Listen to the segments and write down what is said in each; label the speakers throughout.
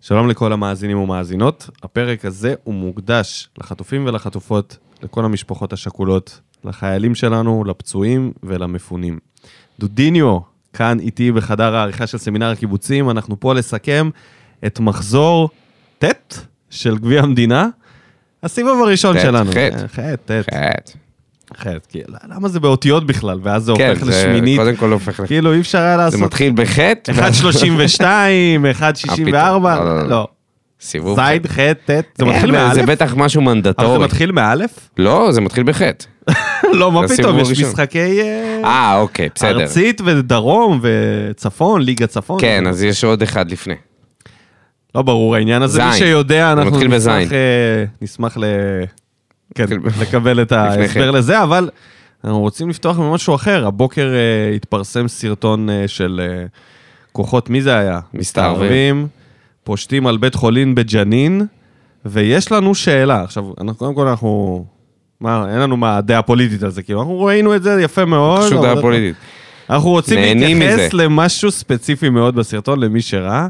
Speaker 1: שלום לכל המאזינים ומאזינות. הפרק הזה הוא מוקדש לחטופים ולחטופות, לכל המשפחות השכולות, לחיילים שלנו, לפצועים ולמפונים. דודיניו, כאן איתי בחדר העריכה של סמינר הקיבוצים, אנחנו פה לסכם את מחזור ט' של גביע המדינה, הסיבוב הראשון
Speaker 2: ט',
Speaker 1: שלנו.
Speaker 2: ח'.
Speaker 1: חטא, ט'.
Speaker 2: חטא.
Speaker 1: אחרת, כי למה זה באותיות בכלל, ואז זה
Speaker 2: כן,
Speaker 1: הופך
Speaker 2: זה
Speaker 1: לשמינית,
Speaker 2: קודם כל הופך ל...
Speaker 1: כאילו אי אפשר היה
Speaker 2: זה
Speaker 1: לעשות
Speaker 2: מתחיל בחטא,
Speaker 1: 1.32, 1.64,
Speaker 2: לא, לא, לא.
Speaker 1: לא,
Speaker 2: סיבוב.
Speaker 1: זין, ח', ט', כן, זה מתחיל
Speaker 2: אה, זה
Speaker 1: מאלף?
Speaker 2: בטח משהו
Speaker 1: אבל זה
Speaker 2: מנדטורי.
Speaker 1: מתחיל מאלף?
Speaker 2: לא, זה מתחיל בחטא.
Speaker 1: לא, מה
Speaker 2: זה
Speaker 1: פתאום,
Speaker 2: הסיבוב
Speaker 1: יש
Speaker 2: הראשון.
Speaker 1: משחקי אה,
Speaker 2: אה, אוקיי, בסדר.
Speaker 1: ארצית ודרום וצפון, ליגה צפון.
Speaker 2: כן, אז יש עוד אחד לפני.
Speaker 1: אה, לא ברור העניין הזה, מי
Speaker 2: זין.
Speaker 1: שיודע,
Speaker 2: זה
Speaker 1: אנחנו
Speaker 2: מתחיל בזין.
Speaker 1: נשמח, אה, נשמח ל... כן,
Speaker 2: מתחיל ב-
Speaker 1: לקבל את ההסבר
Speaker 2: כן.
Speaker 1: לזה, אבל אנחנו רוצים לפתוח ממשהו אחר. הבוקר אה, התפרסם סרטון אה, של אה, כוחות, מי זה היה?
Speaker 2: מסתערבים.
Speaker 1: מסתערבים, פושטים על בית חולין בג'נין, ויש לנו שאלה. עכשיו, אנחנו, קודם כל אנחנו... מה, אין לנו מה הדעה הפוליטית על זה, כאילו, אנחנו ראינו את זה יפה מאוד.
Speaker 2: פשוט
Speaker 1: אבל-
Speaker 2: דעה פוליטית.
Speaker 1: אנחנו רוצים
Speaker 2: נהנים
Speaker 1: להתייחס
Speaker 2: מזה.
Speaker 1: למשהו ספציפי מאוד בסרטון, למי שראה.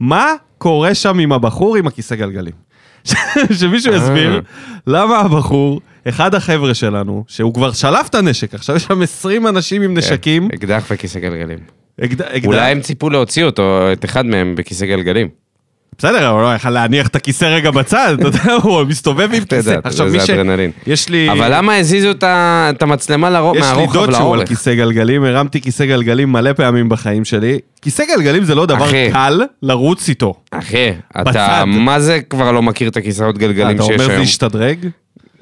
Speaker 1: מה קורה שם עם הבחור עם הכיסא גלגלים? ש-
Speaker 2: אה.
Speaker 1: שמישהו יסביר למה הבחור, אחד החבר'ה שלנו, שהוא כבר שלף את הנשק, עכשיו יש שם 20 אנשים עם נשקים,
Speaker 2: אקדח וכיסא גלגלים.
Speaker 1: אקד- אקדח-
Speaker 2: כן. אולי הם ציפו להוציא אותו, את אחד מהם, בכיסא גלגלים.
Speaker 1: בסדר, אבל לא יכל להניח את הכיסא רגע בצד, אתה יודע, הוא מסתובב עם
Speaker 2: אתה יודע,
Speaker 1: כיסא.
Speaker 2: אתה
Speaker 1: עכשיו,
Speaker 2: יודע,
Speaker 1: מי
Speaker 2: זה
Speaker 1: ש...
Speaker 2: אדרנלין.
Speaker 1: יש לי...
Speaker 2: אבל למה הזיזו את ה- את המצלמה לרו-
Speaker 1: יש לי
Speaker 2: מהרוחב
Speaker 1: דוד שהוא על
Speaker 2: לאורך?
Speaker 1: כיסא גלגלים, הרמתי כיסא גלגלים מלא פעמים בחיים שלי. כיסא גלגלים זה לא דבר
Speaker 2: אחי.
Speaker 1: קל לרוץ איתו.
Speaker 2: אחי,
Speaker 1: בצד.
Speaker 2: אתה מה זה כבר לא מכיר את הכיסאות גלגלים
Speaker 1: אה, אתה
Speaker 2: שיש
Speaker 1: אומר זה
Speaker 2: היום?
Speaker 1: השתדרג?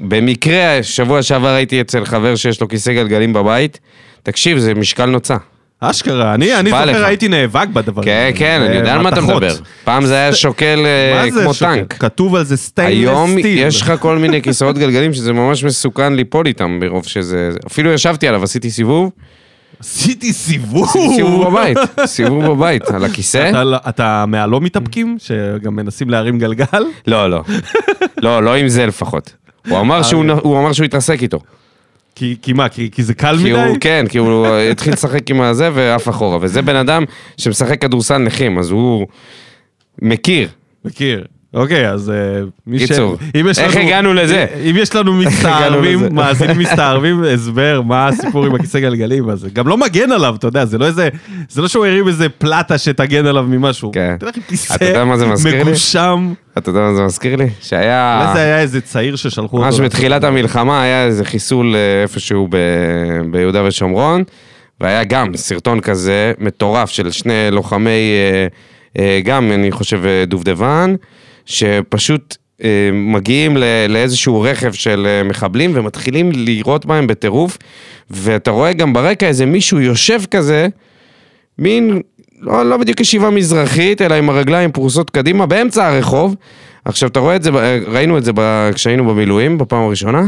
Speaker 2: במקרה, שבוע שעבר הייתי אצל חבר שיש לו כיסא גלגלים בבית, תקשיב, זה משקל נוצה.
Speaker 1: אשכרה, אני, אני
Speaker 2: שבא
Speaker 1: זוכר
Speaker 2: לך.
Speaker 1: הייתי נאבק בדבר
Speaker 2: כן, כן, אני יודע על מה אתה
Speaker 1: במתכות.
Speaker 2: מדבר. פעם זה היה שוקל אה,
Speaker 1: מה זה
Speaker 2: כמו
Speaker 1: שוקל?
Speaker 2: טנק.
Speaker 1: כתוב על זה סטיינלס
Speaker 2: היום
Speaker 1: סטיל.
Speaker 2: יש לך כל מיני כיסאות גלגלים שזה ממש מסוכן ליפול איתם ברוב שזה... אפילו ישבתי עליו, עשיתי סיבוב,
Speaker 1: עשיתי סיבוב.
Speaker 2: סיבוב בבית, אה? סיבוב בבית, על הכיסא.
Speaker 1: אתה, לא- אתה מהלא מתאפקים, שגם מנסים להרים גלגל?
Speaker 2: לא, לא. לא, לא עם זה לפחות. הוא אמר שהוא
Speaker 1: אה,
Speaker 2: נ- הוא אמר שהוא התרסק איתו.
Speaker 1: כי, כי מה, כי, כי זה קל
Speaker 2: כי
Speaker 1: מדי?
Speaker 2: הוא, כן, כי הוא התחיל לשחק עם הזה ועף אחורה. וזה בן אדם שמשחק כדורסל נכים, אז הוא מכיר.
Speaker 1: מכיר. אוקיי, אז אה, מי
Speaker 2: קיצור,
Speaker 1: אם יש
Speaker 2: איך
Speaker 1: לנו-
Speaker 2: הגענו לזה?
Speaker 1: אם יש לנו
Speaker 2: הגענו לזה?
Speaker 1: מסתערבים, מאזינים מסתערבים, הסבר מה הסיפור עם הכיסא גלגלים, אז זה גם לא מגן עליו, אתה יודע, זה לא איזה... זה לא שהוא הרים איזה פלטה שתגן עליו ממשהו.
Speaker 2: כן.
Speaker 1: אתה יודע,
Speaker 2: אתה יודע מה זה
Speaker 1: כיסא
Speaker 2: מזכיר לי?
Speaker 1: מגושם.
Speaker 2: אתה יודע מה זה מזכיר לי? שהיה...
Speaker 1: אולי זה היה איזה צעיר ששלחו אותו.
Speaker 2: ממש
Speaker 1: לעשות את
Speaker 2: בתחילת
Speaker 1: זה.
Speaker 2: המלחמה היה איזה חיסול אה, איפשהו ב... ביהודה ושומרון, והיה גם סרטון כזה מטורף של שני לוחמי, אה, אה, גם אני חושב אה, דובדבן, שפשוט אה, מגיעים ל... לאיזשהו רכב של אה, מחבלים ומתחילים לירות בהם בטירוף, ואתה רואה גם ברקע איזה מישהו יושב כזה, מין, לא, לא בדיוק ישיבה מזרחית, אלא עם הרגליים פרוסות קדימה באמצע הרחוב. עכשיו, אתה רואה את זה, ב- ראינו את זה ב- כשהיינו במילואים בפעם הראשונה,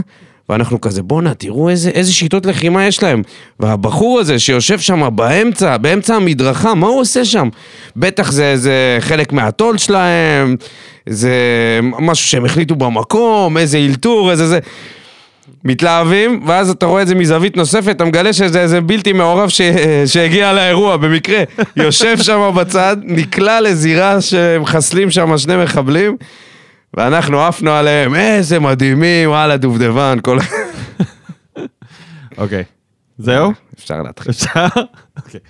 Speaker 2: ואנחנו כזה, בואנה, תראו איזה, איזה שיטות לחימה יש להם. והבחור הזה שיושב שם באמצע, באמצע המדרכה, מה הוא עושה שם? בטח זה, זה חלק מהטול שלהם, זה משהו שהם החליטו במקום, איזה אלתור, איזה זה. מתלהבים, ואז אתה רואה את זה מזווית נוספת, אתה מגלה שזה איזה בלתי מעורב ש... שהגיע לאירוע במקרה. יושב שם בצד, נקלע לזירה שמחסלים שם שני מחבלים, ואנחנו עפנו עליהם, איזה מדהימים, וואלה דובדבן, כל...
Speaker 1: אוקיי. זהו?
Speaker 2: אפשר להתחיל.
Speaker 1: אפשר? אוקיי.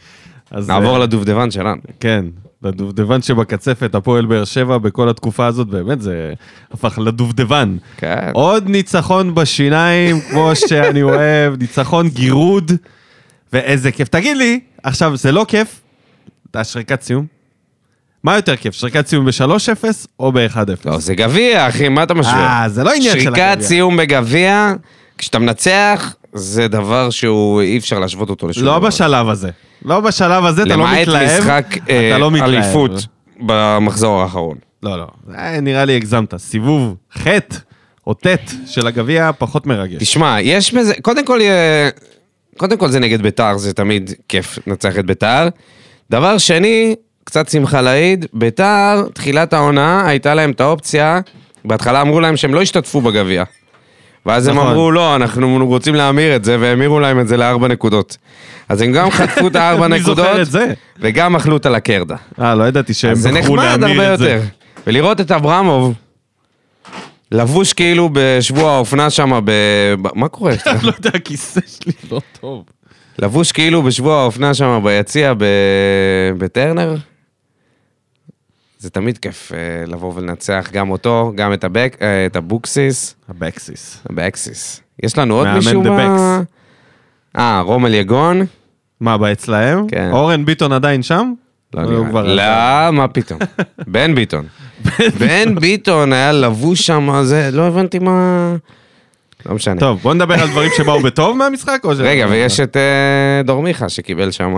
Speaker 1: אז,
Speaker 2: נעבור
Speaker 1: אה,
Speaker 2: לדובדבן שלנו.
Speaker 1: כן, לדובדבן שבקצפת, הפועל באר שבע, בכל התקופה הזאת, באמת, זה הפך לדובדבן.
Speaker 2: כן.
Speaker 1: עוד ניצחון בשיניים, כמו שאני אוהב, ניצחון גירוד, ואיזה כיף. תגיד לי, עכשיו, זה לא כיף? אתה שריקת סיום? מה יותר כיף, שריקת סיום ב-3-0 או ב-1-0?
Speaker 2: לא, זה גביע, אחי, מה אתה משווה?
Speaker 1: אה, זה לא עניין של
Speaker 2: שריקת
Speaker 1: הגביע.
Speaker 2: סיום בגביע, כשאתה מנצח, זה דבר שהוא אי אפשר להשוות אותו לשום
Speaker 1: לא בשלב הזה. לא בשלב הזה, אתה לא מתלהב.
Speaker 2: למעט משחק
Speaker 1: אתה
Speaker 2: אה,
Speaker 1: לא מתלהב.
Speaker 2: אליפות במחזור האחרון.
Speaker 1: לא, לא. אה, נראה לי הגזמת. סיבוב ח' או ט' של הגביע פחות מרגש.
Speaker 2: תשמע, יש בזה, קודם כל, אה, קודם כל זה נגד ביתר, זה תמיד כיף לנצח את ביתר. דבר שני, קצת שמחה לאיד, ביתר, תחילת העונה, הייתה להם את האופציה, בהתחלה אמרו להם שהם לא השתתפו בגביע. ואז הם
Speaker 1: נכון.
Speaker 2: אמרו, לא, אנחנו רוצים להמיר את זה, והמירו להם את זה לארבע נקודות. אז הם גם חטפו את הארבע
Speaker 1: מי
Speaker 2: נקודות,
Speaker 1: זוכר את זה?
Speaker 2: וגם אכלו אותה לקרדה.
Speaker 1: אה, לא ידעתי שהם
Speaker 2: אז זה
Speaker 1: בחרו
Speaker 2: נחמד הרבה
Speaker 1: להמיר את זה.
Speaker 2: יותר. ולראות את אברמוב לבוש כאילו בשבוע האופנה שם ב... ב- מה קורה?
Speaker 1: לא יודע, הכיסא שלי לא טוב.
Speaker 2: לבוש כאילו בשבוע האופנה שם ביציע ב... בטרנר. זה תמיד כיף אה, לבוא ולנצח גם אותו, גם את, הבק... אה, את אבוקסיס,
Speaker 1: הבקסיס.
Speaker 2: באקסיס. יש לנו עוד
Speaker 1: מאמן
Speaker 2: מישהו
Speaker 1: דה
Speaker 2: מה...
Speaker 1: בקס.
Speaker 2: אה, רומל יגון?
Speaker 1: מה, בא אצלהם?
Speaker 2: כן.
Speaker 1: אורן ביטון עדיין שם?
Speaker 2: לא,
Speaker 1: הוא
Speaker 2: נראה.
Speaker 1: כבר-
Speaker 2: לא, מה פתאום. בן ביטון. בן ביטון היה לבוש שם, זה, לא הבנתי מה... לא משנה.
Speaker 1: טוב, בוא נדבר על דברים שבאו בטוב מהמשחק, או ש...
Speaker 2: רגע, ויש את אה, דור מיכה שקיבל שם...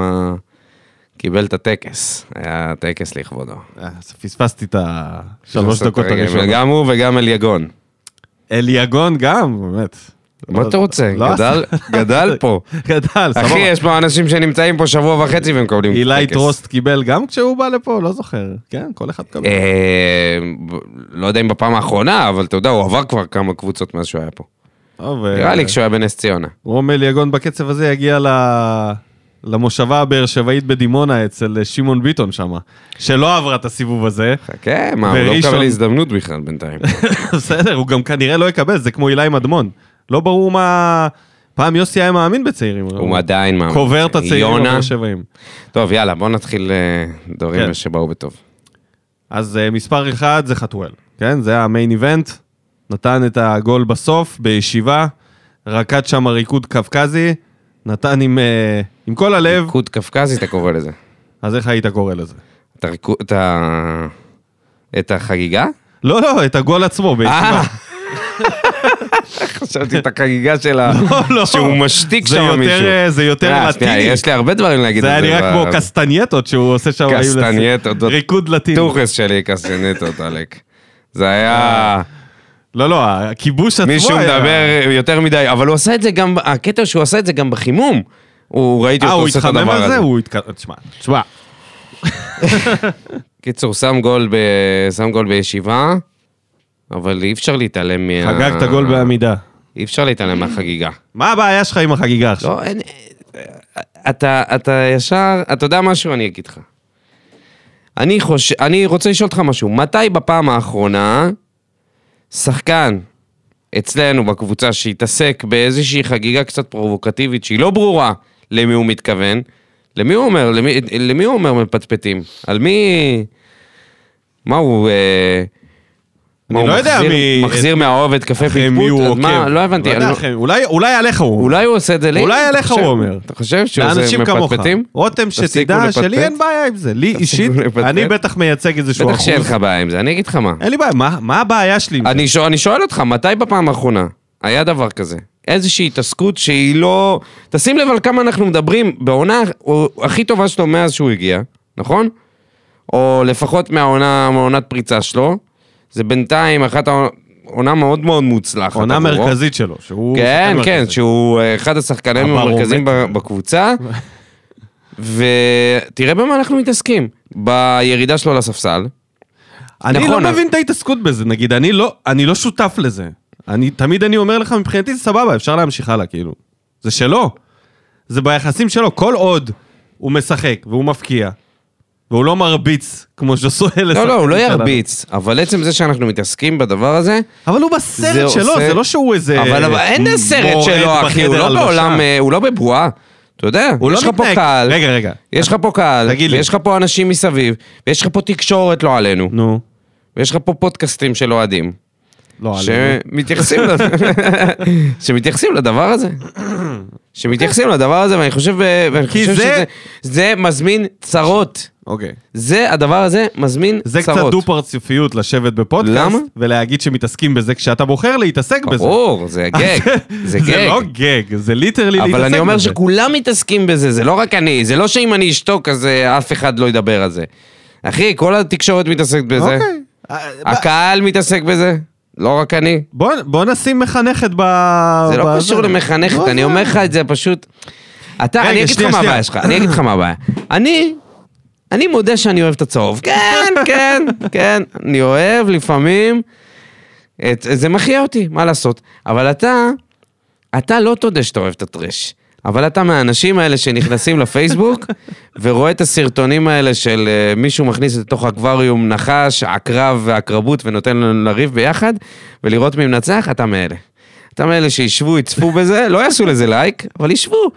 Speaker 2: קיבל את הטקס. היה טקס לכבודו.
Speaker 1: אה, אז פספסתי את השלוש דקות
Speaker 2: רגע,
Speaker 1: הראשונות.
Speaker 2: גם הוא וגם אליגון.
Speaker 1: אליגון גם, באמת.
Speaker 2: מה
Speaker 1: לא-
Speaker 2: אתה רוצה?
Speaker 1: לא
Speaker 2: גדל- גדל פה.
Speaker 1: גדל,
Speaker 2: אחי,
Speaker 1: סבבה.
Speaker 2: יש פה אנשים שנמצאים פה שבוע וחצי והם מקבלים
Speaker 1: אילי
Speaker 2: טקס.
Speaker 1: טרוסט קיבל גם כשהוא בא לפה, לא זוכר. כן, כל אחד מקבל.
Speaker 2: אה, ב- לא יודע אם בפעם האחרונה, אבל אתה יודע, הוא עבר כבר כמה קבוצות מאז שהוא היה פה.
Speaker 1: טוב, אה,
Speaker 2: נראה לי כשהוא היה בנס ציונה.
Speaker 1: רומל יגון בקצב הזה יגיע ל... למושבה הבאר שבעית בדימונה אצל אה, שמעון ביטון שמה, שלא עברה את הסיבוב הזה.
Speaker 2: חכה, מה, הוא לא
Speaker 1: וראשון.
Speaker 2: מקבל הזדמנות בכלל בינתיים.
Speaker 1: בסדר, הוא גם כנראה לא יקבל, זה כמו אילי מדמון. לא ברור מה... פעם יוסי היה מאמין בצעירים.
Speaker 2: הוא עדיין מאמין.
Speaker 1: קובר את הצעירים
Speaker 2: יונה.
Speaker 1: בבאר שבעים.
Speaker 2: טוב, יאללה, בוא נתחיל אה, דברים
Speaker 1: כן.
Speaker 2: שבאו בטוב.
Speaker 1: אז אה, מספר אחד זה חתואל, כן? זה המיין איבנט. נתן את הגול בסוף, בישיבה, רקד שם ריקוד קווקזי, נתן עם, אה, עם כל הלב,
Speaker 2: ריקוד קפקזי, אתה קורא לזה.
Speaker 1: אז איך היית קורא לזה?
Speaker 2: את הריקוד- את ה- את החגיגה?
Speaker 1: לא, לא, את הגול עצמו בישיבה.
Speaker 2: אה! חשבתי את החגיגה של ה...
Speaker 1: לא, לא.
Speaker 2: שהוא משתיק
Speaker 1: זה
Speaker 2: שם
Speaker 1: יותר,
Speaker 2: מישהו.
Speaker 1: אה, זה יותר
Speaker 2: אה,
Speaker 1: לטיני.
Speaker 2: שנייה, יש לי הרבה דברים להגיד
Speaker 1: זה היה
Speaker 2: על
Speaker 1: נראה
Speaker 2: ב-
Speaker 1: כמו קסטנייטות שהוא עושה שם. עם לס-
Speaker 2: קסטנייטות, דוד.
Speaker 1: ריקוד לטיני.
Speaker 2: טוחס שלי, קסטנייטות, עלק. זה היה...
Speaker 1: לא, לא, הכיבוש עצמו היה... אה,
Speaker 2: מישהו מדבר יותר מדי, אבל הוא עשה את זה גם, הקטע שהוא עשה את זה גם בחימום. הוא, ראיתי
Speaker 1: אה,
Speaker 2: אותו
Speaker 1: הוא
Speaker 2: עושה את הדבר
Speaker 1: התחמם
Speaker 2: הזה.
Speaker 1: על זה? הוא התקדם... תשמע, תשמע.
Speaker 2: קיצור, שם גול, ב... שם גול בישיבה, אבל אי אפשר להתעלם מה...
Speaker 1: חגג את הגול בעמידה.
Speaker 2: אי אפשר להתעלם מהחגיגה.
Speaker 1: מה הבעיה שלך עם החגיגה עכשיו?
Speaker 2: לא, אין... אתה, אתה ישר, אתה יודע משהו? אני אגיד לך. אני, חוש... אני רוצה לשאול אותך משהו. מתי בפעם האחרונה שחקן אצלנו בקבוצה שהתעסק באיזושהי חגיגה קצת פרובוקטיבית שהיא לא ברורה למי הוא מתכוון, למי הוא אומר, למי, למי הוא אומר מפטפטים? על מי... מה הוא... אה, מה
Speaker 1: אני
Speaker 2: הוא
Speaker 1: לא יודע
Speaker 2: מחזיר,
Speaker 1: מי-
Speaker 2: מחזיר מהאוהב את קפה
Speaker 1: אחרי
Speaker 2: פטפוט?
Speaker 1: מי הוא
Speaker 2: אז
Speaker 1: עוקב.
Speaker 2: מה? לא הבנתי.
Speaker 1: יודע,
Speaker 2: אני לא-
Speaker 1: אחרי- אולי- אולי עליך הוא אומר.
Speaker 2: אולי הוא עושה את זה לי?
Speaker 1: אולי
Speaker 2: אתה
Speaker 1: עליך
Speaker 2: חושב-
Speaker 1: הוא אומר.
Speaker 2: אתה חושב שהוא עושה
Speaker 1: לאנשים כמוך.
Speaker 2: מפטפטים?
Speaker 1: רותם,
Speaker 2: תפסיקו
Speaker 1: שתדע
Speaker 2: לפטפט.
Speaker 1: שלי אין בעיה עם זה. לי אישית,
Speaker 2: לפטפט.
Speaker 1: אני בטח מייצג איזשהו
Speaker 2: בטח
Speaker 1: אחוז.
Speaker 2: שאין לך אה, בעיה עם זה, אני אגיד לך מה.
Speaker 1: אין לי בעיה, מה- מה הבעיה שלי עם זה?
Speaker 2: אני שואל- אני שואל אותך, מתי בפעם האחרונה היה דבר כזה? איזושהי התעסקות שהיא לא... תשים לב על כמה אנחנו מדברים בעונה או- הכי טובה שלו מאז שהוא הגיע, נכון? או לפחות מהעונה, מעונת פריצה שלו. זה בינתיים אחת העונה עונה מאוד מאוד מוצלחת.
Speaker 1: עונה
Speaker 2: עבורו.
Speaker 1: מרכזית שלו. שהוא
Speaker 2: כן,
Speaker 1: שחקן
Speaker 2: כן,
Speaker 1: מרכזי.
Speaker 2: שהוא אה, אחד השחקנים
Speaker 1: הברומטר.
Speaker 2: המרכזיים ב- בקבוצה. ותראה במה אנחנו מתעסקים. בירידה שלו לספסל.
Speaker 1: אני
Speaker 2: נכון,
Speaker 1: לא
Speaker 2: אבל-
Speaker 1: מבין את ההתעסקות בזה, נגיד, אני לא- אני לא שותף לזה. אני, תמיד אני אומר לך, מבחינתי זה סבבה, אפשר להמשיך הלאה, כאילו. זה שלו. זה ביחסים שלו, כל עוד הוא משחק והוא מפקיע, והוא לא מרביץ, כמו שעושה
Speaker 2: לא, לא, הוא לא ירביץ, אבל עצם זה שאנחנו מתעסקים בדבר הזה,
Speaker 1: אבל הוא בסרט
Speaker 2: זה
Speaker 1: שלו,
Speaker 2: עושה-
Speaker 1: זה לא שהוא איזה...
Speaker 2: אבל אבל אין
Speaker 1: מורד
Speaker 2: הסרט שלו, אחי, הוא
Speaker 1: בחדר
Speaker 2: לא
Speaker 1: הלבשה.
Speaker 2: בעולם, אה, הוא לא בבועה. אתה יודע,
Speaker 1: הוא לא
Speaker 2: יש לך פה
Speaker 1: מתנהג-
Speaker 2: קהל,
Speaker 1: רגע, רגע.
Speaker 2: יש לך פה קהל,
Speaker 1: תגיד לי.
Speaker 2: ויש לך פה אנשים מסביב, ויש לך פה תקשורת לא עלינו,
Speaker 1: נו.
Speaker 2: ויש לך פה פודקאסטים של אוהדים,
Speaker 1: לא,
Speaker 2: אוקיי.
Speaker 1: עלינו.
Speaker 2: שמתייחסים, לד- שמתייחסים לדבר הזה. שמתייחסים לדבר הזה, ואני חושב, ואני
Speaker 1: אוקיי. כי
Speaker 2: חושב
Speaker 1: זה-
Speaker 2: שזה זה מזמין צרות.
Speaker 1: אוקיי.
Speaker 2: זה, הדבר הזה מזמין צרות.
Speaker 1: זה קצת דו-פרצופיות לשבת בפודקאסט,
Speaker 2: למה?
Speaker 1: ולהגיד שמתעסקים בזה כשאתה בוחר להתעסק בזה.
Speaker 2: ברור, זה גג. זה
Speaker 1: זה
Speaker 2: גג.
Speaker 1: לא גג, זה ליטרלי להתעסק בזה.
Speaker 2: אבל אני אומר שכולם מתעסקים בזה, זה לא רק אני, זה לא שאם אני אשתוק אז אה, אף אחד לא ידבר על זה. אחי, כל התקשורת מתעסקת בזה,
Speaker 1: אוקיי. אה, ב-
Speaker 2: הקהל מתעסק בזה, לא רק אני.
Speaker 1: בוא- בוא נשים מחנכת ב...
Speaker 2: זה לא
Speaker 1: בזה.
Speaker 2: קשור למחנכת,
Speaker 1: לא
Speaker 2: אני
Speaker 1: זה.
Speaker 2: אומר לך את זה פשוט... אתה,
Speaker 1: רגע,
Speaker 2: אני אגיד לך
Speaker 1: שנייה,
Speaker 2: מה
Speaker 1: שנייה.
Speaker 2: הבעיה שלך, אני אגיד לך מה הבעיה. אני, אני מודה שאני אוהב את הצהוב. כן, כן, כן, אני אוהב לפעמים. את, זה מחיה אותי, מה לעשות. אבל אתה, אתה לא תודה שאתה אוהב את הטרש. אבל אתה מהאנשים האלה שנכנסים לפייסבוק ורואה את הסרטונים האלה של אה, מישהו מכניס לתוך אקווריום נחש, עקרב ועקרבות ונותן לנו לריב ביחד, ולראות מי מנצח, אתה מאלה. אתה מאלה שישבו, יצפו בזה, לא יעשו לזה לייק, אבל ישבו.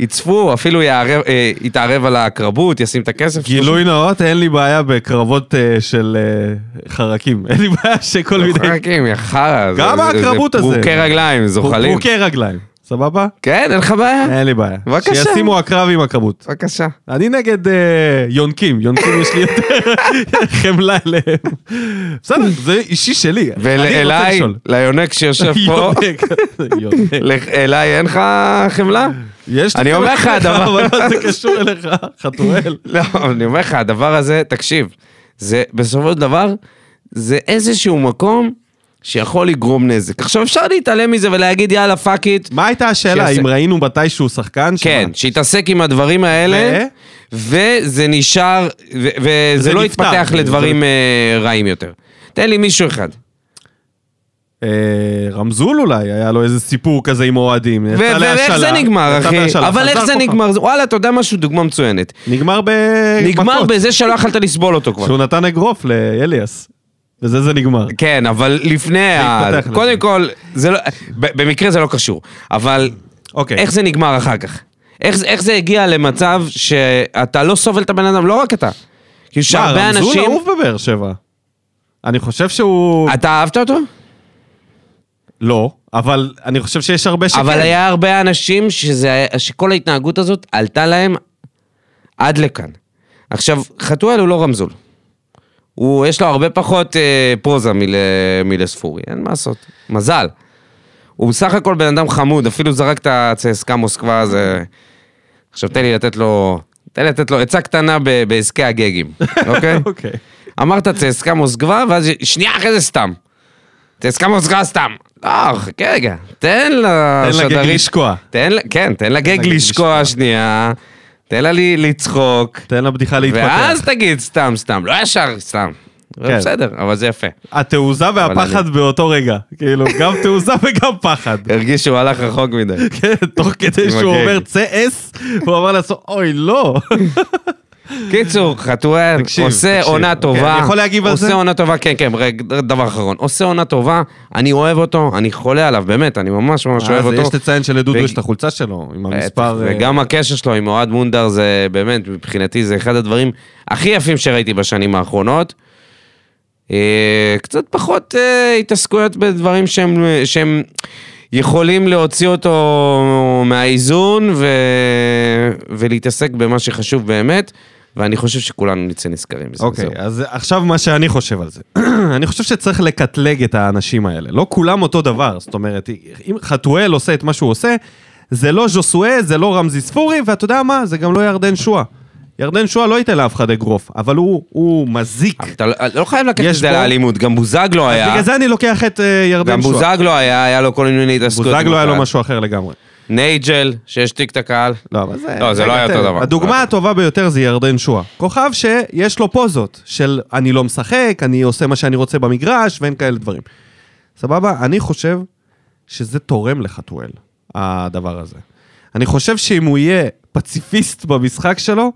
Speaker 2: יצפו, אפילו יערב, אה, יתערב על העקרבות, ישים את הכסף.
Speaker 1: גילוי נאות, אין לי בעיה בקרבות אה, של אה, חרקים. אין לי בעיה שכל
Speaker 2: שלושה
Speaker 1: מיני...
Speaker 2: חלקים, יא חרא.
Speaker 1: גם
Speaker 2: זה- זה-
Speaker 1: העקרבות הזה.
Speaker 2: זה פרוקי רגליים, זוחלים.
Speaker 1: פורקי רגליים, סבבה?
Speaker 2: כן, אין לך בעיה?
Speaker 1: אין לי בעיה.
Speaker 2: בבקשה.
Speaker 1: שישימו הקרב עם הכמות.
Speaker 2: בבקשה.
Speaker 1: אני נגד אה, יונקים, יונקים יש לי יותר חמלה אליהם. בסדר, זה אישי שלי. אני רוצה
Speaker 2: ואליי,
Speaker 1: לשאול.
Speaker 2: ליונק שיושב פה,
Speaker 1: יונק, יונק.
Speaker 2: לך- אליי אין לך חמלה?
Speaker 1: יש לי
Speaker 2: אני אומר לך,
Speaker 1: חמלה אליך,
Speaker 2: הדבר-
Speaker 1: אבל מה זה קשור אליך, חתואל?
Speaker 2: לא, אני אומר לך, הדבר הזה, תקשיב, זה בסופו של דבר, זה איזשהו מקום שיכול לגרום נזק. עכשיו, אפשר להתעלם מזה ולהגיד, יאללה, פאק איט.
Speaker 1: מה הייתה השאלה,
Speaker 2: שיעשה-
Speaker 1: אם ראינו מתישהו שחקן? שמה?
Speaker 2: כן, שיתעסק עם הדברים האלה, וזה נשאר, ו-
Speaker 1: וזה
Speaker 2: וזה לא
Speaker 1: נפתר.
Speaker 2: יתפתח
Speaker 1: זה-
Speaker 2: לדברים אה, רעים יותר. תן לי מישהו אחד.
Speaker 1: אה, רמזול אולי, היה לו איזה סיפור כזה עם אוהדים.
Speaker 2: ו-
Speaker 1: יצא
Speaker 2: ואיך
Speaker 1: להשאלה,
Speaker 2: זה נגמר,
Speaker 1: יצא
Speaker 2: אחי?
Speaker 1: להשאלה,
Speaker 2: אבל איך
Speaker 1: חזר
Speaker 2: זה
Speaker 1: כוכב.
Speaker 2: נגמר? וואלה, אתה יודע משהו? דוגמה מצוינת.
Speaker 1: נגמר ב...
Speaker 2: נגמר
Speaker 1: מכות,
Speaker 2: בזה שלא יכלת לסבול אותו כבר.
Speaker 1: שהוא נתן אגרוף לאליאס. וזה זה נגמר.
Speaker 2: כן, אבל לפני ה...
Speaker 1: התפתח לזה.
Speaker 2: קודם כל, זה לא... ב- במקרה זה לא קשור, אבל
Speaker 1: אוקיי.
Speaker 2: איך זה נגמר אחר כך? איך זה- איך זה הגיע למצב שאתה לא סובל את הבן אדם, לא רק אתה. כאילו שהרבה
Speaker 1: מה, רמזול
Speaker 2: אנשים...
Speaker 1: אהוב בבאר שבע. אני חושב שהוא...
Speaker 2: אתה אהבת אותו?
Speaker 1: לא, אבל אני חושב שיש הרבה שכן.
Speaker 2: אבל היה הרבה אנשים שזה, שכל ההתנהגות הזאת עלתה להם עד לכאן. עכשיו, חתואל הוא לא רמזול. הוא, יש לו הרבה פחות אה, פרוזה מל, מלספורי, אין מה לעשות. מזל. הוא בסך הכל בן אדם חמוד, אפילו זרק את הצסקה מוסקבה, זה... עכשיו תן לי לתת לו... תן לי לתת לו עצה קטנה ב- בעסקי הגגים, אוקיי?
Speaker 1: אוקיי.
Speaker 2: אמרת צסקה מוסקבה, ואז שנייה אחרי זה סתם. צסקה מוסקבה סתם. לא, חכה רגע, תן לה...
Speaker 1: תן לגג
Speaker 2: שדרית-
Speaker 1: לשקוע.
Speaker 2: תן לה, כן, תן לה גג
Speaker 1: לגג
Speaker 2: לשקוע שנייה, תן לה לי- לצחוק,
Speaker 1: תן לבדיחה להתפתח.
Speaker 2: ואז תגיד סתם, סתם, לא ישר, סתם.
Speaker 1: כן.
Speaker 2: בסדר, אבל זה יפה.
Speaker 1: התעוזה והפחד באותו רגע. כאילו, גם תעוזה וגם פחד.
Speaker 2: הרגיש שהוא הלך רחוק מדי.
Speaker 1: כן, תוך כדי
Speaker 2: עם
Speaker 1: שהוא
Speaker 2: הגג.
Speaker 1: אומר צאס, הוא אמר לעצמו, אוי, לא.
Speaker 2: קיצור, חתואל
Speaker 1: תקשיב,
Speaker 2: עושה
Speaker 1: תקשיב.
Speaker 2: עונה
Speaker 1: אוקיי,
Speaker 2: טובה.
Speaker 1: אני יכול להגיב על זה?
Speaker 2: עושה עונה טובה, כן, כן, רגע, דבר אחרון. עושה עונה טובה, אני אוהב אותו, אני חולה עליו, באמת, אני ממש ממש אוהב
Speaker 1: אה, אז
Speaker 2: אותו.
Speaker 1: יש לציין שלדודו
Speaker 2: ו-
Speaker 1: יש את החולצה שלו, עם
Speaker 2: בטח,
Speaker 1: המספר... אה,
Speaker 2: וגם הקשר שלו עם אוהד מונדר זה באמת, מבחינתי, זה אחד הדברים הכי יפים שראיתי בשנים האחרונות. אה, קצת פחות אה, התעסקויות בדברים שהם, שהם יכולים להוציא אותו מהאיזון ו... ולהתעסק במה שחשוב באמת, ואני חושב שכולנו נצא נשכרים מזה.
Speaker 1: אוקיי,
Speaker 2: זהו.
Speaker 1: אז עכשיו מה שאני חושב על זה. אני חושב שצריך לקטלג את האנשים האלה. לא כולם אותו דבר, זאת אומרת, אם חתואל עושה את מה שהוא עושה, זה לא ז'וסואה, זה לא רמזי ספורי, ואתה יודע מה, זה גם לא ירדן שואה. ירדן שואה לא ייתן לאף אחד אגרוף, אבל הוא, הוא מזיק.
Speaker 2: אתה לא- לא חייב לקחת את
Speaker 1: יש
Speaker 2: זה
Speaker 1: בו-
Speaker 2: לאלימות, גם בוזגלו היה.
Speaker 1: בגלל זה אני לוקח את אה,
Speaker 2: גם
Speaker 1: ירדן שואה.
Speaker 2: בוזגלו היה, היה לו כל מיני התעסקויות. עם
Speaker 1: בוזגלו היה לו
Speaker 2: הקהל.
Speaker 1: משהו אחר לגמרי.
Speaker 2: נייג'ל, שהשתיק את הקהל.
Speaker 1: לא, אבל זה...
Speaker 2: לא, זה לא היה אותו
Speaker 1: יותר.
Speaker 2: דבר.
Speaker 1: הדוגמה הטובה ביותר זה ירדן שואה. כוכב שיש לו פוזות של אני לא משחק, אני עושה מה שאני רוצה במגרש, ואין כאלה דברים. סבבה? אני חושב שזה תורם לחתואל, הדבר הזה. אני חושב שאם הוא יהיה פציפיסט במשחק שלו,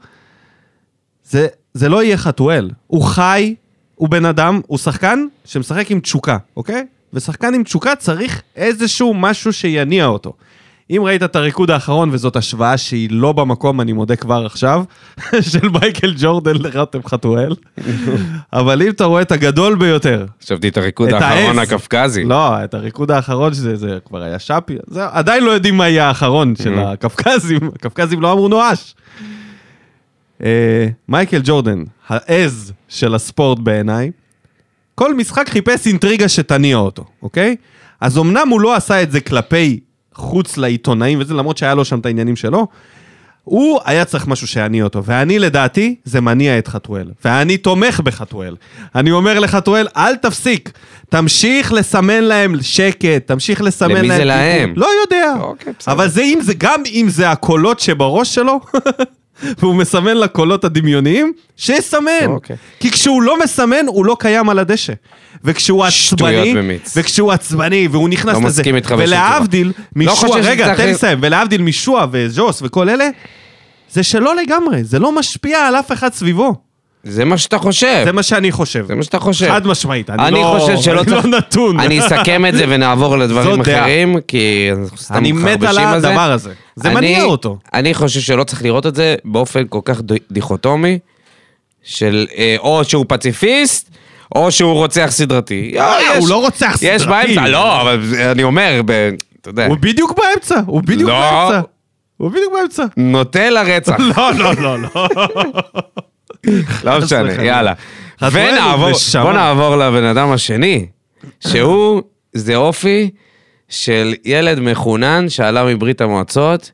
Speaker 1: זה, זה לא יהיה חתואל. הוא חי, הוא בן אדם, הוא שחקן שמשחק עם תשוקה, אוקיי? ושחקן עם תשוקה צריך איזשהו משהו שיניע אותו. אם ראית את הריקוד האחרון, וזאת השוואה שהיא לא במקום, אני מודה כבר עכשיו, של מייקל ג'ורדן לרתם חתואל, אבל אם אתה רואה את הגדול ביותר,
Speaker 2: חשבתי את הריקוד
Speaker 1: את
Speaker 2: האחרון
Speaker 1: העז.
Speaker 2: הקפקזי.
Speaker 1: לא, את הריקוד האחרון שזה זה כבר היה שפי, זה, עדיין לא יודעים מה יהיה האחרון של הקפקזים, הקפקזים לא אמרו נואש. אה, מייקל ג'ורדן, העז של הספורט בעיניי, כל משחק חיפש אינטריגה שתניע אותו, אוקיי? אז אמנם הוא לא עשה את זה כלפי חוץ לעיתונאים וזה, למרות שהיה לו שם את העניינים שלו, הוא היה צריך משהו שיניע אותו, ואני לדעתי, זה מניע את חתואל, ואני תומך בחתואל. אני אומר לחתואל, אל תפסיק, תמשיך לסמן להם שקט, תמשיך לסמן להם...
Speaker 2: למי זה
Speaker 1: כיוון."
Speaker 2: להם?
Speaker 1: לא יודע.
Speaker 2: אוקיי, בסדר.
Speaker 1: אבל זה אם זה, גם אם זה הקולות שבראש שלו, והוא מסמן לקולות הדמיוניים, שיסמן.
Speaker 2: אוקיי.
Speaker 1: כי כשהוא לא מסמן, הוא לא קיים על הדשא. וכשהוא
Speaker 2: שטויות
Speaker 1: עצבני,
Speaker 2: במיץ.
Speaker 1: וכשהוא עצבני, והוא נכנס
Speaker 2: לא
Speaker 1: לזה,
Speaker 2: מסכים איתך בשום
Speaker 1: ולהבדיל
Speaker 2: לא
Speaker 1: משועה,
Speaker 2: חושב שזה
Speaker 1: רגע,
Speaker 2: צריך-
Speaker 1: תן לי לסיים, ולהבדיל משועה וז'וס וכל אלה, זה שלא לגמרי, זה לא משפיע על אף אחד סביבו.
Speaker 2: זה מה שאתה חושב.
Speaker 1: זה מה שאני חושב.
Speaker 2: זה מה שאתה חושב.
Speaker 1: חד משמעית, אני,
Speaker 2: אני
Speaker 1: לא,
Speaker 2: חושב שלא
Speaker 1: אני
Speaker 2: צריך-
Speaker 1: לא נתון.
Speaker 2: אני אסכם את זה ונעבור לדברים
Speaker 1: זו דעה.
Speaker 2: אחרים, כי אנחנו סתם
Speaker 1: אני מת על
Speaker 2: מחרבשים
Speaker 1: הדבר הזה. זה
Speaker 2: אני-
Speaker 1: מניע אותו.
Speaker 2: אני חושב שלא צריך לראות את זה באופן כל כך ד- דיכוטומי, של אה, או שהוא פציפיסט, או שהוא רוצח סדרתי. לא,
Speaker 1: אה,
Speaker 2: יש-
Speaker 1: הוא לא רוצח
Speaker 2: יש
Speaker 1: סדרתי.
Speaker 2: באמצע, לא, אבל זה- אני אומר, ב- אתה יודע,
Speaker 1: הוא בדיוק באמצע, הוא בדיוק
Speaker 2: כן. לא.
Speaker 1: באמצע. הוא בדיוק באמצע.
Speaker 2: נוטה לרצח,
Speaker 1: לא, לא, לא, לא.
Speaker 2: לא משנה,
Speaker 1: וחלילה.
Speaker 2: יאללה.
Speaker 1: אז בוא
Speaker 2: ונעבור,
Speaker 1: נשמה.
Speaker 2: בוא נעבור לבן אדם השני, שהוא, זה אופי של ילד מחונן שעלה מברית המועצות,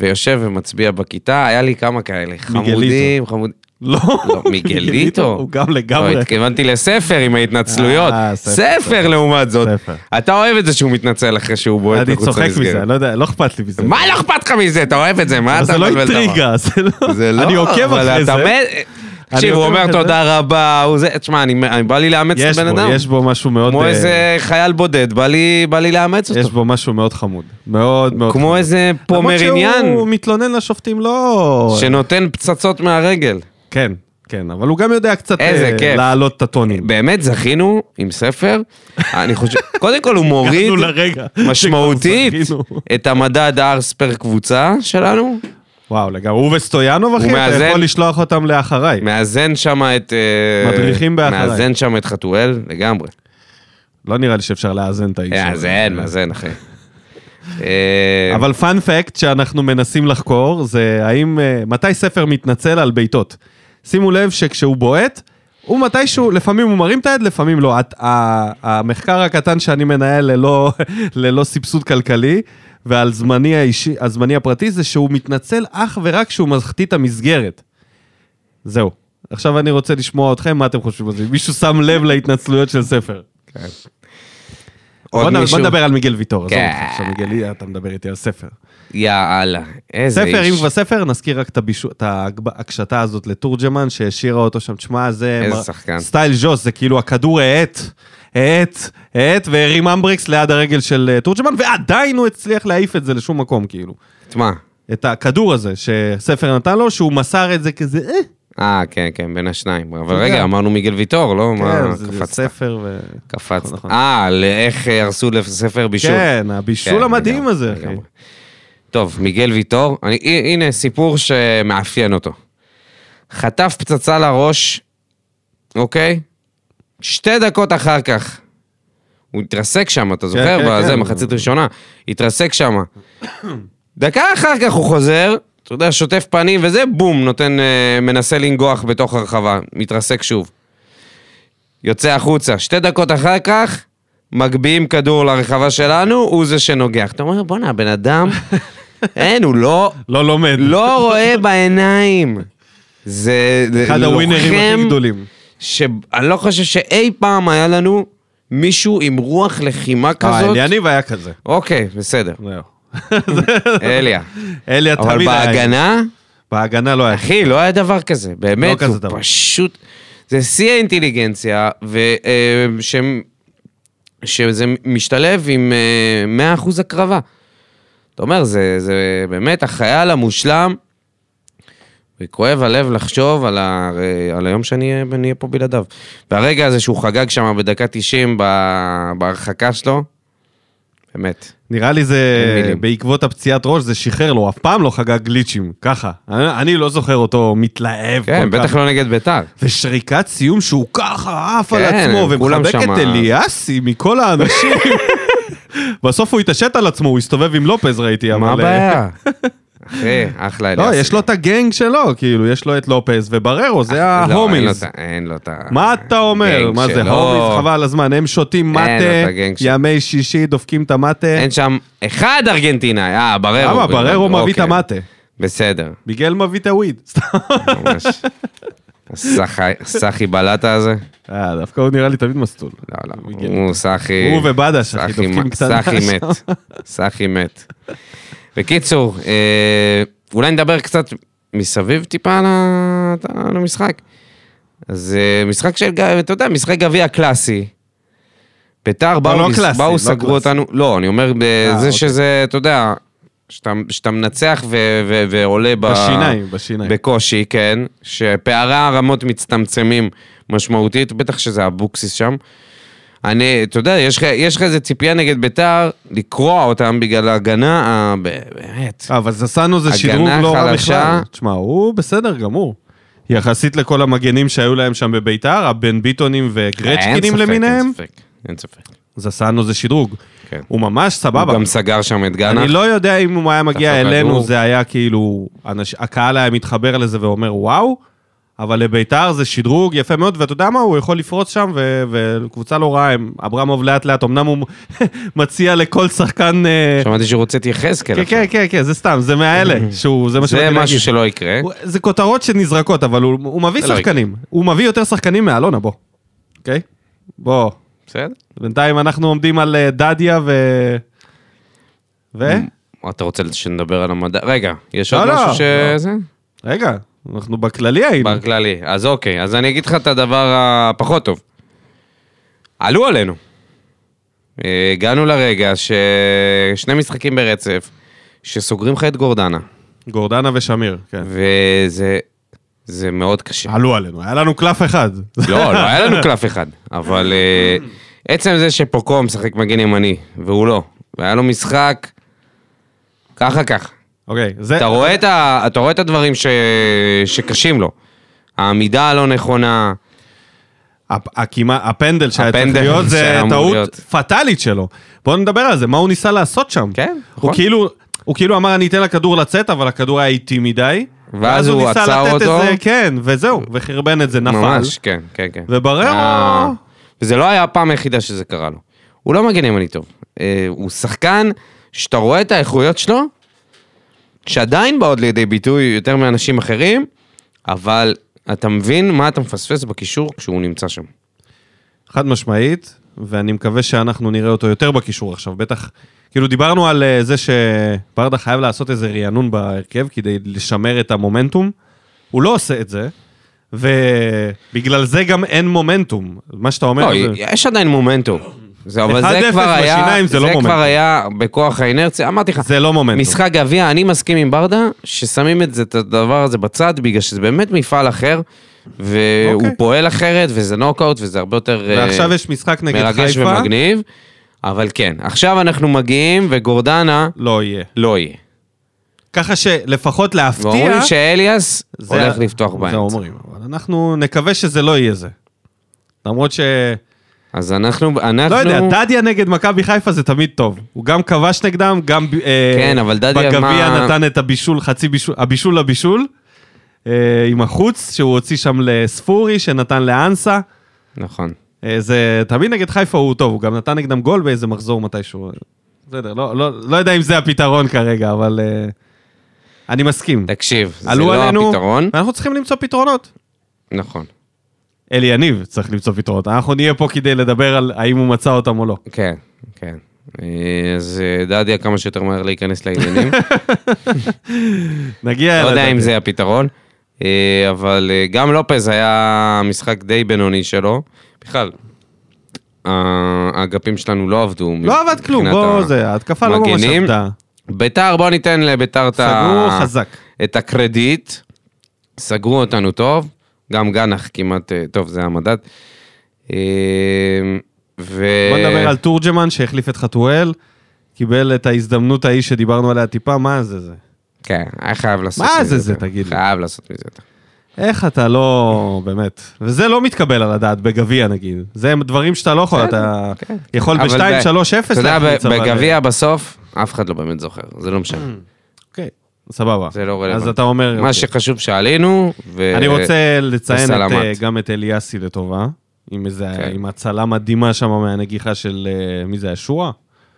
Speaker 2: ויושב ומצביע בכיתה, היה לי כמה כאלה, חמודים, חמודים.
Speaker 1: לא,
Speaker 2: לא, מיגליטו.
Speaker 1: הוא גם
Speaker 2: לא,
Speaker 1: לגמרי.
Speaker 2: התכוונתי לספר עם ההתנצלויות.
Speaker 1: אה, ספר,
Speaker 2: ספר לעומת זאת.
Speaker 1: ספר.
Speaker 2: אתה אוהב את זה שהוא מתנצל אחרי שהוא בועט
Speaker 1: אני
Speaker 2: מחוץ
Speaker 1: צוחק מזה,
Speaker 2: למסגרת.
Speaker 1: אני לא יודע, לא אכפת לי מזה.
Speaker 2: מה לא אכפת לך מזה? אתה אוהב את זה, מה
Speaker 1: אבל
Speaker 2: אתה
Speaker 1: זה לא
Speaker 2: מבלבל את המוח?
Speaker 1: אינטריגה, זה לא...
Speaker 2: זה לא,
Speaker 1: אני עוקב
Speaker 2: אבל
Speaker 1: אחרי זה.
Speaker 2: אתה מת- תקשיב, הוא
Speaker 1: עוקב
Speaker 2: אומר
Speaker 1: אחרי
Speaker 2: תודה רבה, הוא זה, תשמע, אני- אני בא לי לאמץ את
Speaker 1: יש
Speaker 2: הבן
Speaker 1: בו,
Speaker 2: אדם.
Speaker 1: יש בו משהו מאוד...
Speaker 2: כמו
Speaker 1: אה,
Speaker 2: איזה חייל בודד, בא לי- בא לי לאמץ
Speaker 1: יש
Speaker 2: אותו.
Speaker 1: בו משהו מאוד חמוד. מאוד מאוד
Speaker 2: כמו
Speaker 1: חמוד.
Speaker 2: איזה פומריניאן
Speaker 1: למרות שהוא מתלונן לשופטים, לא...
Speaker 2: שנותן פצצות מהרגל.
Speaker 1: כן, כן, אבל הוא גם יודע קצת
Speaker 2: איזה
Speaker 1: אה,
Speaker 2: כיף.
Speaker 1: להעלות את הטונים.
Speaker 2: באמת זכינו עם ספר, אני חושב, קודם כל הוא מוריד
Speaker 1: הגענו לרגע
Speaker 2: משמעותית
Speaker 1: שכבר זכינו.
Speaker 2: את המדד ארס פר קבוצה שלנו,
Speaker 1: וואו, לגמרי. הוא וסטויאנוב, אחי,
Speaker 2: מאזן-
Speaker 1: אתה יכול לשלוח אותם לאחריי.
Speaker 2: מאזן שם את... אה,
Speaker 1: מדריכים באחריי.
Speaker 2: מאזן שם את חתואל לגמרי.
Speaker 1: לא נראה לי שאפשר לאזן את האיש. הזה.
Speaker 2: מאזן, מאזן אחי. אה,
Speaker 1: אבל פאנפקט שאנחנו מנסים לחקור זה האם, אה, מתי ספר מתנצל על בעיטות. שימו לב שכשהוא בועט, הוא מתישהו, לפעמים הוא מרים את היד, לפעמים לא. הת- ה- המחקר הקטן שאני מנהל ללא, ללא סבסוד כלכלי, ועל זמני, האישי, הזמני הפרטי, זה שהוא מתנצל אך ורק כשהוא מחטיא את המסגרת. זהו. עכשיו אני רוצה לשמוע אתכם, מה אתם חושבים על זה? מישהו שם לב להתנצלויות של ספר. בוא
Speaker 2: עוד
Speaker 1: נ-
Speaker 2: מישהו?
Speaker 1: בוא נדבר על מיגל ויטור, עזוב
Speaker 2: כן.
Speaker 1: אותך, עכשיו מיגל, אתה מדבר איתי על ספר.
Speaker 2: יאללה, איזה איש.
Speaker 1: ספר, אם כבר ספר, נזכיר רק את הבישו- את ההגב- הקשתה הזאת לתורג'מן, שהשאירה אותו שם. תשמע, זה...
Speaker 2: איזה
Speaker 1: מר-
Speaker 2: שחקן.
Speaker 1: סטייל ז'וס, זה כאילו הכדור האט, האט, האט, והרים אמבריקס ליד הרגל של אה, תורג'מן, ועדיין הוא הצליח להעיף את זה לשום מקום, כאילו.
Speaker 2: תשמע,
Speaker 1: את הכדור הזה שספר נתן לו, שהוא מסר את זה כזה, אה,
Speaker 2: אה, כן, כן, בין השניים. אבל
Speaker 1: יודע.
Speaker 2: רגע, אמרנו מיגל ויטור, לא? מה,
Speaker 1: כן, זה- זה
Speaker 2: קפצת?
Speaker 1: ספר ו... נכון,
Speaker 2: קפצת.
Speaker 1: נכון.
Speaker 2: אה, לאיך אה, הרסו לספר בישול.
Speaker 1: כן, הבישול
Speaker 2: כן,
Speaker 1: המדהים
Speaker 2: לגמרי,
Speaker 1: הזה, אחי.
Speaker 2: לגמרי. טוב, מיגל ויטור, אני, ה- הנה סיפור שמאפיין אותו. חטף פצצה לראש, אוקיי? שתי דקות אחר כך. הוא התרסק שם, אתה זוכר?
Speaker 1: כן,
Speaker 2: בזה,
Speaker 1: כן.
Speaker 2: מחצית ראשונה. התרסק שם. דקה אחר כך הוא חוזר, אתה יודע, שוטף פנים וזה, בום, נותן, אה, מנסה לנגוח בתוך הרחבה, מתרסק שוב. יוצא החוצה. שתי דקות אחר כך, מגביהים כדור לרחבה שלנו, הוא זה שנוגח. אתה אומר, בואנה, הבן אדם, אין, הוא לא,
Speaker 1: לא לומד.
Speaker 2: לא רואה בעיניים. זה זה
Speaker 1: אחד הווינרים הכי
Speaker 2: לוחם
Speaker 1: גדולים.
Speaker 2: שאני לא חושב שאי פעם היה לנו מישהו עם רוח לחימה כזאת.
Speaker 1: אה, יניב היה כזה.
Speaker 2: אוקיי, בסדר.
Speaker 1: זהו.
Speaker 2: אליה.
Speaker 1: אליה תמיד
Speaker 2: אבל
Speaker 1: היה.
Speaker 2: בהגנה,
Speaker 1: בהגנה לא היה.
Speaker 2: אחי, לא היה דבר כזה, באמת,
Speaker 1: לא
Speaker 2: הוא
Speaker 1: כזה דבר.
Speaker 2: פשוט... זה שיא האינטליגנציה, ו... אה, שהם- שזה משתלב עם אה, 100% הקרבה. אתה אומר, זה, זה באמת החייל המושלם, וכואב הלב לחשוב על, ה, על היום שאני אהיה- אני אהיה פה בלעדיו. והרגע הזה שהוא חגג שם בדקה 90 ב- בהרחקה שלו, באמת.
Speaker 1: נראה לי זה,
Speaker 2: אין מילים.
Speaker 1: בעקבות הפציעת ראש, זה שחרר לו, אף פעם לא חגג גליצ'ים, ככה. אני, אני לא זוכר אותו מתלהב
Speaker 2: כן,
Speaker 1: כל
Speaker 2: בטח
Speaker 1: כך.
Speaker 2: לא נגד ביתר.
Speaker 1: ושריקת סיום שהוא ככה עף על
Speaker 2: כן,
Speaker 1: עצמו,
Speaker 2: כולם
Speaker 1: ומחבק
Speaker 2: שמה.
Speaker 1: את אליאסי מכל האנשים. בסוף הוא התעשת על עצמו, הוא הסתובב עם לופז, ראיתי, אבל...
Speaker 2: מה
Speaker 1: אה,
Speaker 2: הבעיה? אחי, אחלה
Speaker 1: לא,
Speaker 2: אליאסי.
Speaker 1: יש לו את הגנג שלו, כאילו, יש לו את לופז ובררו, זה
Speaker 2: לא, אין לו
Speaker 1: ההומיז.
Speaker 2: את ה- אין לו את ה... כן,
Speaker 1: מה אתה אומר?
Speaker 2: הגנג
Speaker 1: מה זה,
Speaker 2: שלו.
Speaker 1: הומיז, חבל על הזמן, הם שותים
Speaker 2: לו את
Speaker 1: מטה,
Speaker 2: הגנג שלו.
Speaker 1: ימי שישי דופקים את המטה.
Speaker 2: אין שם אחד ארגנטינאי, אה, בררו.
Speaker 1: למה? בררו מביא את
Speaker 2: אוקיי.
Speaker 1: המטה.
Speaker 2: בסדר,
Speaker 1: מיגל מביא את הוויד. סתם.
Speaker 2: ממש. הסחי- הסחי בלטה הזה?
Speaker 1: אה, דווקא הוא נראה לי תמיד מסטול.
Speaker 2: לא, לא.
Speaker 1: מיגל.
Speaker 2: הוא סחי...
Speaker 1: הוא ובדש, אחי,
Speaker 2: סחי
Speaker 1: דופקים
Speaker 2: מ-
Speaker 1: קצת
Speaker 2: סחי
Speaker 1: שם.
Speaker 2: מת. סחי מת. בקיצור, אה, אולי נדבר קצת מסביב טיפה ל- למשחק. אז זה משחק של, ג- אתה יודע, משחק גביע קלאסי. ביתר באו,
Speaker 1: לא
Speaker 2: מס-
Speaker 1: קלאסי,
Speaker 2: באו
Speaker 1: לא
Speaker 2: סגרו
Speaker 1: קלאסי.
Speaker 2: אותנו, לא, אני אומר,
Speaker 1: אוקיי.
Speaker 2: זה שזה, אתה יודע, שאתה שאתה מנצח ו- ו- ועולה ב-
Speaker 1: בשיניים, בשיניים.
Speaker 2: בקושי, כן, שפערי הרמות מצטמצמים משמעותית, בטח שזה אבוקסיס שם. אני, אתה יודע, יש לך- יש לך איזה ציפייה נגד ביתר לקרוע אותם בגלל ההגנה, ה- ב- באמת.
Speaker 1: אה, אבל זסנו זה
Speaker 2: הגנה
Speaker 1: שדרוג לא רע
Speaker 2: חלשה.
Speaker 1: בכלל. תשמע, הוא בסדר גמור. יחסית לכל המגנים שהיו להם שם בביתר, הבן ביטונים
Speaker 2: אין
Speaker 1: וגרצ'קינים
Speaker 2: ספק,
Speaker 1: למיניהם,
Speaker 2: אין ספק, אין ספק.
Speaker 1: זסנו זה שדרוג.
Speaker 2: כן.
Speaker 1: הוא ממש
Speaker 2: הוא
Speaker 1: סבבה.
Speaker 2: גם סגר שם את גאנה.
Speaker 1: אני לא יודע אם הוא היה מגיע
Speaker 2: תחת
Speaker 1: אלינו,
Speaker 2: הכדור.
Speaker 1: זה היה כאילו, אנש- הקהל היה מתחבר לזה ואומר וואו, אבל לביתר זה שדרוג יפה מאוד, ואתה יודע מה, הוא יכול לפרוץ שם, ו- וקבוצה לא רעה, הם- אברמוב לאט לאט, אמנם הוא מציע לכל שחקן... אה,
Speaker 2: שמעתי שהוא רוצה את יחזקאל.
Speaker 1: כן,
Speaker 2: עכשיו.
Speaker 1: כן, כן, כן, זה סתם, זה מהאלה, שהוא, זה מה
Speaker 2: זה
Speaker 1: שבאתי
Speaker 2: משהו
Speaker 1: להגיד.
Speaker 2: שלא יקרה.
Speaker 1: הוא- זה כותרות שנזרקות, אבל הוא הוא מביא
Speaker 2: זה לא
Speaker 1: שחקנים. הוא מביא יותר שחקנים מאלונה, בוא. אוקיי? בוא.
Speaker 2: בסדר.
Speaker 1: בינתיים אנחנו עומדים על אה, דדיה ו... ו?
Speaker 2: אתה רוצה שנדבר על המדע? רגע, יש
Speaker 1: לא,
Speaker 2: עוד
Speaker 1: לא,
Speaker 2: משהו
Speaker 1: לא.
Speaker 2: שזה?
Speaker 1: רגע, אנחנו בכללי היינו.
Speaker 2: בכללי. אז אוקיי, אז אני אגיד לך את הדבר הפחות טוב. עלו עלינו. אה, הגענו לרגע ששני משחקים ברצף, שסוגרים לך את גורדנה,
Speaker 1: גורדנה ושמיר, כן.
Speaker 2: וזה זה מאוד קשה.
Speaker 1: עלו עלינו, היה לנו קלף אחד.
Speaker 2: לא, לא היה לנו קלף אחד, אבל אה, עצם זה שפוקו משחק מגן ימני, והוא לא, והיה לו משחק ככה ככה.
Speaker 1: אוקיי, זה...
Speaker 2: אתה רואה את, ה, אתה רואה את הדברים ש, שקשים לו. העמידה הלא נכונה,
Speaker 1: הפ- הכמעט- הפנדל שהיה צריך
Speaker 2: הפנדל
Speaker 1: להיות, זה
Speaker 2: שהיה אמור
Speaker 1: טעות
Speaker 2: להיות.
Speaker 1: פטאלית שלו. בואו נדבר על זה, מה הוא ניסה לעשות שם.
Speaker 2: כן,
Speaker 1: הוא
Speaker 2: נכון.
Speaker 1: כאילו... הוא כאילו אמר, אני אתן לכדור לצאת, אבל הכדור היה איטי מדי.
Speaker 2: ואז הוא
Speaker 1: ניסה
Speaker 2: עצר
Speaker 1: לתת את
Speaker 2: אותו.
Speaker 1: זה, כן, וזהו, וחרבן את זה, נפל.
Speaker 2: ממש, כן, כן, כן.
Speaker 1: ובררו-
Speaker 2: אה, וזה לא היה הפעם היחידה שזה קרה לו. הוא לא מגן ימני טוב. אה, הוא שחקן שאתה רואה את האיכויות שלו, שעדיין באות לידי ביטוי יותר מאנשים אחרים, אבל אתה מבין מה אתה מפספס בקישור כשהוא נמצא שם.
Speaker 1: חד משמעית, ואני מקווה שאנחנו נראה אותו יותר בקישור עכשיו, בטח. כאילו דיברנו על אה, זה שברדה חייב לעשות איזה רענון בהרכב כדי לשמר את המומנטום, הוא לא עושה את זה, ובגלל זה גם אין מומנטום. מה שאתה אומר,
Speaker 2: לא,
Speaker 1: זה...
Speaker 2: יש עדיין מומנטום. זה, אבל
Speaker 1: 1-0
Speaker 2: זה כבר היה,
Speaker 1: בשיניים זה
Speaker 2: זה,
Speaker 1: לא מומנטום.
Speaker 2: כבר היה בכוח האינרציה, אמרתי לך,
Speaker 1: זה לא מומנטום.
Speaker 2: משחק גביע, אני מסכים עם ברדה, ששמים את, זה, את הדבר הזה בצד, בגלל שזה באמת מפעל אחר, והוא
Speaker 1: אוקיי.
Speaker 2: פועל אחרת, וזה נוקאוט, וזה הרבה יותר אה,
Speaker 1: ועכשיו יש משחק נגד
Speaker 2: מרגש
Speaker 1: חיפה,
Speaker 2: ומגניב. אבל כן, עכשיו אנחנו מגיעים, וגורדנה
Speaker 1: לא יהיה.
Speaker 2: לא יהיה.
Speaker 1: ככה שלפחות להפתיע...
Speaker 2: ואומרים שאליאס
Speaker 1: זה-
Speaker 2: הולך לפתוח
Speaker 1: זה
Speaker 2: באמצע.
Speaker 1: אומרים, אבל אנחנו נקווה שזה לא יהיה זה. למרות ש...
Speaker 2: אז אנחנו, אנחנו...
Speaker 1: לא יודע, דדיה נגד מכבי חיפה זה תמיד טוב. הוא גם כבש נגדם, גם אה,
Speaker 2: כן, אבל דדיה,
Speaker 1: בגביע
Speaker 2: מה-
Speaker 1: נתן את הבישול, חצי בישול, הבישול לבישול, אה, עם החוץ, שהוא הוציא שם לספורי, שנתן לאנסה.
Speaker 2: נכון.
Speaker 1: אה, זה תמיד נגד חיפה הוא טוב, הוא גם נתן נגדם גול באיזה מחזור מתישהו. בסדר, לא, לא, לא יודע אם זה הפתרון כרגע, אבל אה, אני מסכים.
Speaker 2: תקשיב, זה
Speaker 1: עלו
Speaker 2: לא
Speaker 1: עלינו,
Speaker 2: הפתרון.
Speaker 1: ואנחנו צריכים למצוא פתרונות.
Speaker 2: נכון.
Speaker 1: אלי יניב צריך למצוא פתרונות, אנחנו נהיה פה כדי לדבר על האם הוא מצא אותם או לא.
Speaker 2: כן, כן. אה, אז אה, דדיה כמה שיותר מהר להיכנס לעניינים.
Speaker 1: נגיע
Speaker 2: לא
Speaker 1: אל
Speaker 2: יודע אם
Speaker 1: הדדיה.
Speaker 2: זה הפתרון. אה, אבל אה, גם לופז היה משחק די בינוני שלו. בכלל, האגפים שלנו לא עבדו.
Speaker 1: לא עבד כלום,
Speaker 2: מבחינת
Speaker 1: בוא,
Speaker 2: ה-
Speaker 1: זה, ההתקפה לא ממש
Speaker 2: מגנים.
Speaker 1: עבדה.
Speaker 2: ביתר, בוא ניתן לביתר את ה-
Speaker 1: סגרו חזק.
Speaker 2: את הקרדיט. סגרו אותנו טוב, גם גנח כמעט, אה, טוב, זה המדד. אה, ו...
Speaker 1: בוא נדבר על תורג'מן שהחליף את חתואל, קיבל את ההזדמנות ההיא שדיברנו עליה טיפה, מה זה זה?
Speaker 2: כן, היה חייב לעשות
Speaker 1: מה
Speaker 2: מזה
Speaker 1: זה זה,
Speaker 2: יותר.
Speaker 1: תגיד לי?
Speaker 2: חייב לעשות מזה יותר.
Speaker 1: איך אתה לא, באמת, וזה לא מתקבל על הדעת בגביע נגיד, זה הם דברים שאתה לא יכול, אתה
Speaker 2: כן.
Speaker 1: יכול
Speaker 2: אבל ב-
Speaker 1: ב-2-3-0
Speaker 2: אתה יודע, ב- בגביע בסוף, אף אחד לא באמת זוכר, זה לא משנה.
Speaker 1: אוקיי, סבבה.
Speaker 2: זה לא
Speaker 1: אז
Speaker 2: רלוונטי.
Speaker 1: אתה אומר, אוקיי.
Speaker 2: מה אה, שחשוב שעלינו, ו...
Speaker 1: אני רוצה לציין את,
Speaker 2: וסלמת.
Speaker 1: אה, גם את אליאסי לטובה, עם איזה,
Speaker 2: כן.
Speaker 1: עם הצלה מדהימה שם מהנגיחה של, אה, מי זה, השועה?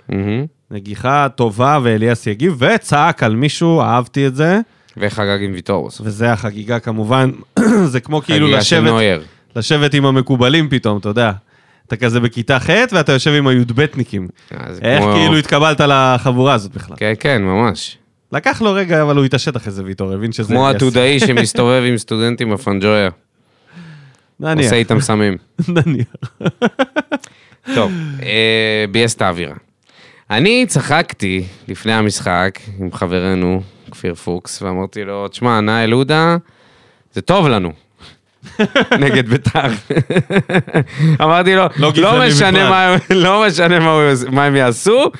Speaker 2: מהמם.
Speaker 1: נגיחה טובה, ואליאס יגיב, וצעק על מישהו, אהבתי את זה,
Speaker 2: וחגג עם ויטור בסוף.
Speaker 1: וזה החגיגה כמובן, זה כמו כאילו
Speaker 2: חגיגה של
Speaker 1: לשבת,
Speaker 2: נויר.
Speaker 1: לשבת עם המקובלים פתאום, אתה יודע. אתה כזה בכיתה ח' ואתה יושב עם הי"בניקים.
Speaker 2: אה, זה
Speaker 1: איך
Speaker 2: כמו-
Speaker 1: כאילו התקבלת לחבורה הזאת בכלל?
Speaker 2: כן, כן, ממש.
Speaker 1: לקח לו רגע, אבל הוא התעשת אחרי זה ויטור, הבין שזה...
Speaker 2: כמו
Speaker 1: יס-
Speaker 2: עתודאי שמסתובב עם סטודנטים בפנג'ויה,
Speaker 1: נניח,
Speaker 2: עושה איתם סמים.
Speaker 1: נניח.
Speaker 2: טוב, אה, ביאס את האווירה. אני צחקתי לפני המשחק עם חברנו, כפיר פוקס, ואמרתי לו, תשמע, נאי לודה, זה טוב לנו. נגד בית"ר. אמרתי לו,
Speaker 1: לא גזעני
Speaker 2: לא משנה,
Speaker 1: בכלל."
Speaker 2: מה, לא משנה מה, הוא יעש- מה הם יעשו,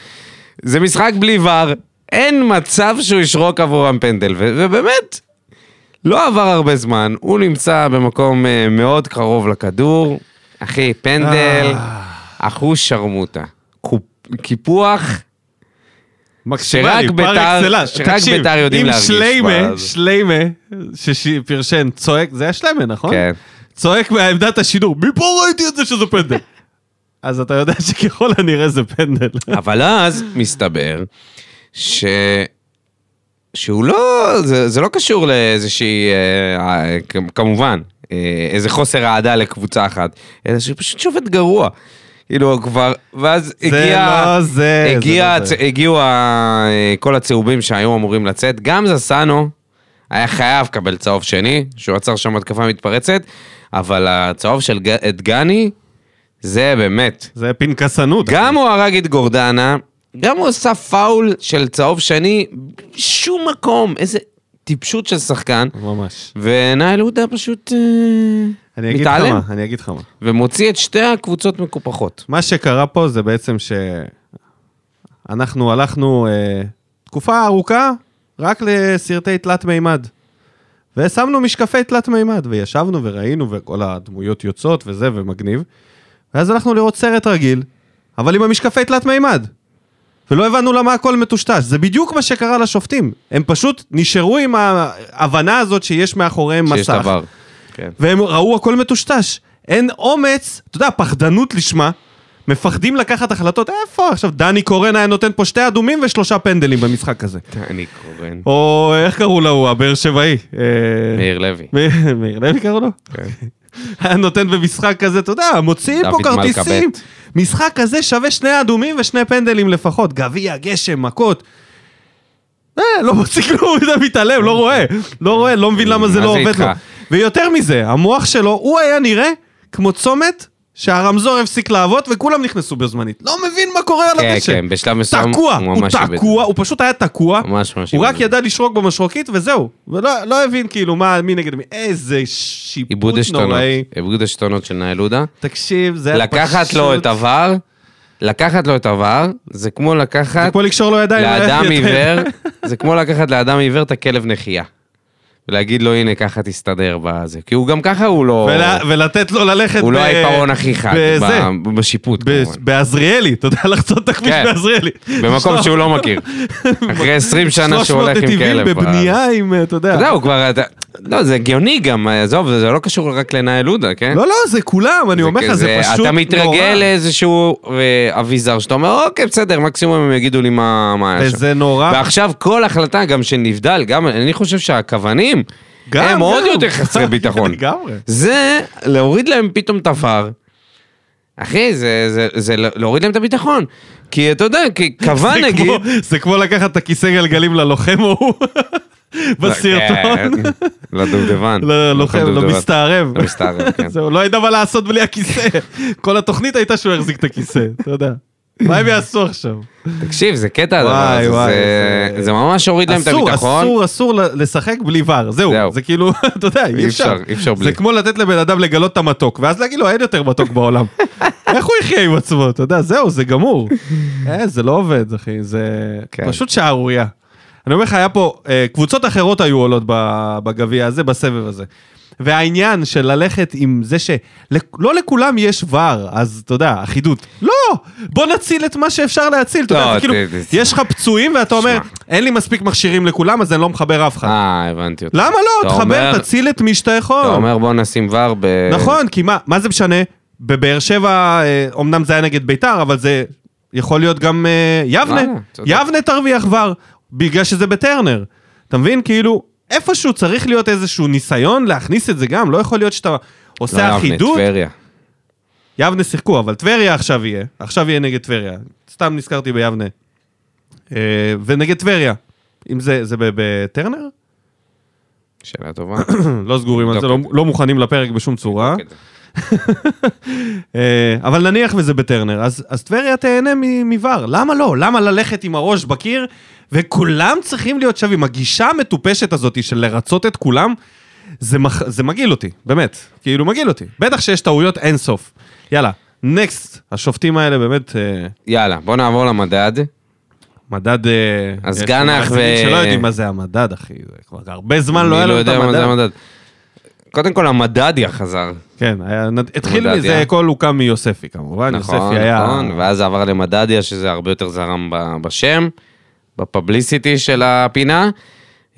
Speaker 2: זה משחק בלי ור, אין מצב שהוא ישרוק עבורם פנדל, ו- ובאמת, לא עבר הרבה זמן, הוא נמצא במקום אה, מאוד קרוב לכדור. אחי, פנדל,
Speaker 1: אה.
Speaker 2: אחוז שרמוטה. קופ- קיפוח,
Speaker 1: מקסימלי,
Speaker 2: שרק
Speaker 1: פר
Speaker 2: בית"ר-
Speaker 1: אקסלנס.
Speaker 2: שרק
Speaker 1: תקשיב,
Speaker 2: בית"ר יודעים להרגיש
Speaker 1: אם שליימה,
Speaker 2: באז.
Speaker 1: שליימה, שפרשן צועק, זה היה שליימה, נכון?
Speaker 2: כן.
Speaker 1: צועק מעמדת השידור, מפה ראיתי את זה שזה פנדל. אז אתה יודע שככל הנראה זה פנדל.
Speaker 2: אבל אז מסתבר ש... שהוא לא, זה, זה לא קשור לאיזושהי, אה, אה, כ- כמובן, אה, איזה חוסר אהדה לקבוצה אחת, אלא שהוא פשוט שופט גרוע. כאילו כבר, ואז
Speaker 1: זה
Speaker 2: הגיע,
Speaker 1: לא זה, זה
Speaker 2: הגיע,
Speaker 1: לא זה.
Speaker 2: הצ- הגיעו ה- אה, כל הצהובים שהיו אמורים לצאת, גם זסנו היה חייב לקבל צהוב שני, שהוא עצר שם התקפה מתפרצת, אבל הצהוב של ג- דגני, זה באמת,
Speaker 1: זה פנקסנות.
Speaker 2: גם הוא הרג את גורדנה, גם הוא עשה פאול של צהוב שני, שום מקום, איזה טיפשות של שחקן,
Speaker 1: ממש.
Speaker 2: ונאי לודה פשוט אה,
Speaker 1: אני אגיד לך
Speaker 2: מתעלם,
Speaker 1: מה, אני אגיד לך מה.
Speaker 2: ומוציא את שתי הקבוצות מקופחות.
Speaker 1: מה שקרה פה זה בעצם שאנחנו הלכנו אה, תקופה ארוכה רק לסרטי תלת מימד. ושמנו משקפי תלת מימד, וישבנו וראינו, וכל הדמויות יוצאות וזה, ומגניב. ואז הלכנו לראות סרט רגיל, אבל עם המשקפי תלת מימד. ולא הבנו למה הכל מטושטש. זה בדיוק מה שקרה לשופטים. הם פשוט נשארו עם ההבנה הזאת שיש מאחוריהם מסך.
Speaker 2: שיש דבר. כן.
Speaker 1: והם ראו הכל מטושטש. אין אומץ, אתה יודע, פחדנות לשמה. מפחדים לקחת החלטות, איפה? עכשיו, דני קורן היה נותן פה שתי אדומים ושלושה פנדלים במשחק הזה.
Speaker 2: אני
Speaker 1: אוקיי.
Speaker 2: קורן.
Speaker 1: או איך קראו לו, הוא הבאר שבעי? אה,
Speaker 2: מאיר לוי.
Speaker 1: מאיר- מאיר לוי קראו לו?
Speaker 2: כן.
Speaker 1: היה נותן במשחק כזה, אתה יודע, מוציאים פה
Speaker 2: דוד מלכה
Speaker 1: כרטיסים. משחק כזה שווה שני אדומים ושני פנדלים לפחות. גביע, גשם, מכות. אה, לא מוציא כלום, הוא מתעלם, לא רואה. לא רואה, לא מבין למה זה
Speaker 2: מה
Speaker 1: לא
Speaker 2: זה
Speaker 1: עובד
Speaker 2: איתך?
Speaker 1: לו. ויותר מזה, המוח שלו, הוא היה נראה כמו צומת שהרמזור הפסיק לעבוד וכולם נכנסו בזמנית. לא מבין מה קורה על
Speaker 2: כן,
Speaker 1: הדשא.
Speaker 2: כן, בשלב מסוים
Speaker 1: תקוע,
Speaker 2: הוא
Speaker 1: הוא
Speaker 2: ממש איבד.
Speaker 1: תקוע, הוא פשוט היה תקוע.
Speaker 2: ממש ממש.
Speaker 1: הוא
Speaker 2: איבד.
Speaker 1: רק ידע לשרוק במשרוקית וזהו, ולא לא הבין כאילו מה, מי נגד מי, איזה שיפוט
Speaker 2: איבוד עשתונות.
Speaker 1: נוראי.
Speaker 2: איבוד עשתונות של נאי לודה.
Speaker 1: תקשיב, זה היה
Speaker 2: לקחת לו את הוואר, לקחת לו את הוואר, זה כמו
Speaker 1: זה
Speaker 2: לקחת
Speaker 1: כמו לקשור לו ידיים.
Speaker 2: לאדם
Speaker 1: ללכת.
Speaker 2: עיוור, זה כמו לקחת לאדם עיוור את הכלב נחייה. ולהגיד לו, הנה, ככה תסתדר בזה. כי הוא גם ככה הוא לא...
Speaker 1: ול- ולתת לו ללכת...
Speaker 2: הוא לא
Speaker 1: ב-
Speaker 2: העיפרון הכי חד.
Speaker 1: בזה,
Speaker 2: ב- בשיפוט,
Speaker 1: ב-
Speaker 2: כמובן.
Speaker 1: בעזריאלי, אתה יודע לחצות את הכביש
Speaker 2: כן.
Speaker 1: בעזריאלי.
Speaker 2: במקום שהוא לא מכיר. אחרי 20 שנה שהוא הולך עם
Speaker 1: 300
Speaker 2: כלב.
Speaker 1: נתיבים בבנייה עם, אתה יודע.
Speaker 2: אתה יודע, הוא כבר... אתה- לא, זה הגיוני גם, עזוב, זה זה לא קשור רק לנאל עודה, כן?
Speaker 1: לא, לא, זה כולם, אני אומר לך, זה
Speaker 2: כזה,
Speaker 1: פשוט נורא.
Speaker 2: אתה מתרגל לאיזשהו אה, אביזר שאתה אומר, אוקיי, בסדר, מקסימום הם יגידו לי מה מה היה שם.
Speaker 1: וזה נורא.
Speaker 2: ועכשיו כל החלטה, גם של נבדל, גם אני חושב שהכוונים,
Speaker 1: גם,
Speaker 2: הם עוד
Speaker 1: גם.
Speaker 2: יותר חסרי ביטחון.
Speaker 1: לגמרי.
Speaker 2: זה להוריד להם פתאום את הפאר. אחי, זה, זה, זה להוריד להם את הביטחון. כי אתה יודע, כי
Speaker 1: זה
Speaker 2: קבע נגיד...
Speaker 1: כמו- זה כמו לקחת את הכיסא גלגלים ללוחם ההוא בסרטון, לא,
Speaker 2: כן, לדובדבן.
Speaker 1: ללוחם,
Speaker 2: לדובדבן.
Speaker 1: למסתערב.
Speaker 2: למסתערב, כן.
Speaker 1: זהו, לא ידע מה לעשות בלי הכיסא. כל התוכנית הייתה שהוא יחזיק את הכיסא, אתה יודע. מה הם יעשו עכשיו?
Speaker 2: תקשיב, זה קטע הדבר
Speaker 1: וואי,
Speaker 2: הזה,
Speaker 1: וואי,
Speaker 2: זה-
Speaker 1: זה-
Speaker 2: זה ממש הוריד להם את
Speaker 1: אסור,
Speaker 2: הביטחון.
Speaker 1: אסור, אסור ל- לשחק בלי ור, זהו.
Speaker 2: זהו.
Speaker 1: זה כאילו, אתה יודע, אי אפשר.
Speaker 2: אפשר, אי אפשר בלי.
Speaker 1: זה כמו לתת לבן אדם לגלות את המתוק, ואז להגיד לו, אין יותר מתוק בעולם. איך הוא יחיה עם עצמו, אתה יודע, זהו, זה גמור. אה, זה לא עובד, אחי, זה
Speaker 2: כן.
Speaker 1: פשוט שערורייה. אני אומר לך, היה פה, אה, קבוצות אחרות היו עולות ב- בגביע הזה, בסבב הזה. והעניין של ללכת עם זה שלא לכולם יש ור, אז אתה יודע, אחידות. לא! בוא נציל את מה שאפשר להציל, אתה יודע,
Speaker 2: לא,
Speaker 1: זה כאילו,
Speaker 2: ת- ת-
Speaker 1: יש לך פצועים ואתה אומר, אין לי מספיק מכשירים לכולם, אז אני לא מחבר אף אחד.
Speaker 2: אה, הבנתי אותך.
Speaker 1: למה לא?
Speaker 2: אתה
Speaker 1: תחבר,
Speaker 2: אומר-
Speaker 1: תציל את מי שאתה
Speaker 2: אתה
Speaker 1: יכול.
Speaker 2: אומר בוא נשים ור ב...
Speaker 1: לא. נכון, כי מה, מה זה משנה? בבאר שבע, אה, אומנם זה היה נגד ביתר, אבל זה יכול להיות גם אה, יבנה.
Speaker 2: וואלה, צודק.
Speaker 1: יבנה תרוויח ור, בגלל שזה בטרנר. אתה מבין? כאילו, איפשהו צריך להיות איזשהו ניסיון להכניס את זה גם, לא יכול להיות שאתה
Speaker 2: לא,
Speaker 1: עושה
Speaker 2: יבנה,
Speaker 1: אחידות.
Speaker 2: טבריה.
Speaker 1: יבנה שיחקו, אבל טבריה עכשיו יהיה. עכשיו יהיה נגד טבריה. סתם נזכרתי ביבנה. אה, ונגד טבריה. אם זה, זה ב- בטרנר?
Speaker 2: שאלה טובה. אוקיי,
Speaker 1: לא סגורים על זה, לא,
Speaker 2: נבדוק
Speaker 1: לא מוכנים לפרק בשום צורה. אה, אבל נניח וזה בטרנר, אז, אז טבריה תהנה מ- מVAR. למה לא? למה ללכת עם הראש בקיר וכולם צריכים להיות שווים? הגישה המטופשת הזאת של לרצות את כולם, זה, מח... זה מגעיל אותי, באמת. כאילו מגעיל אותי. בטח שיש טעויות אינסוף. יאללה, נקסט. השופטים האלה באמת אה,
Speaker 2: יאללה, בוא נעבור למדד.
Speaker 1: מדד... אה,
Speaker 2: אז
Speaker 1: יש
Speaker 2: גנח
Speaker 1: מאזינים
Speaker 2: ו-
Speaker 1: שלא יודעים מה זה המדד, אחי. זה כבר הרבה זמן לא היה
Speaker 2: אני לא
Speaker 1: לנו את
Speaker 2: יודע מה זה
Speaker 1: המדד.
Speaker 2: המדד. קודם כל, המדדיה חזר.
Speaker 1: כן, היה- נד- התחיל
Speaker 2: המדד,
Speaker 1: מזה,
Speaker 2: אה?
Speaker 1: הכל הוקם מיוספי כמובן.
Speaker 2: נכון,
Speaker 1: יוספי היה-
Speaker 2: נכון, ואז זה עבר למדדיה, שזה הרבה יותר זרם ב- בשם, בפבליסיטי של הפינה,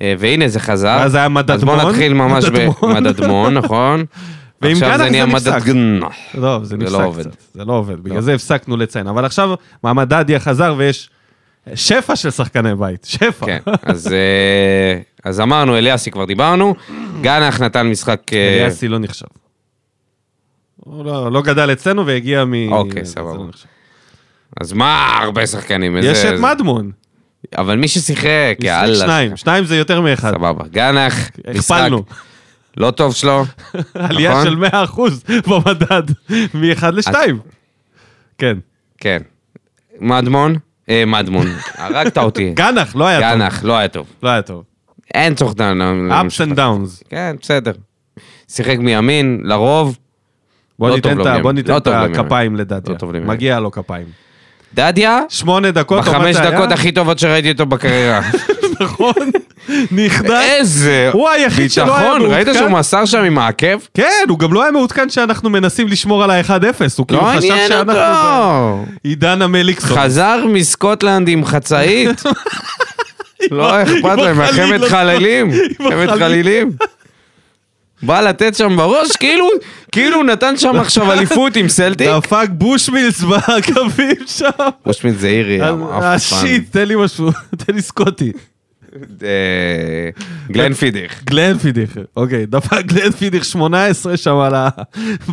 Speaker 2: אה, והנה זה חזר.
Speaker 1: ואז היה מדדמון.
Speaker 2: אז בואו נתחיל ממש
Speaker 1: מדדמון.
Speaker 2: במדדמון, נכון?
Speaker 1: ועם
Speaker 2: עכשיו
Speaker 1: גנח
Speaker 2: זה נהיה
Speaker 1: זה נפסק.
Speaker 2: מדדגן.
Speaker 1: לא, זה נפסק
Speaker 2: לא עובד.
Speaker 1: קצת. זה לא עובד, בגלל זה הפסקנו לציין. אבל עכשיו מעמד דדיה חזר ויש שפע של שחקני בית, שפע.
Speaker 2: כן, אז, אה, אז אמרנו, אליאסי כבר דיברנו, גנח נתן משחק... אה,
Speaker 1: אליאסי לא נחשב. הוא לא לא גדל אצלנו והגיע מ...
Speaker 2: אוקיי,
Speaker 1: זה
Speaker 2: סבבה.
Speaker 1: לא נחשב.
Speaker 2: אז מה, הרבה שחקנים.
Speaker 1: יש
Speaker 2: איזה-
Speaker 1: את מדמון.
Speaker 2: אבל מי ששיחק,
Speaker 1: יש
Speaker 2: יאללה.
Speaker 1: שניים, שניים זה יותר מאחד.
Speaker 2: סבבה. גנח, משחק
Speaker 1: הכפלנו.
Speaker 2: לא טוב שלו.
Speaker 1: עלייה
Speaker 2: נכון?
Speaker 1: של 100% במדד, מ-1 ל-2. כן.
Speaker 2: כן. מדמון? אה, מדמון. הרגת אותי.
Speaker 1: גנח, לא היה טוב.
Speaker 2: כן. גנח, לא היה טוב.
Speaker 1: לא היה טוב.
Speaker 2: אין צורך ל- ל-
Speaker 1: ups and downs.
Speaker 2: כן, בסדר. שיחק מימין, לרוב.
Speaker 1: בוא
Speaker 2: לא
Speaker 1: ניתן
Speaker 2: טוב
Speaker 1: את ה-
Speaker 2: לימין.
Speaker 1: בוא ניתן
Speaker 2: לא
Speaker 1: את
Speaker 2: טוב לימין.
Speaker 1: הכפיים לדדיה.
Speaker 2: לא טוב לימין.
Speaker 1: מגיע לו כפיים.
Speaker 2: דדיה,
Speaker 1: שמונה דקות, או מה
Speaker 2: בחמש
Speaker 1: זה היה?
Speaker 2: דקות הכי טובות שראיתי אותו בקריירה.
Speaker 1: נכון, נכנס.
Speaker 2: איזה
Speaker 1: הוא היחיד שלא היה
Speaker 2: אה, ביטחון, ראית
Speaker 1: מעודכן?
Speaker 2: שהוא מסר שם עם העקב?
Speaker 1: כן, הוא גם לא היה מעודכן שאנחנו מנסים לשמור על ה-1-0, הוא כאילו
Speaker 2: לא
Speaker 1: חשב
Speaker 2: עניין
Speaker 1: שאנחנו...
Speaker 2: אותו.
Speaker 1: עידן המליקסון.
Speaker 2: חזר מסקוטלנד עם חצאית. לא אכפת
Speaker 1: עם
Speaker 2: להם,
Speaker 1: החליל
Speaker 2: מלחמת
Speaker 1: לסוף.
Speaker 2: חללים,
Speaker 1: עם
Speaker 2: מלחמת
Speaker 1: החליל.
Speaker 2: חלילים. בא לתת שם בראש, כאילו, כאילו הוא נתן שם עכשיו אליפות עם סלטיק.
Speaker 1: דפק בושמילס בקווים שם.
Speaker 2: רושמית זה אירי,
Speaker 1: אה, שיט, תן לי משהו, תן לי סקוטי.
Speaker 2: אה,
Speaker 1: אה,
Speaker 2: גלן פידיך.
Speaker 1: גלן פידיך, אוקיי, דפק גלן פידיך 18 שם על ה...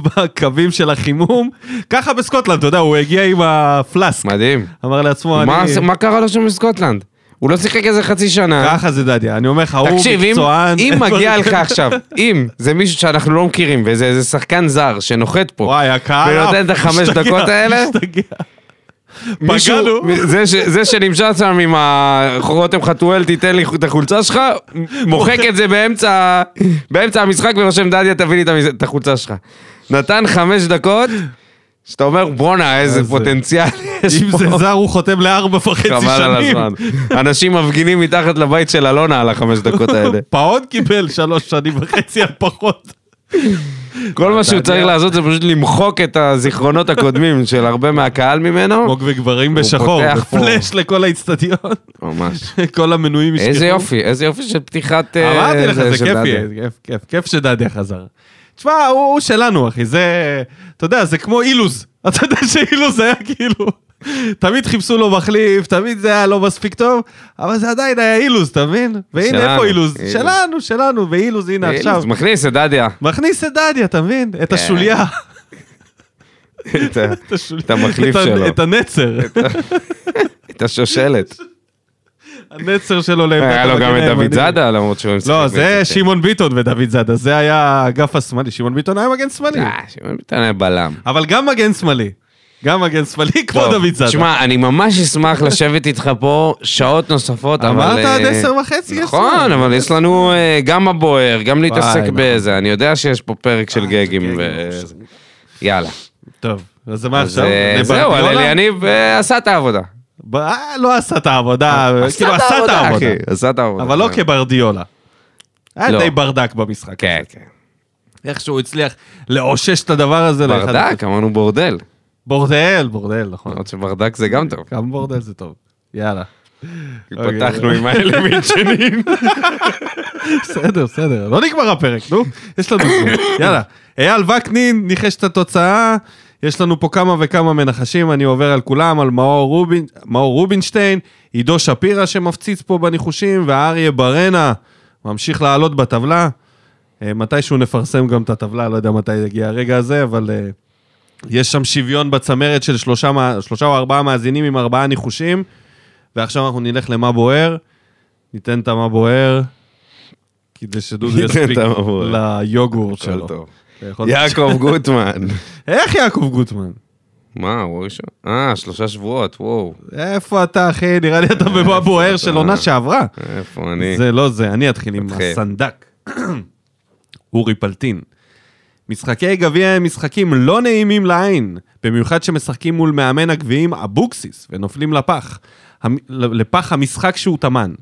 Speaker 1: בקווים של החימום. ככה בסקוטלנד, אתה יודע, הוא הגיע עם הפלאסק.
Speaker 2: מדהים.
Speaker 1: אמר לעצמו, לא, אני...
Speaker 2: מה עשה- מה קרה לו שם בסקוטלנד? הוא לא שיחק איזה חצי שנה.
Speaker 1: ככה זה דדיה, אני אומר לך, אה, הוא
Speaker 2: תקשיב, אם-
Speaker 1: מקצוען.
Speaker 2: אם מגיע לך עכשיו, אם זה מישהו שאנחנו לא מכירים, וזה איזה שחקן זר שנוחת פה,
Speaker 1: וואי, הקהל...
Speaker 2: ונותן את
Speaker 1: עף,
Speaker 2: החמש
Speaker 1: משתגע,
Speaker 2: דקות האלה?
Speaker 1: משתגע.
Speaker 2: מישהו-
Speaker 1: פגענו.
Speaker 2: זה ש- זה שנמשל שם עם ה- רותם חתואל, תיתן לי את החולצה שלך, מוחק את זה באמצע באמצע המשחק ורושם דדיה, תביא לי את המש- את החולצה שלך. נתן חמש דקות, שאתה אומר, בואנה, איזה
Speaker 1: איזה-
Speaker 2: פוטנציאל יש
Speaker 1: אם
Speaker 2: פה.
Speaker 1: זה זר, הוא חותם לארבע וחצי שנים.
Speaker 2: חבל על הזמן. אנשים מפגינים מתחת לבית של אלונה על החמש דקות האלה.
Speaker 1: פעוט קיבל שלוש שנים וחצי על פחות.
Speaker 2: כל מה שהוא
Speaker 1: דדיה-
Speaker 2: צריך לעשות זה פשוט למחוק את הזיכרונות הקודמים של הרבה מהקהל ממנו.
Speaker 1: מוג וגברים בשחור,
Speaker 2: פותח פה.
Speaker 1: בפלאש לכל האיצטדיון.
Speaker 2: ממש.
Speaker 1: כל המנויים ישכחו.
Speaker 2: איזה יופי, איזה יופי של פתיחת... אה,
Speaker 1: אמרתי לך, זה
Speaker 2: של
Speaker 1: כיף
Speaker 2: דדיה.
Speaker 1: יהיה, כיף, כיף, כיף שדדיה חזר. תשמע, הוא הוא שלנו, אחי, זה... אתה יודע, זה כמו אילוז. אתה יודע שאילוז היה כאילו... תמיד חיפשו לו מחליף, תמיד זה היה לא מספיק טוב, אבל זה עדיין היה אילוז, אתה מבין? והנה,
Speaker 2: שלנו,
Speaker 1: איפה אילוז?
Speaker 2: אילוז.
Speaker 1: שלנו, שלנו, ואילוז, הנה עכשיו.
Speaker 2: אז אה, מכניס את דדיה.
Speaker 1: מכניס את דדיה, אתה מבין? את
Speaker 2: כן.
Speaker 1: השוליה.
Speaker 2: את ה-
Speaker 1: את השוליה.
Speaker 2: את המחליף
Speaker 1: את ה-
Speaker 2: שלו.
Speaker 1: את הנצר.
Speaker 2: את השושלת.
Speaker 1: הנצר שלו לעמדת
Speaker 2: היה לו
Speaker 1: המגן
Speaker 2: גם את
Speaker 1: הימני.
Speaker 2: דוד זאדה, כן. למרות שהוא משחק.
Speaker 1: לא, זה
Speaker 2: ביותר.
Speaker 1: שמעון ביטון ודוד זאדה, זה היה האגף השמאלי. שמעון ביטון היה מגן שמאלי.
Speaker 2: אה, שמעון ביטון היה בלם.
Speaker 1: אבל גם מגן שמאלי. גם מגן שמאלי כמו
Speaker 2: טוב,
Speaker 1: דוד זאדה.
Speaker 2: שמע, אני ממש אשמח לשבת איתך פה שעות נוספות, אבל...
Speaker 1: אמרת
Speaker 2: אה,
Speaker 1: עד עשר וחצי, יש
Speaker 2: נכון,
Speaker 1: לנו.
Speaker 2: אבל יש לנו אה, גם הבוער, גם להתעסק
Speaker 1: נכון. אה,
Speaker 2: בזה. אני יודע שיש פה פרק של גגים
Speaker 1: גגים,
Speaker 2: ו...
Speaker 1: עכשיו.
Speaker 2: יאללה.
Speaker 1: טוב, אז מה
Speaker 2: אז
Speaker 1: עכשיו?
Speaker 2: אה, זהו,
Speaker 1: לברדיולה?
Speaker 2: אבל אליניב אה, עשה את העבודה.
Speaker 1: ב- אה, לא עשה את העבודה, כאילו עשה את העבודה.
Speaker 2: אה, אחי, עשה את העבודה.
Speaker 1: אבל לא כברדיולה. היה
Speaker 2: לא.
Speaker 1: די ברדק במשחק.
Speaker 2: כן, כן.
Speaker 1: איך שהוא הצליח לאושש את הדבר הזה. לאחד-
Speaker 2: ברדק, אמרנו בורדל.
Speaker 1: בורדל, בורדל, נכון.
Speaker 2: למרות שברדק זה גם טוב.
Speaker 1: גם בורדל זה טוב. יאללה. אוקיי.
Speaker 2: פתחנו עם האלמינג'נים.
Speaker 1: בסדר, בסדר, לא נגמר הפרק, נו, יש לנו זמן, יאללה. אייל וקנין ניחש את התוצאה, יש לנו פה כמה וכמה מנחשים, אני עובר על כולם, על מאור, רובין, מאור רובינשטיין, עידו שפירא שמפציץ פה בניחושים, ואריה ברנה ממשיך לעלות בטבלה. אה, מתישהו נפרסם גם את הטבלה, לא יודע מתי יגיע הרגע הזה, אבל אה, יש שם שוויון בצמרת של שלושה, מה- שלושה או ארבעה מאזינים עם ארבעה ניחושים, ועכשיו אנחנו נלך למה בוער. ניתן את המה בוער, כדי שדודו
Speaker 2: ניתן את
Speaker 1: יספיק
Speaker 2: המה בוער.
Speaker 1: ליוגורט
Speaker 2: הכל
Speaker 1: שלו.
Speaker 2: טוב.
Speaker 1: אתה יכול-
Speaker 2: יעקב גוטמן.
Speaker 1: איך יעקב גוטמן?
Speaker 2: מה, הוא הראשון? אה, שלושה שבועות, וואו.
Speaker 1: איפה אתה, אחי? נראה לי אתה במה בוער של עונה שעברה.
Speaker 2: איפה אני?
Speaker 1: זה לא זה, אני אתחיל עם
Speaker 2: תתחיל.
Speaker 1: הסנדק. אורי פלטין. משחקי גביע הם משחקים לא נעימים לעין, במיוחד שמשחקים מול מאמן הגביעים אבוקסיס ונופלים לפח, המ- לפח המשחק שהוא טמן.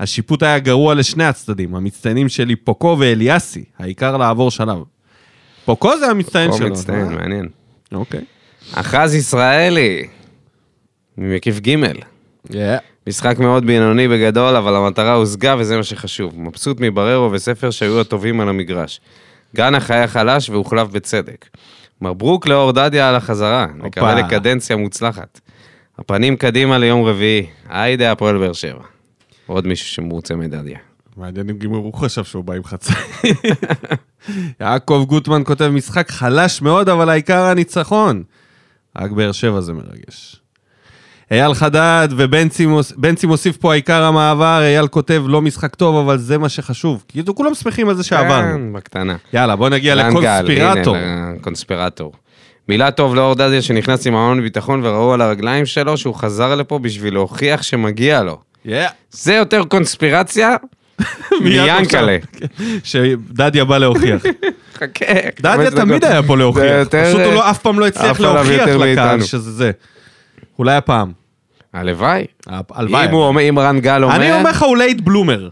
Speaker 1: השיפוט היה גרוע לשני הצדדים, המצטיינים שלי פוקו ואליאסי, העיקר לעבור שלב. פוקו זה המצטיין
Speaker 2: פה
Speaker 1: שלו.
Speaker 2: מצטיין,
Speaker 1: אה?
Speaker 2: מעניין.
Speaker 1: אוקיי.
Speaker 2: אחז ישראלי, ממקיף ג' משחק מאוד בינוני בגדול, אבל המטרה הושגה וזה מה שחשוב. מבסוט מבררו וספר שהיו הטובים על המגרש. גנח היה חלש והוחלף בצדק. מברוק לאור דדיה על החזרה, נקווה
Speaker 1: הופה.
Speaker 2: לקדנציה מוצלחת. הפנים קדימה ליום רביעי, היידה הפועל באר שבע. עוד מישהו שמרוצה מדדיה.
Speaker 1: מעניין אם גימור הוא חשב שהוא בא עם חצאי. יעקב גוטמן כותב משחק חלש מאוד, אבל העיקר הניצחון. רק באר שבע זה מרגש. אייל חדד ובנצי מוס- בנצי מוסיף פה העיקר המעבר, אייל כותב לא משחק טוב, אבל זה מה שחשוב. כאילו כולם שמחים על זה שעברנו.
Speaker 2: כן, בקטנה.
Speaker 1: יאללה, בוא נגיע
Speaker 2: רן גל,
Speaker 1: לקונספירטור.
Speaker 2: הנה, לקונספירטור. מילה טוב לאור דדיה שנכנס עם המון ביטחון וראו על הרגליים שלו שהוא חזר לפה בשביל להוכיח שמגיע לו.
Speaker 1: Yeah.
Speaker 2: זה יותר קונספירציה
Speaker 1: מיד
Speaker 2: מיאנקלה.
Speaker 1: שדדיה בא להוכיח.
Speaker 2: חכה.
Speaker 1: דדיה
Speaker 2: חמש
Speaker 1: תמיד
Speaker 2: דקות.
Speaker 1: היה פה
Speaker 2: זה
Speaker 1: להוכיח,
Speaker 2: יותר- אה,
Speaker 1: פשוט הוא לא- אף פעם לא הצליח
Speaker 2: עף עליו
Speaker 1: להוכיח
Speaker 2: יותר
Speaker 1: לקהל
Speaker 2: מאיתנו.
Speaker 1: שזה זה. אולי הפעם.
Speaker 2: הלוואי.
Speaker 1: הלוואי.
Speaker 2: אם הוא אומר, אם רן גל אומר...
Speaker 1: אני אומר לך, הוא לייט בלומר.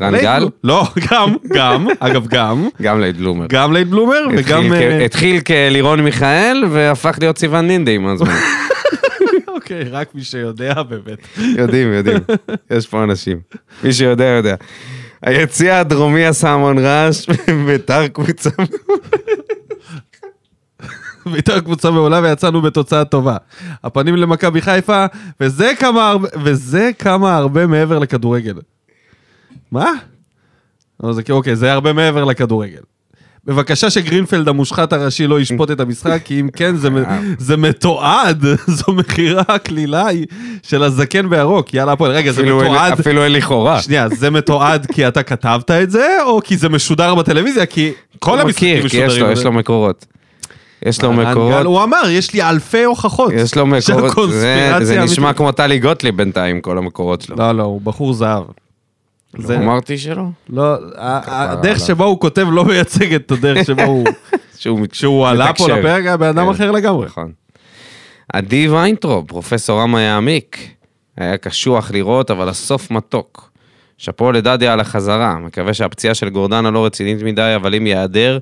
Speaker 2: רן
Speaker 1: לייט
Speaker 2: גל?
Speaker 1: בלו- לא, גם, גם, אגב, גם.
Speaker 2: גם לייד בלומר.
Speaker 1: גם לייט בלומר
Speaker 2: התחיל
Speaker 1: וגם...
Speaker 2: כ-
Speaker 1: אה,
Speaker 2: התחיל כלירון מיכאל והפך להיות סיוון נינדה עם הזמן.
Speaker 1: אוקיי, רק מי שיודע באמת.
Speaker 2: יודעים, יודעים. יש פה אנשים. מי שיודע, יודע. היציע הדרומי עשה המון רעש, ביתר קבוצה...
Speaker 1: ביתר קבוצה מעולה ויצאנו בתוצאה טובה. הפנים למכבי חיפה, וזה כמה הרבה, וזה כמה הרבה מעבר לכדורגל. מה? לא, זה, כי- אוקיי, זה הרבה מעבר לכדורגל. בבקשה שגרינפלד המושחת הראשי לא ישפוט את המשחק, כי אם כן, זה, מ- זה מתועד, זו מכירה קלילה של הזקן בירוק. יאללה, הפועל, רגע, זה
Speaker 2: אפילו אין-
Speaker 1: מתועד.
Speaker 2: אפילו אין לי חורה.
Speaker 1: שנייה, זה מתועד כי אתה כתבת את זה, או כי זה משודר בטלוויזיה? כי כל
Speaker 2: הוא
Speaker 1: המשחקים
Speaker 2: לא
Speaker 1: אה.
Speaker 2: מכיר, כי יש לו- יש לו מקורות. יש לו
Speaker 1: רן גל,
Speaker 2: מקורות.
Speaker 1: הוא אמר, יש לי אלפי הוכחות.
Speaker 2: יש לו מקורות, זה-
Speaker 1: שהקונספירציה
Speaker 2: זה נשמע
Speaker 1: האמיתית.
Speaker 2: כמו טלי גוטליב בינתיים, כל המקורות שלו.
Speaker 1: לא, לא, הוא בחור זהב. זה-
Speaker 2: אמרתי שלא?
Speaker 1: לא, ה- ה- הדרך
Speaker 2: עליו.
Speaker 1: שבו הוא כותב לא מייצג את הדרך שבו הוא...
Speaker 2: שהוא מת-
Speaker 1: כשהוא עלה פה
Speaker 2: מתקשר.
Speaker 1: לפרק היה בן אדם
Speaker 2: כן.
Speaker 1: אחר לגמרי.
Speaker 2: נכון. עדי ויינטרופ, פרופסור רמה יעמיק. היה קשוח לראות, אבל הסוף מתוק. שאפו לדדיה על החזרה. מקווה שהפציעה של גורדנה לא רצינית מדי, אבל אם ייעדר,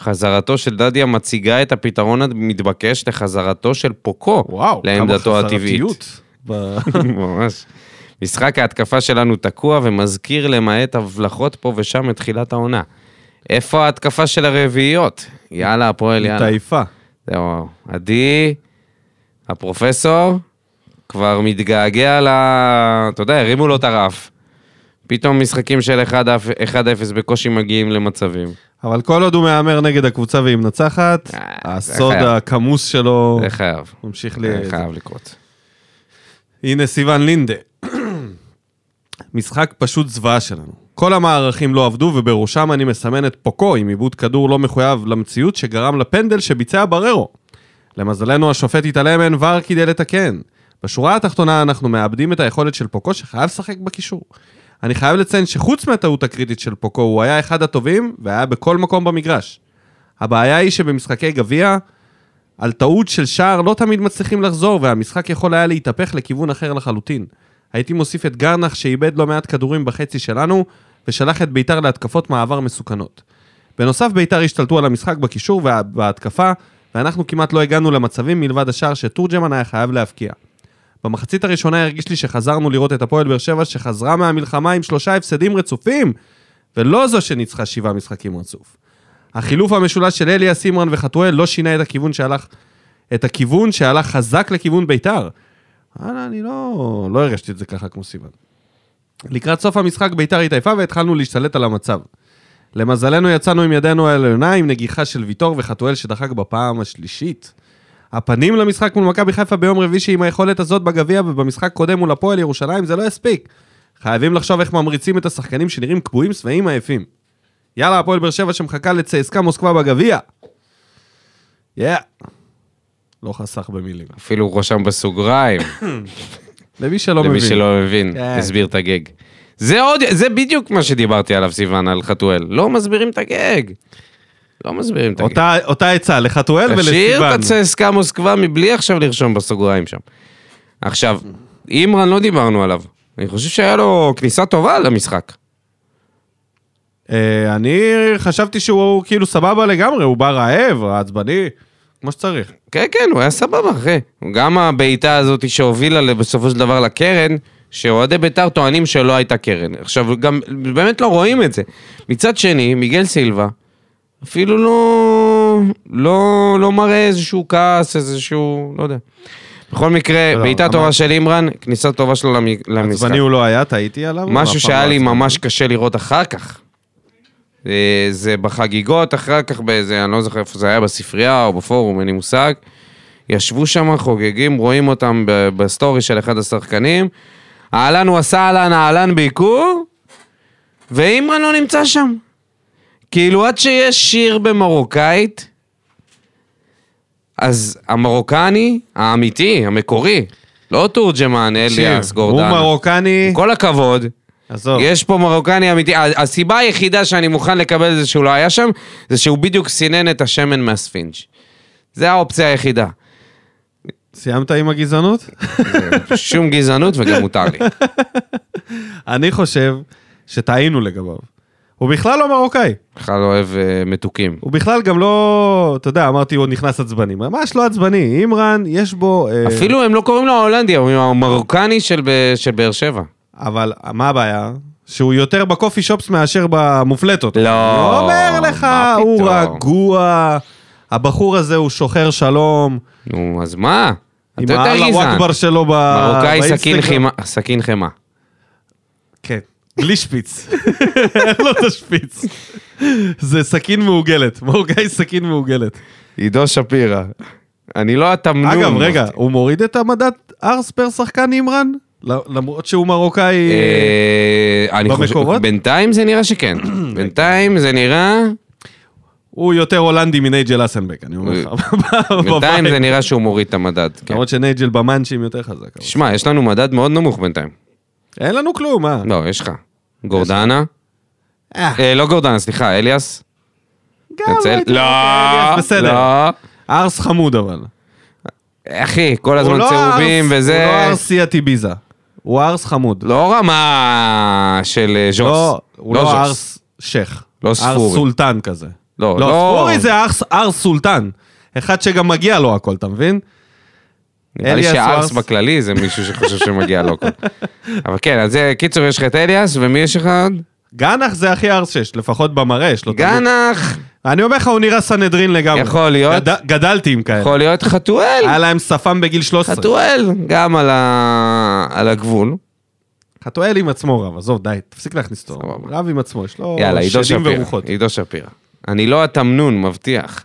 Speaker 2: חזרתו של דדיה מציגה את הפתרון המתבקש לחזרתו של פוקו
Speaker 1: וואו, כמה
Speaker 2: לעמדתו הטבעית.
Speaker 1: חזרתיות ב-
Speaker 2: ממש. משחק ההתקפה שלנו תקוע ומזכיר למעט הבלחות פה ושם את תחילת העונה. איפה ההתקפה של הרביעיות? יאללה, הפועל, יאללה.
Speaker 1: טעיפה.
Speaker 2: זהו, עדי, הפרופסור, כבר מתגעגע ל... אתה יודע, הרימו לו את הרף. פתאום משחקים של 1-0 בקושי מגיעים למצבים.
Speaker 1: אבל כל עוד הוא מהמר נגד הקבוצה והיא מנצחת,
Speaker 2: אה, זה
Speaker 1: הסוד
Speaker 2: חייב.
Speaker 1: הכמוס שלו
Speaker 2: זה חייב.
Speaker 1: ממשיך
Speaker 2: זה
Speaker 1: ל...
Speaker 2: חייב לקרות.
Speaker 1: הנה סיוון לינדה. משחק פשוט זוועה שלנו. כל המערכים לא עבדו, ובראשם אני מסמן את פוקו עם עיבוד כדור לא מחויב למציאות שגרם לפנדל שביצע בררו. למזלנו השופט התעלם אין ור כדי לתקן. בשורה התחתונה אנחנו מאבדים את היכולת של פוקו שחייב לשחק בקישור. אני חייב לציין שחוץ מהטעות הקריטית של פוקו, הוא היה אחד הטובים והיה בכל מקום במגרש. הבעיה היא שבמשחקי גביע, על טעות של שער לא תמיד מצליחים לחזור, והמשחק יכול היה להתהפך לכיוון אחר לחלוטין. הייתי מוסיף את גרנח שאיבד לא מעט כדורים בחצי שלנו, ושלח את ביתר להתקפות מעבר מסוכנות. בנוסף, ביתר השתלטו על המשחק בקישור ובהתקפה, ואנחנו כמעט לא הגענו למצבים מלבד השער שתורג'מן היה חייב להבקיע. במחצית הראשונה הרגיש לי שחזרנו לראות את הפועל באר שבע שחזרה מהמלחמה עם שלושה הפסדים רצופים, ולא זו שניצחה שבעה משחקים רצוף. החילוף המשולש של אליה, סימרן וחתואל לא שינה את הכיוון שהלך, את הכיוון שהלך חזק לכיוון ביתר. וואלה, אני לא, לא הרגשתי את זה ככה כמו סיוון. לקראת סוף המשחק ביתר התעייפה והתחלנו להשתלט על המצב. למזלנו יצאנו עם ידינו העליונה עם נגיחה של ויטור וחתואל שדחק בפעם השלישית. הפנים למשחק מול מכבי חיפה ביום רביעי שעם היכולת הזאת בגביע ובמשחק קודם מול הפועל ירושלים זה לא יספיק. חייבים לחשוב איך ממריצים את השחקנים שנראים קבועים, שבעים, עייפים. יאללה, הפועל באר שבע שמחכה לצייסקה מוסקבה בגביע. יא. לא חסך במילים.
Speaker 2: אפילו הוא רשם בסוגריים,
Speaker 1: למי שלא
Speaker 2: למי
Speaker 1: לא מבין.
Speaker 2: שלא מבין,
Speaker 1: כן.
Speaker 2: הסביר את הגג. זה עוד, זה בדיוק מה שדיברתי עליו, סיוון, על חתואל. לא מסבירים את הגג. לא מסבירים את הגג.
Speaker 1: אותה- אותה עצה, לחתואל
Speaker 2: תשאיר
Speaker 1: ולסיוון.
Speaker 2: את הצסקה מוסקבה מבלי עכשיו לרשום בסוגריים שם. עכשיו, אימרן לא דיברנו עליו. אני חושב שהיה לו כניסה טובה למשחק.
Speaker 1: אה, אני חשבתי שהוא כאילו סבבה לגמרי, הוא בא רעב, עצבני, כמו שצריך.
Speaker 2: כן, כן, הוא היה סבבה, אחי. גם הבעיטה הזאת שהובילה בסופו של דבר לקרן, שאוהדי בית"ר טוענים שלא הייתה קרן. עכשיו, גם באמת לא רואים את זה. מצד שני, מיגל סילבה אפילו לא, לא, לא מראה איזשהו כעס, איזשהו, לא יודע. בכל מקרה,
Speaker 1: לא,
Speaker 2: בעיטה
Speaker 1: אמר-
Speaker 2: טובה של אימרן, כניסה טובה שלו למ- למשחק.
Speaker 1: עצבני הוא לא היה, טעיתי עליו. הוא אף
Speaker 2: משהו
Speaker 1: פעם
Speaker 2: שהיה
Speaker 1: לא
Speaker 2: לי
Speaker 1: עצבני.
Speaker 2: ממש קשה לראות אחר כך. אה, זה בחגיגות אחר כך, באיזה, אני לא זוכר איפה זה היה, בספרייה או בפורום, אין לי מושג. ישבו שם, חוגגים, רואים אותם ב- בסטורי של אחד השחקנים. אהלן הוא עשה אהלן, אהלן בעיקור, ואימרן לא נמצא שם. כאילו עד שיש שיר במרוקאית, אז המרוקני האמיתי, המקורי, לא תורג'מן, אליאס,
Speaker 1: תקשיב, הוא
Speaker 2: גורדן.
Speaker 1: מרוקני,
Speaker 2: עם כל הכבוד,
Speaker 1: עזוב.
Speaker 2: יש פה מרוקני אמיתי. ה- הסיבה היחידה שאני מוכן לקבל את זה שהוא לא היה שם, זה שהוא בדיוק סינן את השמן מהספינג'. זה האופציה היחידה.
Speaker 1: סיימת עם הגזענות?
Speaker 2: שום גזענות וגם מותר לי.
Speaker 1: אני חושב שטעינו לגביו. הוא בכלל לא מרוקאי.
Speaker 2: בכלל לא אוהב אה, מתוקים.
Speaker 1: הוא בכלל גם לא, אתה יודע, אמרתי, הוא נכנס עצבני. ממש לא עצבני. אימרן, יש בו... אה,
Speaker 2: אפילו הם לא קוראים לו ההולנדי, הם אומרים המרוקני של ב- של באר שבע.
Speaker 1: אבל מה הבעיה? שהוא יותר בקופי שופס מאשר במופלטות.
Speaker 2: לא,
Speaker 1: אני אומר
Speaker 2: מה
Speaker 1: לך, הוא
Speaker 2: פתאום.
Speaker 1: רגוע, הבחור הזה הוא שוחר שלום.
Speaker 2: נו, אז מה?
Speaker 1: עם
Speaker 2: אתה יותר
Speaker 1: האללה
Speaker 2: גזען.
Speaker 1: וואכבר שלו ב...
Speaker 2: מרוקאי סכין
Speaker 1: באינסטגרם.
Speaker 2: חימה- סכין חמאה.
Speaker 1: כן, בלי שפיץ. אין לו את השפיץ. זה סכין מעוגלת, מרוקאי סכין מעוגלת.
Speaker 2: עידו שפירא. אני לא התמנון.
Speaker 1: אגב, רגע, הוא מוריד את המדד ארס פר שחקן אימרן? ל- למרות שהוא מרוקאי...
Speaker 2: אה, אני חושב-
Speaker 1: במקורות?
Speaker 2: בינתיים זה נראה שכן. בינתיים זה נראה...
Speaker 1: הוא יותר הולנדי מנייג'ל אסנבק, אני אומר לך.
Speaker 2: אה, בינתיים
Speaker 1: בבית.
Speaker 2: זה נראה שהוא מוריד את המדד. כן.
Speaker 1: למרות שנייג'ל במאנצ'ים יותר חזק. אבל.
Speaker 2: תשמע, יש לנו מדד מאוד נמוך בינתיים.
Speaker 1: אין לנו כלום, מה?
Speaker 2: לא, יש לך. גורדנה?
Speaker 1: אה,
Speaker 2: אה, לא גורדנה, סליחה, אליאס?
Speaker 1: גם
Speaker 2: נצל-
Speaker 1: הייתי
Speaker 2: לא,
Speaker 1: מרוקאי, אז לא, בסדר.
Speaker 2: לא.
Speaker 1: ארס חמוד אבל.
Speaker 2: אחי, כל
Speaker 1: הוא
Speaker 2: הזמן
Speaker 1: לא
Speaker 2: צהובים
Speaker 1: ארס-
Speaker 2: וזה...
Speaker 1: הוא לא ארס סיאטי ביזה. הוא ארס חמוד.
Speaker 2: לא רמה של אה, ז'וס.
Speaker 1: לא, הוא
Speaker 2: לא
Speaker 1: לא
Speaker 2: ז'וס.
Speaker 1: ארס שייח.
Speaker 2: לא ספורי.
Speaker 1: ארס סולטן כזה.
Speaker 2: לא,
Speaker 1: לא,
Speaker 2: לא.
Speaker 1: ספורי זה ארס- ארס סולטן. אחד שגם מגיע לו הכל, אתה מבין?
Speaker 2: נראה לי
Speaker 1: אליאס הוא
Speaker 2: שארס
Speaker 1: ארס.
Speaker 2: בכללי זה מישהו שחושב שמגיע לו. כל- אבל כן, אז זה, קיצור, יש לך את אליאס, ומי יש לך עוד?
Speaker 1: גנח זה הכי ארס שיש, לפחות במראה יש לו. את הלוק.
Speaker 2: גנח!
Speaker 1: אני אומר לך, הוא נראה סנהדרין לגמרי.
Speaker 2: יכול להיות.
Speaker 1: גד- גדלתי עם כאלה.
Speaker 2: יכול להיות חתואל.
Speaker 1: היה להם שפם בגיל 13.
Speaker 2: חתואל, גם על ה- על הגבול.
Speaker 1: חתואל עם עצמו רב, עזוב, די, תפסיק להכניס אותו.
Speaker 2: סבבה.
Speaker 1: רב עם עצמו, יש לו
Speaker 2: יאללה, עידו
Speaker 1: שדים
Speaker 2: שפירא.
Speaker 1: ורוחות.
Speaker 2: עידו שפירא. אני לא התמנון, מבטיח.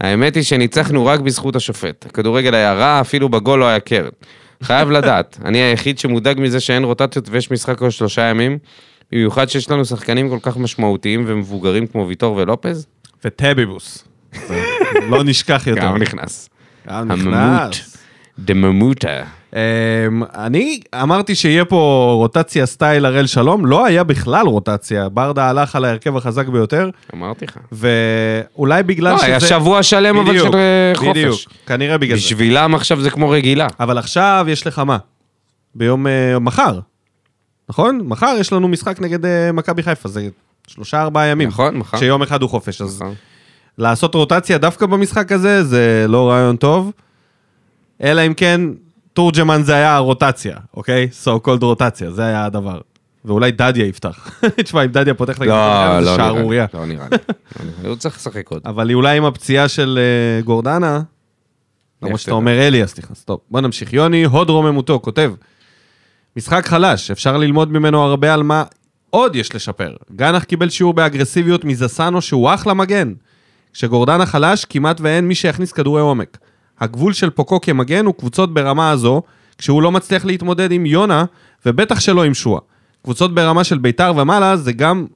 Speaker 2: האמת היא שניצחנו רק בזכות השופט. הכדורגל היה רע, אפילו בגול לא היה קרן. חייב לדעת, אני היחיד שמודאג מזה שאין רוטציות ויש משחק כל שלושה ימים, במיוחד שיש לנו שחקנים כל כך משמעותיים ומבוגרים כמו ויטור ולופז.
Speaker 1: וטביבוס. לא נשכח יותר.
Speaker 2: גם נכנס.
Speaker 1: גם
Speaker 2: הממות.
Speaker 1: נכנס.
Speaker 2: דממוטה.
Speaker 1: אמ, אני אמרתי שיהיה פה רוטציה סטייל הראל שלום, לא היה בכלל רוטציה, ברדה הלך על ההרכב החזק ביותר,
Speaker 2: אמרתי לך.
Speaker 1: ואולי בגלל
Speaker 2: לא,
Speaker 1: שזה...
Speaker 2: היה שבוע שלם אבל
Speaker 1: בדיוק,
Speaker 2: של אה,
Speaker 1: בדיוק,
Speaker 2: חופש.
Speaker 1: כנראה בגלל זה.
Speaker 2: בשבילם עכשיו זה כמו רגילה.
Speaker 1: אבל עכשיו יש לך מה? ביום... אה, מחר, נכון? מחר יש לנו משחק נגד אה, מכבי חיפה, זה שלושה ארבעה ימים.
Speaker 2: נכון, מחר.
Speaker 1: שיום אחד הוא חופש, אז
Speaker 2: נכון.
Speaker 1: לעשות רוטציה דווקא במשחק הזה זה לא רעיון טוב, אלא אם כן תורג'מן זה היה הרוטציה, אוקיי? so called רוטציה, זה היה הדבר. ואולי דדיה יפתח. תשמע, אם דדיה פותח את
Speaker 2: לא,
Speaker 1: הגמרא,
Speaker 2: לא
Speaker 1: זה
Speaker 2: נראה לי,
Speaker 1: שערורייה.
Speaker 2: לא נראה לי. לא נראה לי. הוא צריך לשחק עוד.
Speaker 1: אבל אולי עם הפציעה של אה, גורדנה, למרות שאתה
Speaker 2: תדע.
Speaker 1: אומר אליאס נכנס. טוב, בוא נמשיך. יוני, הוד רוממותו, כותב, משחק חלש, אפשר ללמוד ממנו הרבה על מה עוד יש לשפר. גנח קיבל שיעור באגרסיביות מזסנו שהוא אחלה מגן. כשגורדנה חלש, כמעט ואין מי שיכניס כדורי עומק. הגבול של פוקו כמגן הוא קבוצות ברמה הזו, כשהוא לא מצליח להתמודד עם יונה, ובטח שלא עם שואה. קבוצות ברמה של ביתר ומעלה זה גם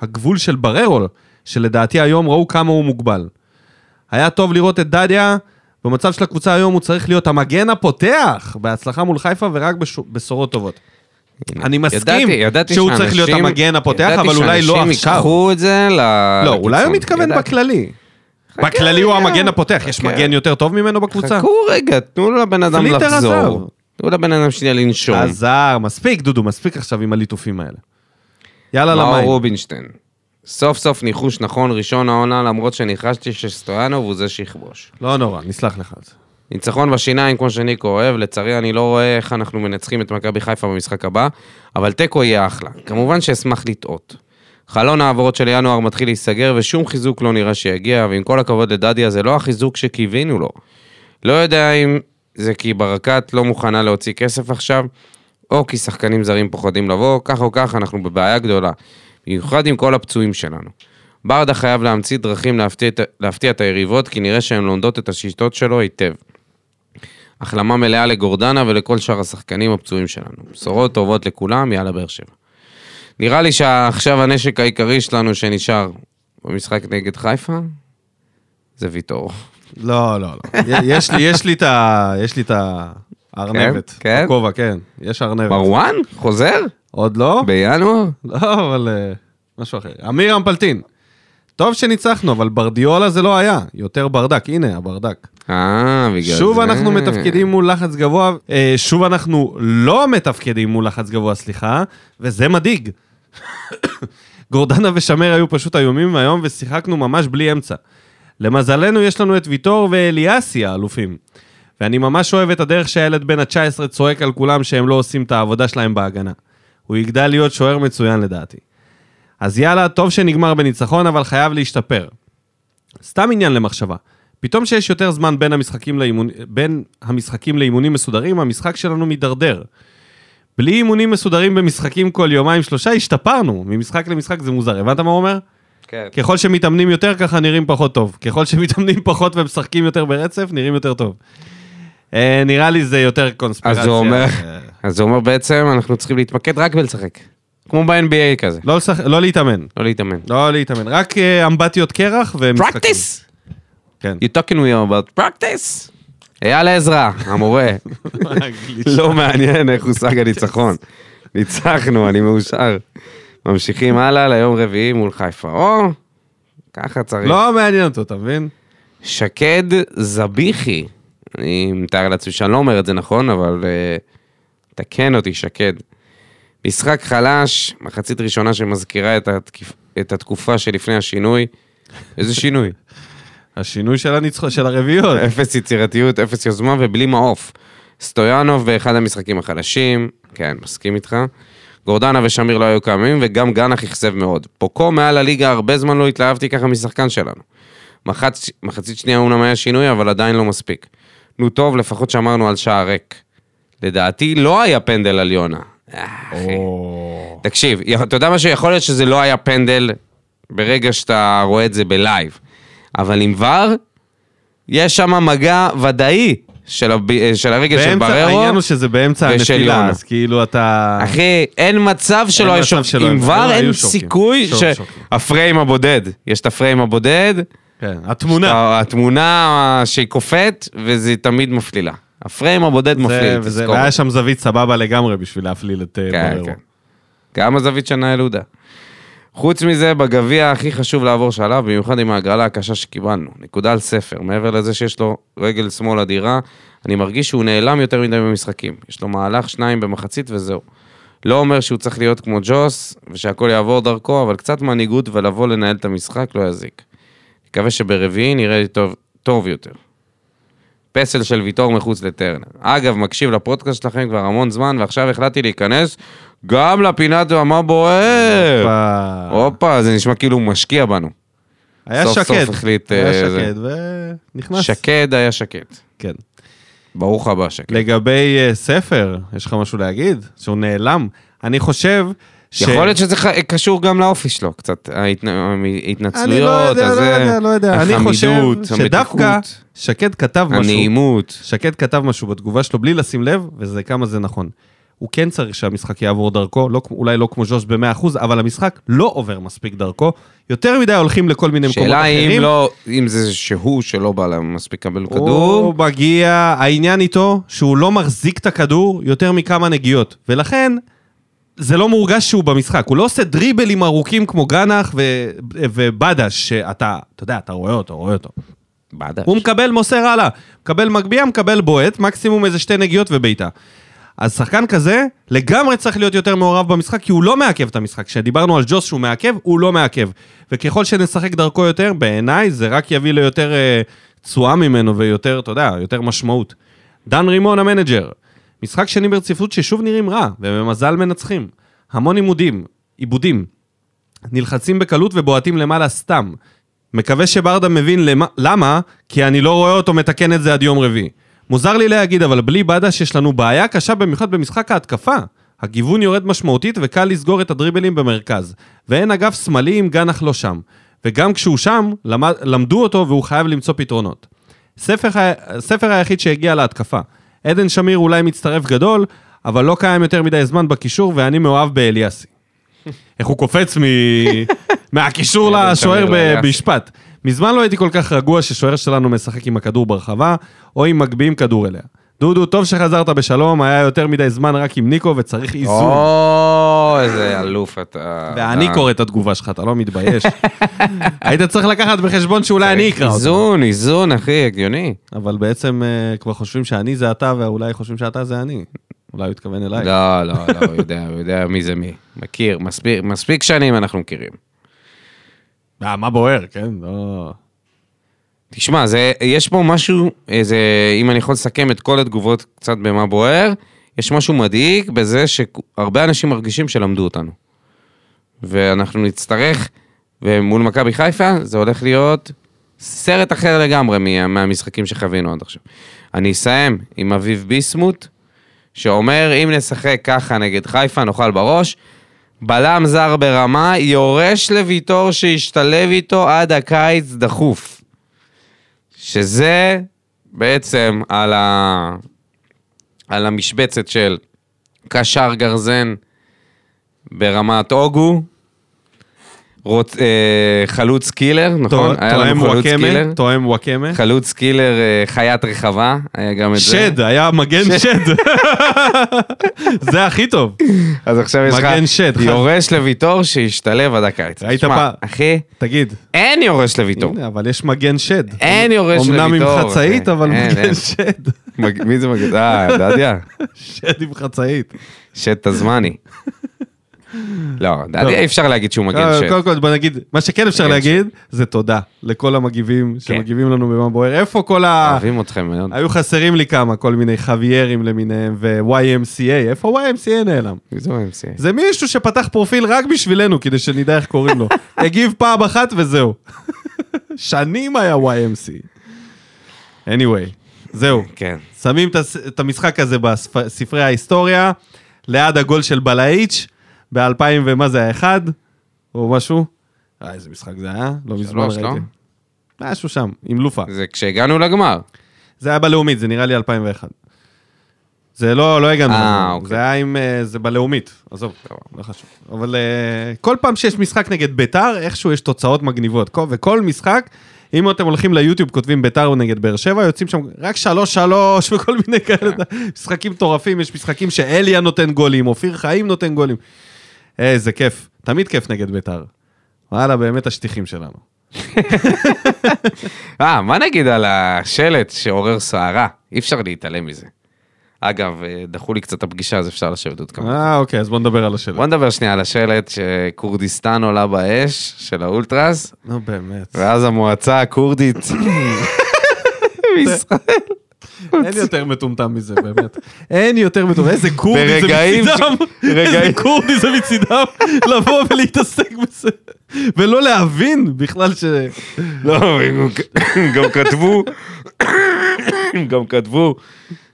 Speaker 1: הגבול של בררו, שלדעתי היום ראו כמה הוא מוגבל. היה טוב לראות את דדיה, במצב של הקבוצה היום הוא צריך להיות המגן הפותח, בהצלחה מול חיפה ורק בש- בשורות טובות.
Speaker 2: אה,
Speaker 1: אני מסכים
Speaker 2: ידעתי, ידעתי
Speaker 1: שהוא צריך להיות
Speaker 2: שאנשים-
Speaker 1: המגן הפותח,
Speaker 2: ידעתי
Speaker 1: אבל אולי לא
Speaker 2: שאנשים
Speaker 1: עכשיו.
Speaker 2: ייקחו את זה ל...
Speaker 1: לא, אולי הוא
Speaker 2: לקיצון.
Speaker 1: מתכוון
Speaker 2: ידעתי.
Speaker 1: בכללי.
Speaker 2: חכה,
Speaker 1: בכללי הוא
Speaker 2: רגע.
Speaker 1: המגן הפותח, יש
Speaker 2: חכה.
Speaker 1: מגן יותר טוב ממנו בקבוצה?
Speaker 2: חכו רגע, תנו לבן אדם
Speaker 1: פליטר עזב.
Speaker 2: לחזור. תנו לבן אדם שנייה לנשום.
Speaker 1: עזר, מספיק דודו, מספיק עכשיו עם הליטופים האלה. יאללה
Speaker 2: מאור
Speaker 1: למים.
Speaker 2: רובינשטיין. סוף סוף ניחוש נכון ראשון העונה, למרות שניחשתי שסטויאנוב הוא זה שיכבוש.
Speaker 1: לא נורא, נסלח לך על זה.
Speaker 2: ניצחון בשיניים, כמו שניקו אוהב, לצערי אני לא רואה איך אנחנו מנצחים את מכבי חיפה במשחק הבא, אבל תיקו יהיה אחלה. כמובן שאשמח לטעות. חלון ההעברות של ינואר מתחיל להיסגר, ושום חיזוק לא נראה שיגיע, ועם כל הכבוד לדדיה, זה לא החיזוק שקיווינו לו. לא יודע אם זה כי ברקת לא מוכנה להוציא כסף עכשיו, או כי שחקנים זרים פוחדים לבוא, כך או כך אנחנו בבעיה גדולה, במיוחד עם כל הפצועים שלנו. ברדה חייב להמציא דרכים להפתיע, את- להפתיע את היריבות, כי נראה שהן לומדות את השיטות שלו היטב. החלמה מלאה לגורדנה ולכל שאר השחקנים הפצועים שלנו. בשורות טובות לכולם, יאללה באר שבע. נראה לי שעכשיו הנשק העיקרי שלנו שנשאר במשחק נגד חיפה, זה ויטור.
Speaker 1: לא, לא, לא. י- יש לי- יש לי את ה... יש לי את הארנבת.
Speaker 2: כן, כן.
Speaker 1: הכובע, כן. יש ארנבת.
Speaker 2: מרואן? חוזר?
Speaker 1: עוד לא?
Speaker 2: בינואר?
Speaker 1: לא, אבל אה, משהו אחר. אמיר אמפלטין. טוב שניצחנו, אבל ברדיולה זה לא היה. יותר ברדק. הנה, הברדק.
Speaker 2: אה, בגלל זה.
Speaker 1: שוב אנחנו מתפקדים מול לחץ גבוה, אה, שוב אנחנו לא מתפקדים מול לחץ גבוה, סליחה, וזה מדאיג. גורדנה ושמר היו פשוט איומים היום ושיחקנו ממש בלי אמצע. למזלנו יש לנו את ויטור ואליאסי האלופים. ואני ממש אוהב את הדרך שהילד בן ה-19 צועק על כולם שהם לא עושים את העבודה שלהם בהגנה. הוא יגדל להיות שוער מצוין לדעתי. אז יאללה, טוב שנגמר בניצחון, אבל חייב להשתפר. סתם עניין למחשבה. פתאום שיש יותר זמן בין המשחקים, לאימון... בין המשחקים לאימונים מסודרים, המשחק שלנו מידרדר. בלי אימונים מסודרים במשחקים כל יומיים שלושה, השתפרנו. ממשחק למשחק זה מוזר, הבנת מה הוא אומר?
Speaker 2: כן.
Speaker 1: ככל שמתאמנים יותר, ככה נראים פחות טוב. ככל שמתאמנים פחות ומשחקים יותר ברצף, נראים יותר טוב. אה, נראה לי זה יותר קונספירציה.
Speaker 2: אז זה אומר,
Speaker 1: אה,
Speaker 2: אז זה אומר בעצם, אנחנו צריכים להתמקד רק בלשחק. כמו ב-NBA כזה,
Speaker 1: לא, לשח... לא להתאמן.
Speaker 2: לא להתאמן.
Speaker 1: לא להתאמן. רק אה, אמבטיות קרח ומשחקים.
Speaker 2: Practice!
Speaker 1: כן.
Speaker 2: You talking to me about practice? אייל עזרא, המורה. לא מעניין איך הושג הניצחון. ניצחנו, אני מאושר. ממשיכים הלאה ליום רביעי מול חיפה. או, ככה צריך.
Speaker 1: לא מעניין אותו, אתה מבין?
Speaker 2: שקד זביחי. אני מתאר לעצמי שאני לא אומר את זה נכון, אבל אה, תקן אותי, שקד. משחק חלש, מחצית ראשונה שמזכירה את, התקיפ... את התקופה שלפני השינוי. איזה שינוי?
Speaker 1: השינוי של הניצחון, של הרביעיות.
Speaker 2: נכון, אפס יצירתיות, אפס יוזמה ובלי מעוף. סטויאנוב באחד המשחקים החלשים, כן, מסכים איתך. גורדנה ושמיר לא היו קיימים, וגם גנח אכזב מאוד. פוקו מעל הליגה, הרבה זמן לא התלהבתי ככה משחקן שלנו. מחצ... מחצית שנייה אומנם היה שינוי, אבל עדיין לא מספיק. נו טוב, לפחות שמרנו על שער ריק. לדעתי לא היה פנדל על יונה. אה, אחי.
Speaker 1: או.
Speaker 2: תקשיב, י- אתה יודע משהו? יכול להיות שזה לא היה פנדל ברגע שאתה רואה את זה בלייב, אבל עם ור, יש שם מגע ודאי של, הב... אה, של הרגל של
Speaker 1: באמצע-
Speaker 2: בררו.
Speaker 1: העניין הוא שזה באמצע
Speaker 2: ושל
Speaker 1: הנפילה,
Speaker 2: יונה.
Speaker 1: אז כאילו אתה...
Speaker 2: אחי, אין מצב שלא
Speaker 1: אין
Speaker 2: היה
Speaker 1: מצב שלא
Speaker 2: שופטים. עם
Speaker 1: היו- היו
Speaker 2: ור אין
Speaker 1: שופטים.
Speaker 2: סיכוי
Speaker 1: שופ-
Speaker 2: ש...
Speaker 1: שופטים.
Speaker 2: הפריים הבודד, יש את הפריים הבודד,
Speaker 1: כן, התמונה.
Speaker 2: התמונה שהיא קופאת, וזה תמיד מפלילה. הפריים הבודד
Speaker 1: זה-
Speaker 2: מפליל,
Speaker 1: וזה-
Speaker 2: תזכור.
Speaker 1: והיה שם זווית סבבה לגמרי בשביל להפליל את אה,
Speaker 2: כן,
Speaker 1: בררו.
Speaker 2: כן. גם הזווית של נאל עודה. חוץ מזה, בגביע הכי חשוב לעבור שלב, במיוחד עם ההגרלה הקשה שקיבלנו. נקודה על ספר. מעבר לזה שיש לו רגל שמאל אדירה, אני מרגיש שהוא נעלם יותר מדי במשחקים. יש לו מהלך שניים במחצית וזהו. לא אומר שהוא צריך להיות כמו ג'וס, ושהכול יעבור דרכו, אבל קצת מנהיגות ולבוא לנהל את המשחק לא יזיק. מקווה שברביעי נראה לי טוב, טוב יותר. פסל של ויטור מחוץ לטרנר. אגב, מקשיב לפודקאסט שלכם כבר המון זמן, ועכשיו החלטתי להיכנס גם לפינת מה בוער.
Speaker 1: הופה.
Speaker 2: הופה, זה נשמע כאילו הוא משקיע בנו.
Speaker 1: אה, היה
Speaker 2: סוף סוף
Speaker 1: שקד.
Speaker 2: החליט,
Speaker 1: היה
Speaker 2: אה,
Speaker 1: שקד, ונכנס.
Speaker 2: שקד היה שקד.
Speaker 1: כן.
Speaker 2: ברוך הבא, שקד.
Speaker 1: לגבי אה, ספר, יש לך משהו להגיד? שהוא נעלם. אני חושב ש...
Speaker 2: יכול להיות שזה ח- קשור גם לאופי שלו, קצת
Speaker 1: אני
Speaker 2: ההתנ-
Speaker 1: לא
Speaker 2: ההתנצלויות,
Speaker 1: יודע, לא
Speaker 2: הזה,
Speaker 1: יודע, לא יודע. אני חושב
Speaker 2: החמידות,
Speaker 1: שדווקא
Speaker 2: המתיקות,
Speaker 1: שקד כתב משהו.
Speaker 2: הנעימות.
Speaker 1: שקד כתב משהו בתגובה שלו בלי לשים לב, וזה כמה זה נכון. הוא כן צריך שהמשחק יעבור דרכו, לא, כמו- אולי לא כמו ז'וש ב-100%, אבל המשחק לא עובר מספיק דרכו. יותר מדי הולכים לכל מיני מקומות
Speaker 2: שאלה
Speaker 1: אחרים.
Speaker 2: אם לא, אם זה שהוא שלא בא להם מספיק לקבל
Speaker 1: הוא
Speaker 2: כדור.
Speaker 1: מגיע, העניין איתו שהוא לא מחזיק את הכדור יותר מכמה נגיעות, ולכן זה לא מורגש שהוא במשחק. הוא לא עושה דריבלים ארוכים כמו גרנח ו- ובדש, שאתה, אתה יודע, אתה רואה אותו, רואה אותו.
Speaker 2: בעדה.
Speaker 1: הוא מקבל מוסר הלאה, מקבל מגביה, מקבל בועט, מקסימום איזה שתי נגיעות ובעיטה. אז שחקן כזה לגמרי צריך להיות יותר מעורב במשחק, כי הוא לא מעכב את המשחק. כשדיברנו על ג'וס שהוא מעכב, הוא לא מעכב. וככל שנשחק דרכו יותר, בעיניי זה רק יביא ליותר אה, תשואה ממנו ויותר, אתה יודע, יותר משמעות. דן רימון המנג'ר, משחק שני ברציפות ששוב נראים רע, ובמזל מנצחים. המון עימודים, עיבודים. נלחצים בקלות ובועטים למעלה סתם. מקווה שברדה מבין למה, למה, כי אני לא רואה אותו מתקן את זה עד יום רביעי. מוזר לי להגיד, אבל בלי בדש יש לנו בעיה קשה במיוחד במשחק ההתקפה. הגיוון יורד משמעותית וקל לסגור את הדריבלים במרכז. ואין אגף שמאלי אם גנח לא שם. וגם כשהוא שם, למד, למדו אותו והוא חייב למצוא פתרונות. ספר, ה- הספר היחיד שהגיע להתקפה. עדן שמיר אולי מצטרף גדול, אבל לא קיים יותר מדי זמן בקישור ואני מאוהב באליאסי. איך הוא קופץ מ... מהקישור
Speaker 2: עדן
Speaker 1: לשוער
Speaker 2: שמיר לאליאסי.
Speaker 1: ב- משפט. מזמן לא הייתי כל כך רגוע ששוער שלנו משחק עם הכדור ברחבה, או אם מגביהים כדור אליה. דודו, טוב שחזרת בשלום, היה יותר מדי זמן רק עם ניקו וצריך איזון.
Speaker 2: או, איזה אלוף אתה.
Speaker 1: ואני
Speaker 2: אתה-
Speaker 1: קורא את התגובה שלך, אתה לא מתבייש. היית צריך לקחת בחשבון שאולי אני אקרא אותה.
Speaker 2: איזון, איזון, אחי, הגיוני.
Speaker 1: אבל בעצם אה, כבר חושבים שאני זה אתה, ואולי חושבים שאתה זה אני. אולי הוא התכוון אליי.
Speaker 2: לא, לא, לא, הוא יודע, הוא יודע מי זה מי. מכיר, מספיק- מספיק שנים אנחנו מכירים.
Speaker 1: אה, מה בוער, כן? לא...
Speaker 2: תשמע, זה, יש פה משהו, איזה, אם אני יכול לסכם את כל התגובות קצת במה בוער, יש משהו מדאיג בזה שהרבה אנשים מרגישים שלמדו אותנו. ואנחנו נצטרך, ומול מכבי חיפה זה הולך להיות סרט אחר לגמרי מה, מהמשחקים שחווינו עד עכשיו. אני אסיים עם אביב ביסמוט, שאומר, אם נשחק ככה נגד חיפה, נאכל בראש. בלם זר ברמה, יורש לוויטור שישתלב איתו עד הקיץ דחוף. שזה בעצם על, ה... על המשבצת של קשר גרזן ברמת אוגו, רוצ... אה, חלוץ קילר, נכון? היה לנו
Speaker 1: תואם
Speaker 2: חלוץ קילר.
Speaker 1: וואקמה, תואם וואקמה.
Speaker 2: חלוץ קילר, אה, חיית רחבה, היה גם את זה.
Speaker 1: שד, היה מגן שד. זה הכי טוב.
Speaker 2: אז עכשיו יש לך
Speaker 1: מגן שד, חל-
Speaker 2: יורש לוויטור שישתלב עד הקיץ.
Speaker 1: ראית
Speaker 2: תשמע,
Speaker 1: פעם-
Speaker 2: אחי,
Speaker 1: תגיד.
Speaker 2: אין יורש לוויטור.
Speaker 1: הנה, אבל יש מגן שד.
Speaker 2: אין יורש לוויטור.
Speaker 1: אמנם עם
Speaker 2: אחי.
Speaker 1: חצאית, אבל
Speaker 2: אין, אין.
Speaker 1: מגן שד.
Speaker 2: מג- מי זה מגן? אה, דדיה.
Speaker 1: שד עם חצאית.
Speaker 2: שד תזמני. לא, דעתי אי אפשר להגיד שהוא מגן שד.
Speaker 1: לא, קודם אה, כל, בוא נגיד, מה שכן אפשר
Speaker 2: מגן כן.
Speaker 1: להגיד, זה תודה לכל המגיבים שמגיבים לנו במה בוער. איפה כל ה...
Speaker 2: אוהבים אתכם מאוד.
Speaker 1: היו חסרים לי כמה, כל מיני חוויירים למיניהם, ו-YMCA, איפה YMCA נעלם?
Speaker 2: מי זה ה-MCA?
Speaker 1: זה מישהו שפתח פרופיל רק בשבילנו, כדי שנדע איך קוראים לו. הגיב פעם אחת וזהו. שנים היה YMC. anyway, זהו.
Speaker 2: כן.
Speaker 1: שמים את הס- את המשחק הזה בספרי ההיסטוריה, ליד הגול של בלאיץ', ב-2000 ומה זה היה, אחד? או משהו? אה, איזה משחק זה היה? לא מזמן
Speaker 2: שלוש, לא?
Speaker 1: ראיתי. משהו שם, עם לופה.
Speaker 2: זה כשהגענו לגמר.
Speaker 1: זה היה בלאומית, זה נראה לי 2001. זה לא, לא הגענו.
Speaker 2: אה,
Speaker 1: לזה.
Speaker 2: אוקיי.
Speaker 1: זה היה עם, אה, זה בלאומית. עזוב, לא חשוב. אבל אה, כל פעם שיש משחק נגד ביתר, איכשהו יש תוצאות מגניבות. כל- וכל משחק, אם אתם הולכים ליוטיוב, כותבים ביתר או נגד באר שבע, יוצאים שם רק שלוש שלוש וכל מיני כאלה.
Speaker 2: כן.
Speaker 1: משחקים מטורפים, יש משחקים שאליה נותן גולים, אופיר חיים נותן גולים. איזה כיף, תמיד כיף נגד ביתר. וואלה, באמת השטיחים שלנו.
Speaker 2: אה, מה נגיד על השלט שעורר סערה? אי אפשר להתעלם מזה. אגב, אה, דחו לי קצת את הפגישה, אז אפשר לשבת עוד כמה.
Speaker 1: אה, אוקיי, אז בוא נדבר על השאלה.
Speaker 2: בוא נדבר שנייה על השלט שכורדיסטן עולה באש של האולטרס,
Speaker 1: נו, באמת.
Speaker 2: ואז המועצה הכורדית בישראל.
Speaker 1: אין יותר מטומטם מזה, באמת. אין יותר מטומטם, איזה כורדי זה
Speaker 2: ברגעים ש-
Speaker 1: מצידם. איזה
Speaker 2: רגעים-
Speaker 1: כורדי זה מצידם לבוא ולהתעסק בזה. ולא להבין בכלל ש...
Speaker 2: לא, הם גם כתבו, הם גם כתבו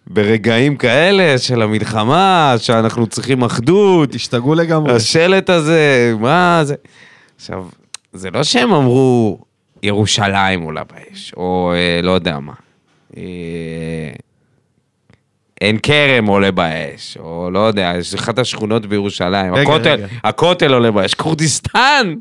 Speaker 2: ברגעים כאלה של המלחמה, שאנחנו צריכים אחדות,
Speaker 1: השתגעו לגמרי.
Speaker 2: אה, השלט הזה, מה זה... עכשיו, זה לא שהם אמרו ירושלים עולה באש, או אה, לא יודע מה. אה, עין כרם עולה באש, או לא יודע, יש אחת השכונות בירושלים,
Speaker 1: רגע,
Speaker 2: הכותל,
Speaker 1: רגע.
Speaker 2: הכותל עולה באש, כורדיסטן!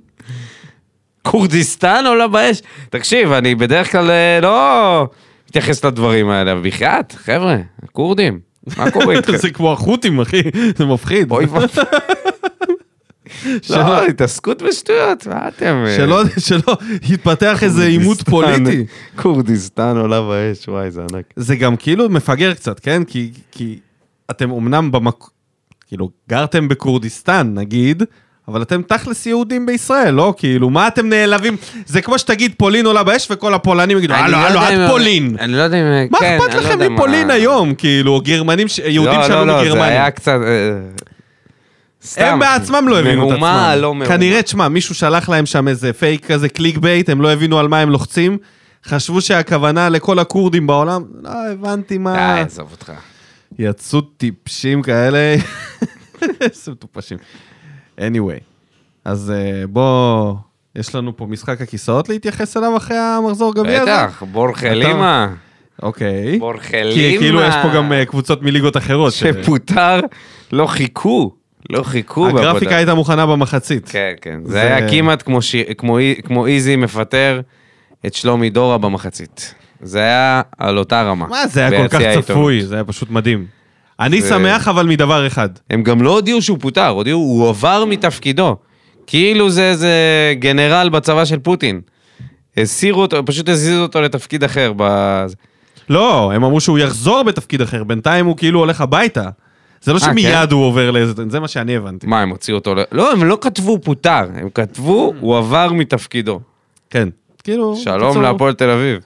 Speaker 2: כורדיסטן עולה באש. תקשיב, אני בדרך כלל אה, לא מתייחס לדברים האלה, אבל בחייאת, חבר'ה, הכורדים, מה קורה איתכם?
Speaker 1: זה כמו החות'ים, אחי, זה מפחיד.
Speaker 2: אוי ואבוי.
Speaker 1: שלא-
Speaker 2: לא, התעסקות בשטויות, מה אתם... אה,
Speaker 1: שלא, שלא יתפתח איזה עימות
Speaker 2: כורדיסטן-
Speaker 1: פוליטי.
Speaker 2: כורדיסטן עולה באש, וואי, זה ענק.
Speaker 1: זה גם כאילו מפגר קצת, כן? כי, כי אתם אמנם במק... כאילו, גרתם בכורדיסטן, נגיד, אבל אתם תכלס יהודים בישראל, לא? כאילו, מה אתם נעלבים? זה כמו שתגיד פולין עולה באש וכל הפולנים יגידו,
Speaker 2: אני
Speaker 1: הלו,
Speaker 2: לא
Speaker 1: הלו,
Speaker 2: יודע אם-
Speaker 1: את פולין.
Speaker 2: אני לא יודע אם...
Speaker 1: מה
Speaker 2: כן,
Speaker 1: אכפת
Speaker 2: אני לא
Speaker 1: לכם
Speaker 2: יודע מה-
Speaker 1: מפולין היום? כאילו, או גרמנים, ש- יהודים
Speaker 2: לא,
Speaker 1: שעלו
Speaker 2: לא, לא, זה
Speaker 1: מגרמניה.
Speaker 2: היה קצת... אה, סתם.
Speaker 1: הם בעצמם לא הבינו את עצמם.
Speaker 2: מהומה, לא מהומה.
Speaker 1: כנראה, תשמע, מישהו שלח להם שם איזה פייק כזה קליק בייט, הם לא הבינו על מה הם לוחצים. חשבו שהכוונה לכל הכורדים בעולם, לא הבנתי מה...
Speaker 2: די, אה, עזוב אותך.
Speaker 1: יצאו טיפשים כאלה, איזה מטופשים. anyway, אז אה, בוא, יש לנו פה משחק הכיסאות להתייחס אליו אחרי המחזור גביע הזה?
Speaker 2: בטח, בורחלימה.
Speaker 1: אוקיי. כי
Speaker 2: בורחלימה.
Speaker 1: כאילו יש פה גם אה, קבוצות מליגות אחרות. ש-
Speaker 2: שפוטר, לא חיכו. לא חיכו בעבודה.
Speaker 1: הגרפיקה הייתה מוכנה במחצית.
Speaker 2: כן, כן. זה
Speaker 1: זה-
Speaker 2: היה כמעט כמו שיר- כמו אי- כמו איזי מפטר את שלומי דורה במחצית. זה היה על אותה רמה.
Speaker 1: מה זה היה כל
Speaker 2: ביציע
Speaker 1: כך
Speaker 2: העיתונות.
Speaker 1: צפוי, זה היה פשוט מדהים. אני
Speaker 2: זה-
Speaker 1: שמח אבל מדבר אחד.
Speaker 2: הם גם לא הודיעו שהוא פוטר, הודיעו, הוא עבר מתפקידו. כאילו זה איזה גנרל בצבא של פוטין. הסירו אותו, פשוט הזיזו אותו לתפקיד אחר. ב...
Speaker 1: לא, הם אמרו שהוא יחזור בתפקיד אחר, בינתיים הוא כאילו הולך הביתה. זה לא
Speaker 2: אה,
Speaker 1: שמיד הוא עובר לאיזה... זה מה שאני הבנתי.
Speaker 2: מה, הם הוציאו אותו? ל- לא, הם לא כתבו פוטר, הם כתבו,
Speaker 1: אה.
Speaker 2: הוא עבר מתפקידו.
Speaker 1: כן. כאילו...
Speaker 2: שלום
Speaker 1: בקיצור,
Speaker 2: להפועל תל אביב.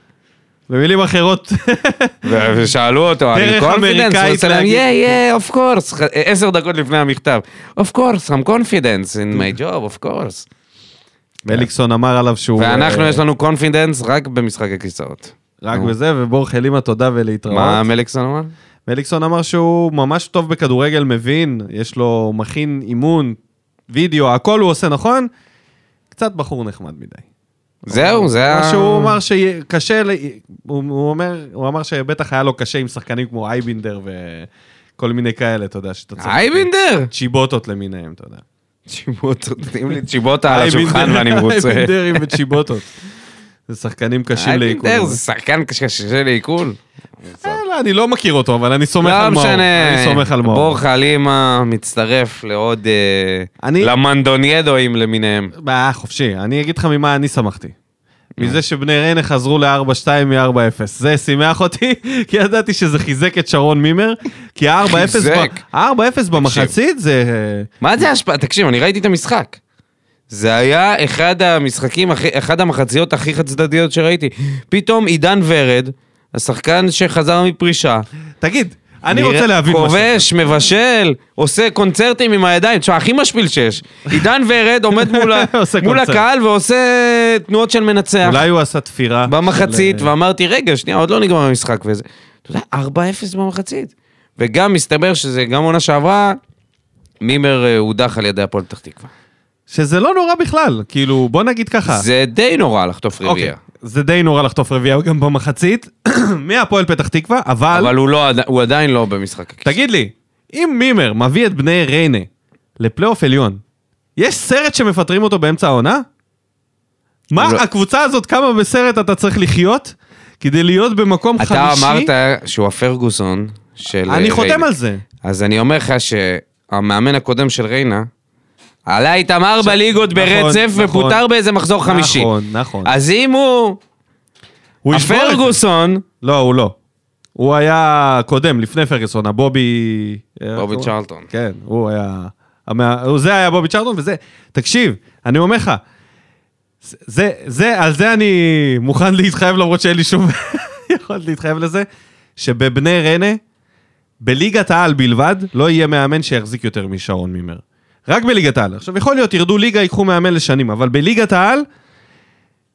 Speaker 1: במילים אחרות,
Speaker 2: ו- ושאלו אותו, אני
Speaker 1: דרך
Speaker 2: קונפידנס, הוא
Speaker 1: אמריקאית
Speaker 2: עושה להם,
Speaker 1: להגיד-
Speaker 2: יא, יא, אוף קורס, אה, עשר דקות לפני המכתב. אוף קורס, I'm confidence in my job, אוף קורס.
Speaker 1: מליקסון אמר עליו שהוא...
Speaker 2: ואנחנו,
Speaker 1: אה,
Speaker 2: יש לנו confidence רק במשחק הכיסאות.
Speaker 1: רק בזה, ובור חלימה תודה
Speaker 2: מה
Speaker 1: ולהתראות.
Speaker 2: מליקסון אמר?
Speaker 1: מליקסון אמר שהוא ממש טוב בכדורגל, מבין, יש לו מכין אימון, וידאו, הכל הוא עושה נכון. קצת בחור נחמד מדי.
Speaker 2: זהו, זה
Speaker 1: מה
Speaker 2: ה...
Speaker 1: שהוא אמר שקשה, ל- הוא, הוא אומר, הוא אמר שבטח היה לו קשה עם שחקנים כמו אייבינדר וכל מיני כאלה, אתה יודע, שאתה צריך...
Speaker 2: אייבינדר!
Speaker 1: צ'יבוטות למיניהם, אתה יודע.
Speaker 2: צ'יבוטה, נותנים לי צ'יבוטה על השולחן ואני מרוצה.
Speaker 1: אייבינדרים וצ'יבוטות. זה שחקנים קשים לעיכול.
Speaker 2: אייבינדר זה שחקן קשה קשה לעיכול.
Speaker 1: לא, אני לא מכיר אותו, אבל אני סומך
Speaker 2: לא
Speaker 1: על מאור.
Speaker 2: משנה,
Speaker 1: אני סומך על מאור.
Speaker 2: בורחה לימה מצטרף לעוד... אה,
Speaker 1: אני-
Speaker 2: למנדוניידואים למיניהם.
Speaker 1: אה, חופשי. אני אגיד לך ממה אני שמחתי. מזה שבני ריינה חזרו ל-4-2 מ-4-0. זה שימח אותי, כי ידעתי שזה חיזק את שרון מימר, כי
Speaker 2: חיזק.
Speaker 1: ה-4-0 במחצית זה... אה,
Speaker 2: מה זה ההשפעה? תקשיב, אני ראיתי את המשחק. זה היה אחד המשחקים, הכי- אחד המחציות הכי חד צדדיות שראיתי. פתאום עידן ורד, השחקן שחזר מפרישה,
Speaker 1: תגיד, אני
Speaker 2: נראה-
Speaker 1: רוצה להבין משהו.
Speaker 2: כובש, מבשל, עושה קונצרטים עם הידיים. תשמע, הכי משפיל שיש. עידן ורד עומד מול ה-
Speaker 1: עושה
Speaker 2: מול
Speaker 1: קונצרט.
Speaker 2: הקהל ועושה תנועות של מנצח.
Speaker 1: אולי הוא עשה תפירה.
Speaker 2: במחצית,
Speaker 1: של, אה,
Speaker 2: ואמרתי, רגע, שנייה, עוד לא נגמר המשחק וזה. אתה יודע, 4-0 במחצית. וגם מסתבר שזה גם עונה שעברה, מימר אה, הודח על ידי הפועל פתח תקווה.
Speaker 1: שזה לא נורא בכלל, כאילו, בוא נגיד ככה.
Speaker 2: זה די נורא לחטוף
Speaker 1: אוקיי.
Speaker 2: רביעייה.
Speaker 1: זה די נורא לחטוף רביעייה גם במחצית, מהפועל פתח תקווה, אבל,
Speaker 2: אבל הוא לא עד- הוא עדיין לא במשחק. הכיס.
Speaker 1: תגיד לי, אם מימר מביא את בני ריינה לפלייאוף עליון, יש סרט שמפטרים אותו באמצע העונה? מה,
Speaker 2: לא.
Speaker 1: הקבוצה הזאת, כמה בסרט אתה צריך לחיות כדי להיות במקום
Speaker 2: אתה
Speaker 1: חמישי?
Speaker 2: אמרת שהוא הפרגוסון של...
Speaker 1: אני
Speaker 2: אה,
Speaker 1: חותם
Speaker 2: ריינה.
Speaker 1: על זה.
Speaker 2: אז אני אומר לך שהמאמן הקודם של ריינה, עלה איתם ארבע ליגות
Speaker 1: נכון,
Speaker 2: ברצף
Speaker 1: נכון.
Speaker 2: ופוטר באיזה מחזור חמישי. אה,
Speaker 1: נכון, נכון.
Speaker 2: אז אם הוא...
Speaker 1: הוא ישבור את זה.
Speaker 2: הפרגוסון...
Speaker 1: לא, הוא לא. הוא היה קודם, לפני פרגוסון, הבובי... איך
Speaker 2: בובי
Speaker 1: הוא-
Speaker 2: צ'רלטון.
Speaker 1: כן, הוא היה... המא- הוא- זה היה בובי צ'רלטון, וזה... תקשיב, אני אומר לך, זה, זה, על זה אני מוכן להתחייב, למרות שאין לי שום יכולת להתחייב לזה, שבבני ריינה, בליגת העל בלבד, לא יהיה מאמן שיחזיק יותר משרון מימר. רק בליגת העל. עכשיו, יכול להיות, ירדו ליגה, ייקחו מאמן לשנים, אבל בליגת העל,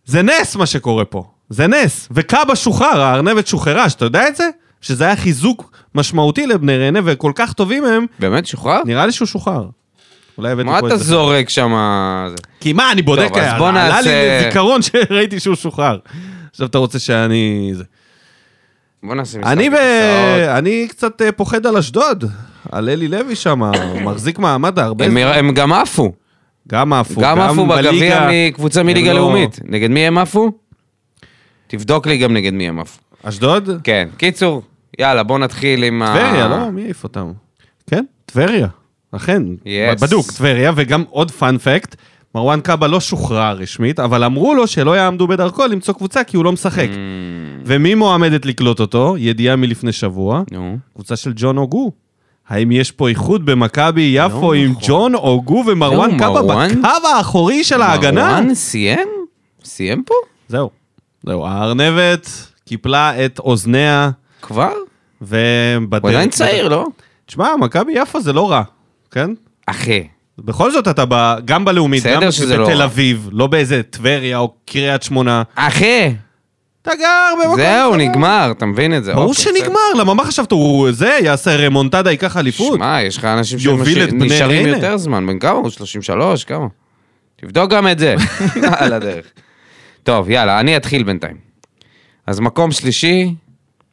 Speaker 1: זה נס מה שקורה פה. זה נס. וקאבה שוחרר, הארנבת שוחררה, שאתה יודע את זה? שזה היה חיזוק משמעותי לבני ריינה, וכל כך טובים הם,
Speaker 2: באמת, שוחרר?
Speaker 1: נראה לי שהוא שוחרר. אולי הבאתי
Speaker 2: מה
Speaker 1: פה
Speaker 2: אתה
Speaker 1: את זה.
Speaker 2: זורק שם?
Speaker 1: כי מה, אני בודק,
Speaker 2: טוב, אז
Speaker 1: היה-
Speaker 2: בוא
Speaker 1: עלה לי
Speaker 2: נעשה-
Speaker 1: זיכרון שראיתי שהוא שוחרר. עכשיו אתה רוצה שאני... זה.
Speaker 2: בוא נעשה משחק.
Speaker 1: אני, ו...
Speaker 2: כיסאות.
Speaker 1: אני קצת אה, פוחד על אשדוד, על אלי לוי שם, הוא מחזיק מעמד הרבה.
Speaker 2: הם- הם גם עפו.
Speaker 1: גם עפו,
Speaker 2: גם עפו בגביע
Speaker 1: בליגה.
Speaker 2: מקבוצה
Speaker 1: הם
Speaker 2: מליגה
Speaker 1: לא-
Speaker 2: לאומית. נגד מי הם עפו? תבדוק לי גם נגד מי הם עפו.
Speaker 1: אשדוד?
Speaker 2: כן, קיצור, יאללה, בוא נתחיל עם ה...
Speaker 1: טבריה, לא? מי העיף אותם? כן, טבריה, אכן,
Speaker 2: Yes.
Speaker 1: בדוק, טבריה, וגם עוד פאנפקט, מרואן קאבה לא שוחרר רשמית, אבל אמרו לו שלא יעמדו בדרכו למצוא קבוצה כי הוא לא משחק.
Speaker 2: Hmm.
Speaker 1: ומי מועמדת לקלוט אותו? ידיעה מלפני שבוע,
Speaker 2: נו.
Speaker 1: קבוצה של ג'ון אוגו. האם יש פה איחוד במכבי יפו
Speaker 2: לא
Speaker 1: עם
Speaker 2: נכון.
Speaker 1: ג'ון אוגו ומרואן
Speaker 2: לא,
Speaker 1: קאבה
Speaker 2: מרואן?
Speaker 1: בקו האחורי של ההגנה?
Speaker 2: מרואן סיים? סיים פה?
Speaker 1: זהו, זהו, הארנבת קיפלה את אוזניה,
Speaker 2: כבר?
Speaker 1: ובדרך...
Speaker 2: הוא עדיין צעיר, לא?
Speaker 1: תשמע, מכבי יפו זה לא רע, כן?
Speaker 2: אחי,
Speaker 1: בכל זאת אתה ב, גם בלאומית,
Speaker 2: בסדר
Speaker 1: גם
Speaker 2: שזה לא
Speaker 1: בתל
Speaker 2: רע.
Speaker 1: אביב, לא באיזה טבריה או קריית שמונה.
Speaker 2: אחי,
Speaker 1: אתה גר במקום...
Speaker 2: זהו,
Speaker 1: בסדר.
Speaker 2: נגמר, אתה מבין את זה.
Speaker 1: ברור
Speaker 2: אוקיי, בסדר.
Speaker 1: שנגמר, למה מה חשבת, הוא זה, יעשה רמונטדה, ייקח אליפות?
Speaker 2: שמע, יש לך אנשים
Speaker 1: יוביל את בני
Speaker 2: שנשארים
Speaker 1: ריינה.
Speaker 2: יותר זמן, בן כמה הוא? 33? כמה? תבדוק גם את זה, על הדרך. טוב, יאללה, אני אתחיל בינתיים. אז מקום שלישי,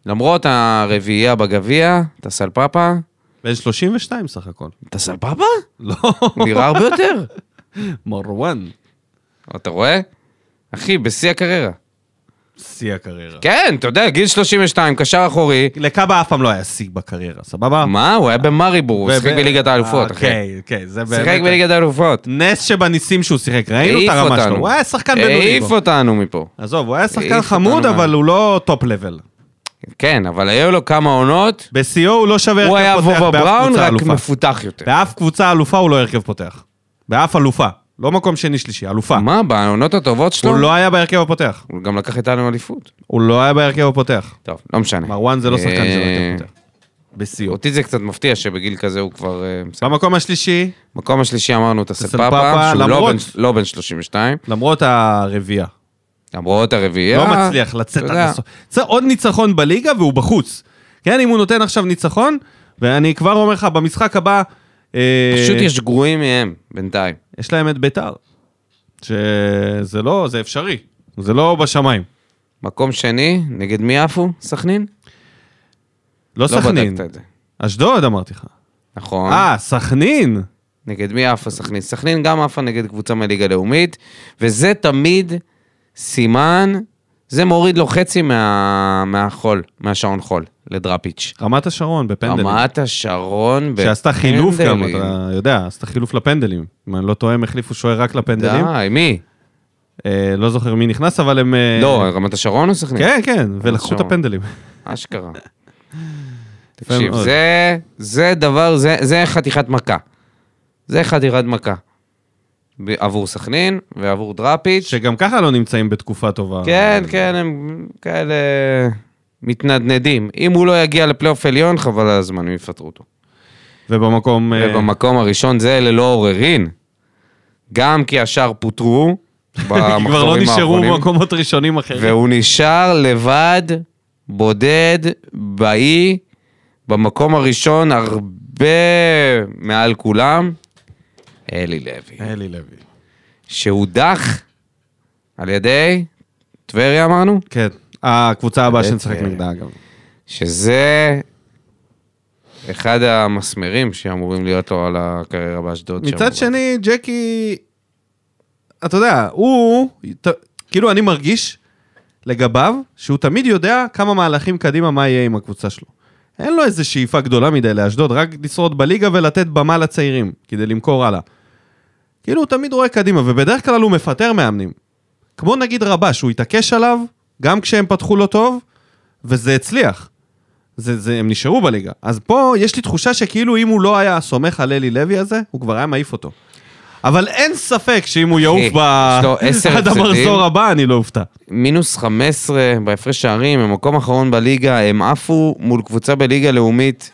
Speaker 2: למרות הרביעייה בגביע, אתה סלפפה.
Speaker 1: בן 32 סך הכל.
Speaker 2: אתה סלפפה?
Speaker 1: לא,
Speaker 2: נראה הרבה יותר.
Speaker 1: מרואן,
Speaker 2: אתה רואה? אחי, בשיא הקריירה.
Speaker 1: שיא הקריירה.
Speaker 2: כן, אתה יודע, גיל 32, קשר אחורי.
Speaker 1: לקאבה אף פעם לא היה שיא בקריירה, סבבה?
Speaker 2: מה? הוא היה במאריבור, הוא שיחק
Speaker 1: וב-
Speaker 2: בליגת האלופות,
Speaker 1: אה,
Speaker 2: אחי.
Speaker 1: כן, כן, זה באמת...
Speaker 2: שיחק בליגת האלופות.
Speaker 1: נס שבניסים שהוא שיחק, ראינו את
Speaker 2: העיף
Speaker 1: הרמה שלו.
Speaker 2: אותנו.
Speaker 1: הוא היה שחקן בינוני.
Speaker 2: העיף
Speaker 1: בו.
Speaker 2: אותנו מפה.
Speaker 1: עזוב, הוא היה שחקן
Speaker 2: העיף
Speaker 1: חמוד,
Speaker 2: אותנו
Speaker 1: אבל הוא לא טופ לבל.
Speaker 2: כן, אבל היו לו כמה עונות,
Speaker 1: בשיאו הוא לא שווה
Speaker 2: הוא
Speaker 1: הרכב
Speaker 2: היה
Speaker 1: פותח
Speaker 2: וובה
Speaker 1: באף
Speaker 2: בראון,
Speaker 1: קבוצה
Speaker 2: רק
Speaker 1: אלופה.
Speaker 2: מפותח יותר.
Speaker 1: באף קבוצה אלופה הוא לא הרכב פותח. באף אלופה. לא מקום שני שלישי, אלופה.
Speaker 2: מה, בעונות הטובות שלו?
Speaker 1: אה. הוא לא היה בהרכב הפותח.
Speaker 2: הוא גם לקח איתנו אליפות.
Speaker 1: הוא לא היה בהרכב הפותח.
Speaker 2: טוב, לא משנה.
Speaker 1: מרואן זה לא שחקן של
Speaker 2: אה,
Speaker 1: הרכב פותח. בשיאו.
Speaker 2: אותי זה קצת מפתיע שבגיל כזה הוא כבר... אה, בסדר.
Speaker 1: במקום השלישי,
Speaker 2: מקום השלישי אמרנו את הסלפאפה,
Speaker 1: הסלפאפה,
Speaker 2: שהוא לא
Speaker 1: למרות-
Speaker 2: בן- לא בן 32,
Speaker 1: למרות הרביעייה.
Speaker 2: למרות הרביעייה.
Speaker 1: לא מצליח לצאת
Speaker 2: אתה
Speaker 1: עד
Speaker 2: יודע,
Speaker 1: הסוף. צריך עוד ניצחון בליגה והוא בחוץ. כן, אם הוא נותן עכשיו ניצחון, ואני כבר אומר לך, במשחק הבא... אה,
Speaker 2: פשוט יש גרועים מהם בינתיים.
Speaker 1: יש להם את ביתר. שזה לא, זה אפשרי. זה לא בשמיים.
Speaker 2: מקום שני, נגד מי עפו? סכנין?
Speaker 1: לא סכנין.
Speaker 2: לא בדקת את זה.
Speaker 1: אשדוד אמרתי לך.
Speaker 2: נכון.
Speaker 1: אה, סכנין.
Speaker 2: נגד מי עפה סכנין? סכנין גם עפה נגד קבוצה מליגה לאומית, וזה תמיד סימן, זה מוריד לו חצי מה, מהחול, מהשעון חול, לדראפיץ'.
Speaker 1: רמת השרון בפנדלים.
Speaker 2: רמת השרון
Speaker 1: שעשתה
Speaker 2: בפנדלים.
Speaker 1: חילוף גם, אתה יודע, עשתה חילוף לפנדלים. אם אני לא טועה, הם החליפו שוער רק לפנדלים.
Speaker 2: די, מי?
Speaker 1: אה, לא זוכר מי נכנס, אבל הם... אה,
Speaker 2: לא, רמת השרון או סכנין?
Speaker 1: כן, כן, ולקחו את
Speaker 2: השרון.
Speaker 1: הפנדלים.
Speaker 2: אשכרה. תקשיב,
Speaker 1: מאוד.
Speaker 2: זה, זה דבר, זה, זה חתיכת מכה. זה חתיכת מכה. ב- עבור סכנין ועבור דראפיץ'.
Speaker 1: שגם ככה לא נמצאים בתקופה טובה.
Speaker 2: כן, כן, הם כאלה מתנדנדים. אם הוא לא יגיע לפלייאוף עליון, חבל על הזמן, הם יפטרו אותו.
Speaker 1: ובמקום... אה,
Speaker 2: ובמקום הראשון זה ללא עוררין. גם כי השאר פוטרו
Speaker 1: כי כבר לא
Speaker 2: במחזורים
Speaker 1: נשארו
Speaker 2: האחרונים,
Speaker 1: מקומות ראשונים אחרים.
Speaker 2: והוא נשאר לבד, בודד, באי, במקום הראשון, הרבה מעל כולם, אלי לוי.
Speaker 1: אלי לוי.
Speaker 2: שהודח על ידי, טבריה אמרנו?
Speaker 1: כן. הקבוצה הבאה
Speaker 2: באמת,
Speaker 1: שנשחק
Speaker 2: אה,
Speaker 1: נגדה, אגב.
Speaker 2: שזה אחד המסמרים שאמורים להיות לו על הקריירה באשדוד.
Speaker 1: מצד
Speaker 2: שאמורים-
Speaker 1: שני, ג'קי, אתה יודע, הוא, ת- כאילו אני מרגיש לגביו, שהוא תמיד יודע כמה מהלכים קדימה מה יהיה עם הקבוצה שלו. אין לו איזו שאיפה גדולה מדי לאשדוד, רק לשרוד בליגה ולתת במה לצעירים, כדי למכור הלאה. כאילו, הוא תמיד רואה קדימה, ובדרך כלל הוא מפטר מאמנים. כמו נגיד רבש, הוא התעקש עליו, גם כשהם פתחו לא טוב, וזה הצליח. זה, זה, הם נשארו בליגה. אז פה יש לי תחושה שכאילו אם הוא לא היה סומך על אלי לוי הזה, הוא כבר היה מעיף אותו. אבל אין ספק שאם הוא יעוף
Speaker 2: יש
Speaker 1: ב...
Speaker 2: לו עשר
Speaker 1: עד
Speaker 2: הפסדים.
Speaker 1: המחזור הבא, אני לא אופתע.
Speaker 2: מינוס 15 בהפרש שערים, הם מקום אחרון בליגה, הם עפו מול קבוצה בליגה לאומית.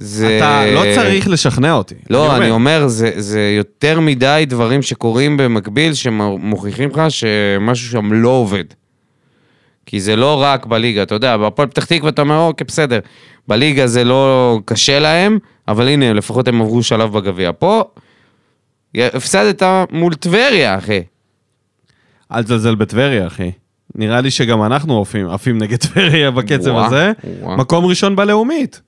Speaker 2: זה...
Speaker 1: אתה לא צריך לשכנע אותי.
Speaker 2: לא, אני אומר, זה, זה יותר מדי דברים שקורים במקביל, שמוכיחים לך שמשהו שם לא עובד. כי זה לא רק בליגה, אתה יודע, בהפועל פתח תקווה אתה אומר, אוקיי, בסדר, בליגה זה לא קשה להם, אבל הנה, לפחות הם עברו שלב בגביע. פה, הפסדת מול טבריה, אחי.
Speaker 1: אל תזלזל בטבריה, אחי. נראה לי שגם אנחנו עפים, עפים נגד טבריה בקצב
Speaker 2: וואה,
Speaker 1: הזה.
Speaker 2: וואה.
Speaker 1: מקום ראשון בלאומית.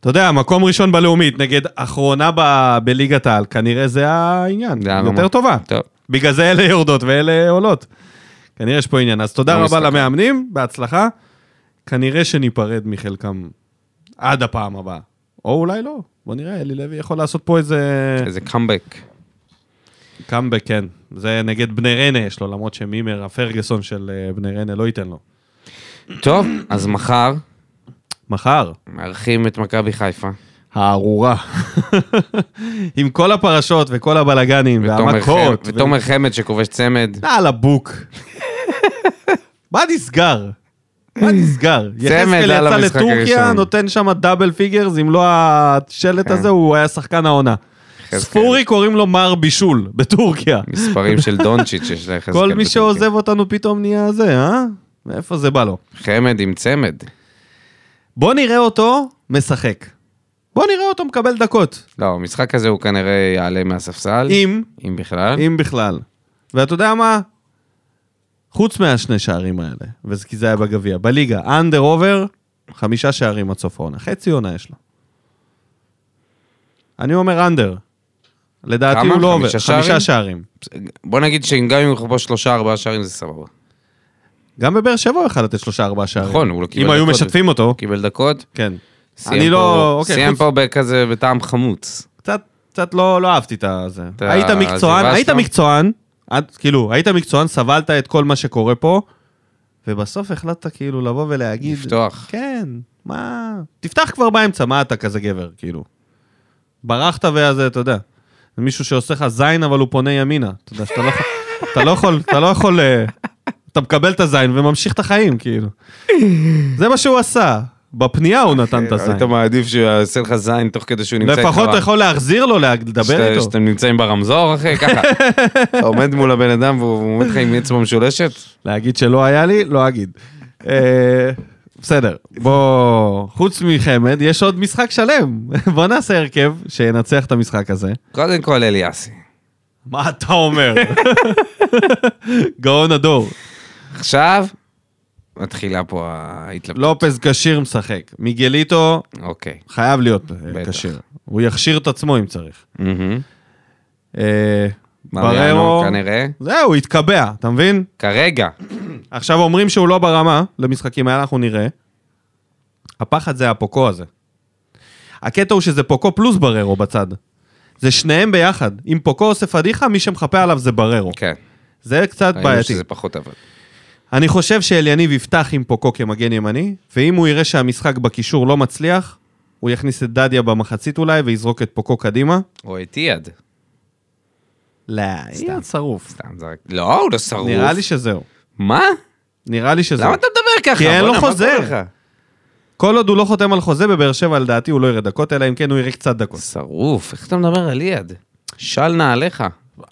Speaker 1: אתה יודע, מקום ראשון בלאומית נגד אחרונה ב- בליגת העל, כנראה זה העניין.
Speaker 2: זה הרמה.
Speaker 1: יותר טובה.
Speaker 2: טוב.
Speaker 1: בגלל זה אלה יורדות ואלה עולות. כנראה יש פה עניין. אז תודה
Speaker 2: לא
Speaker 1: רבה
Speaker 2: מסתכל.
Speaker 1: למאמנים, בהצלחה. כנראה שניפרד מחלקם עד הפעם הבאה. או אולי לא, בוא נראה, אלי לוי יכול לעשות פה איזה...
Speaker 2: איזה קאמבק.
Speaker 1: קאמבק, כן. זה נגד בני ריינה יש לו, למרות שמימר, הפרגוסון של אה, בני ריינה לא ייתן לו.
Speaker 2: טוב, אז מחר
Speaker 1: מחר,
Speaker 2: מארחים את מכבי חיפה.
Speaker 1: הארורה. עם כל הפרשות וכל הבלגנים
Speaker 2: ותומר
Speaker 1: והמכות.
Speaker 2: חמד- ותומר חמד שכובש צמד.
Speaker 1: נע על הבוק. מה נסגר? מה נסגר? יחזקאל
Speaker 2: על
Speaker 1: יצא
Speaker 2: המשחק
Speaker 1: לטורקיה,
Speaker 2: הראשון.
Speaker 1: נותן שם דאבל פיגרס, אם לא השלט
Speaker 2: כן.
Speaker 1: הזה, הוא היה שחקן העונה.
Speaker 2: יחזקאל.
Speaker 1: ספורי קוראים לו מר בישול, בטורקיה.
Speaker 2: מספרים של דונצ'יץ' שיש ליחס.
Speaker 1: כל מי שעוזב אותנו פתאום נהיה זה, אה? מאיפה זה בא לו?
Speaker 2: חמד עם צמד.
Speaker 1: בוא נראה אותו משחק. בוא נראה אותו מקבל דקות.
Speaker 2: לא, המשחק הזה הוא כנראה יעלה מהספסל.
Speaker 1: אם,
Speaker 2: אם בכלל.
Speaker 1: אם בכלל. ואתה יודע מה? חוץ מהשני שערים האלה, וזה כי זה היה בגביע, בליגה, אנדר עובר, חמישה שערים עד סוף העונה. חצי עונה יש לו. אני אומר אנדר. לדעתי
Speaker 2: כמה?
Speaker 1: הוא לא עובר.
Speaker 2: חמישה שערים?
Speaker 1: חמישה שערים.
Speaker 2: בוא נגיד שגם אם הוא יכבוש שלושה ארבעה שערים זה סבבה.
Speaker 1: גם בבאר שבע הוא יכול לתת שלושה ארבעה שערים.
Speaker 2: נכון, הוא לא קיבל
Speaker 1: אם היו
Speaker 2: דקות.
Speaker 1: משתפים אותו,
Speaker 2: הוא קיבל דקות.
Speaker 1: כן.
Speaker 2: סיים
Speaker 1: אני
Speaker 2: פה-
Speaker 1: לא- אוקיי,
Speaker 2: סיים
Speaker 1: חוץ-
Speaker 2: פה בכזה בטעם חמוץ.
Speaker 1: קצת, קצת לא, לא אהבתי את הזה.
Speaker 2: את
Speaker 1: היית
Speaker 2: העזיבה
Speaker 1: מקצוען,
Speaker 2: שלו?
Speaker 1: היית מקצוען, עד, כאילו, היית מקצוען, סבלת את כל מה שקורה פה, ובסוף החלטת כאילו לבוא ולהגיד...
Speaker 2: לפתוח.
Speaker 1: כן, מה... תפתח כבר באמצע, מה אתה כזה גבר, כאילו. ברחת וזה, אתה יודע. זה מישהו שעושה לך זין, אבל הוא פונה ימינה. אתה יודע, שאתה לא יכול... אתה לא יכול, אתה לא יכול... אה, אתה מקבל את הזין וממשיך את החיים, כאילו. זה מה שהוא עשה. בפנייה הוא
Speaker 2: אה,
Speaker 1: נתן את הזין.
Speaker 2: היית מעדיף שהוא יעשה לך זין תוך כדי שהוא נמצא איתך.
Speaker 1: לפחות אתה
Speaker 2: ב-
Speaker 1: יכול להחזיר לו, לה- לדבר
Speaker 2: שאתה-
Speaker 1: איתו.
Speaker 2: שאתם נמצאים ברמזור אחי, ככה. אתה עומד מול הבן אדם והוא עומד לך עם אצבע משולשת.
Speaker 1: להגיד שלא היה לי, לא אגיד. אה, בסדר, בוא, חוץ מחמד, יש עוד משחק שלם. בוא נעשה הרכב שינצח את המשחק הזה.
Speaker 2: קודם כל אליאסי.
Speaker 1: מה אתה אומר? גאון הדור.
Speaker 2: עכשיו, מתחילה פה ההתלבטות.
Speaker 1: לופז כשיר משחק. מיגליטו
Speaker 2: אוקיי.
Speaker 1: חייב להיות אה,
Speaker 2: בטח.
Speaker 1: כשיר. הוא יכשיר את עצמו אם צריך.
Speaker 2: מהמם.
Speaker 1: אה, בררו,
Speaker 2: מריאנו כנראה.
Speaker 1: זהו, התקבע, אתה מבין?
Speaker 2: כרגע.
Speaker 1: עכשיו אומרים שהוא לא ברמה למשחקים האלה, אנחנו נראה. הפחד זה הפוקו הזה. הקטע הוא שזה פוקו פלוס בררו בצד. זה שניהם ביחד. אם פוקו עושה פדיחה, מי שמחפה עליו זה בררו.
Speaker 2: כן.
Speaker 1: זה קצת
Speaker 2: ראינו
Speaker 1: בעייתי.
Speaker 2: שזה פחות עבד.
Speaker 1: אני חושב שאליניב יפתח עם פוקו כמגן ימני, ואם הוא יראה שהמשחק בקישור לא מצליח, הוא יכניס את דדיה במחצית אולי ויזרוק את פוקו קדימה.
Speaker 2: או את אייד.
Speaker 1: לא, יהיה צרוף.
Speaker 2: סתם זרק. לא, הוא לא שרוף.
Speaker 1: נראה לי שזהו.
Speaker 2: מה?
Speaker 1: נראה לי שזהו.
Speaker 2: למה אתה מדבר ככה?
Speaker 1: כי אין לו
Speaker 2: בואנה, מה
Speaker 1: חוזר.
Speaker 2: קורה לך?
Speaker 1: כל עוד הוא לא חותם על חוזה בבאר שבע, לדעתי הוא לא יראה דקות, אלא אם כן הוא יראה קצת דקות.
Speaker 2: שרוף, איך אתה מדבר על אייד? של נעליך.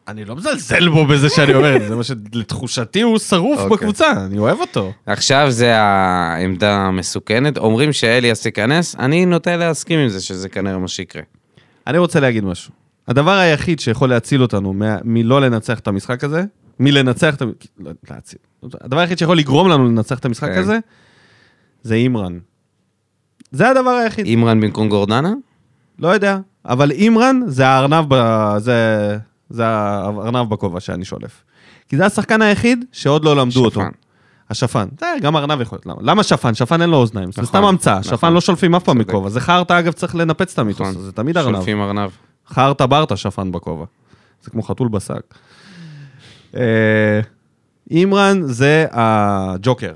Speaker 1: אני לא מזלזל בו בזה שאני אומר את זה, זה מה שלתחושתי הוא שרוף
Speaker 2: אוקיי.
Speaker 1: בקבוצה, אני אוהב אותו.
Speaker 2: עכשיו זה העמדה המסוכנת, אומרים שאליאס ייכנס, אני נוטה להסכים עם זה שזה כנראה מה שיקרה.
Speaker 1: אני רוצה להגיד משהו. הדבר היחיד שיכול להציל אותנו מה- מלא לנצח את המשחק הזה, מלנצח את... המ- לא, להציל. הדבר היחיד שיכול לגרום לנו לנצח את המשחק
Speaker 2: כן.
Speaker 1: הזה, זה אימרן. זה הדבר היחיד.
Speaker 2: אימרן במקום גורדנה?
Speaker 1: לא יודע, אבל אימרן זה הארנב, ב... זה... זה הארנב בכובע שאני שולף. כי זה השחקן היחיד שעוד לא למדו אותו.
Speaker 2: שפן.
Speaker 1: השפן, זה גם ארנב יכול להיות, למה? למה שפן? שפן אין לו אוזניים, זה
Speaker 2: נכון,
Speaker 1: סתם המצאה,
Speaker 2: נכון.
Speaker 1: שפן לא שולפים אף פעם
Speaker 2: צודק.
Speaker 1: מכובע, זה חרטא אגב צריך לנפץ את המיתוס
Speaker 2: נכון.
Speaker 1: הזה, זה תמיד ארנב,
Speaker 2: שולפים ארנב.
Speaker 1: חרטא ברטא שפן בכובע, זה כמו חתול בשק. אה, אימרן זה הג'וקר.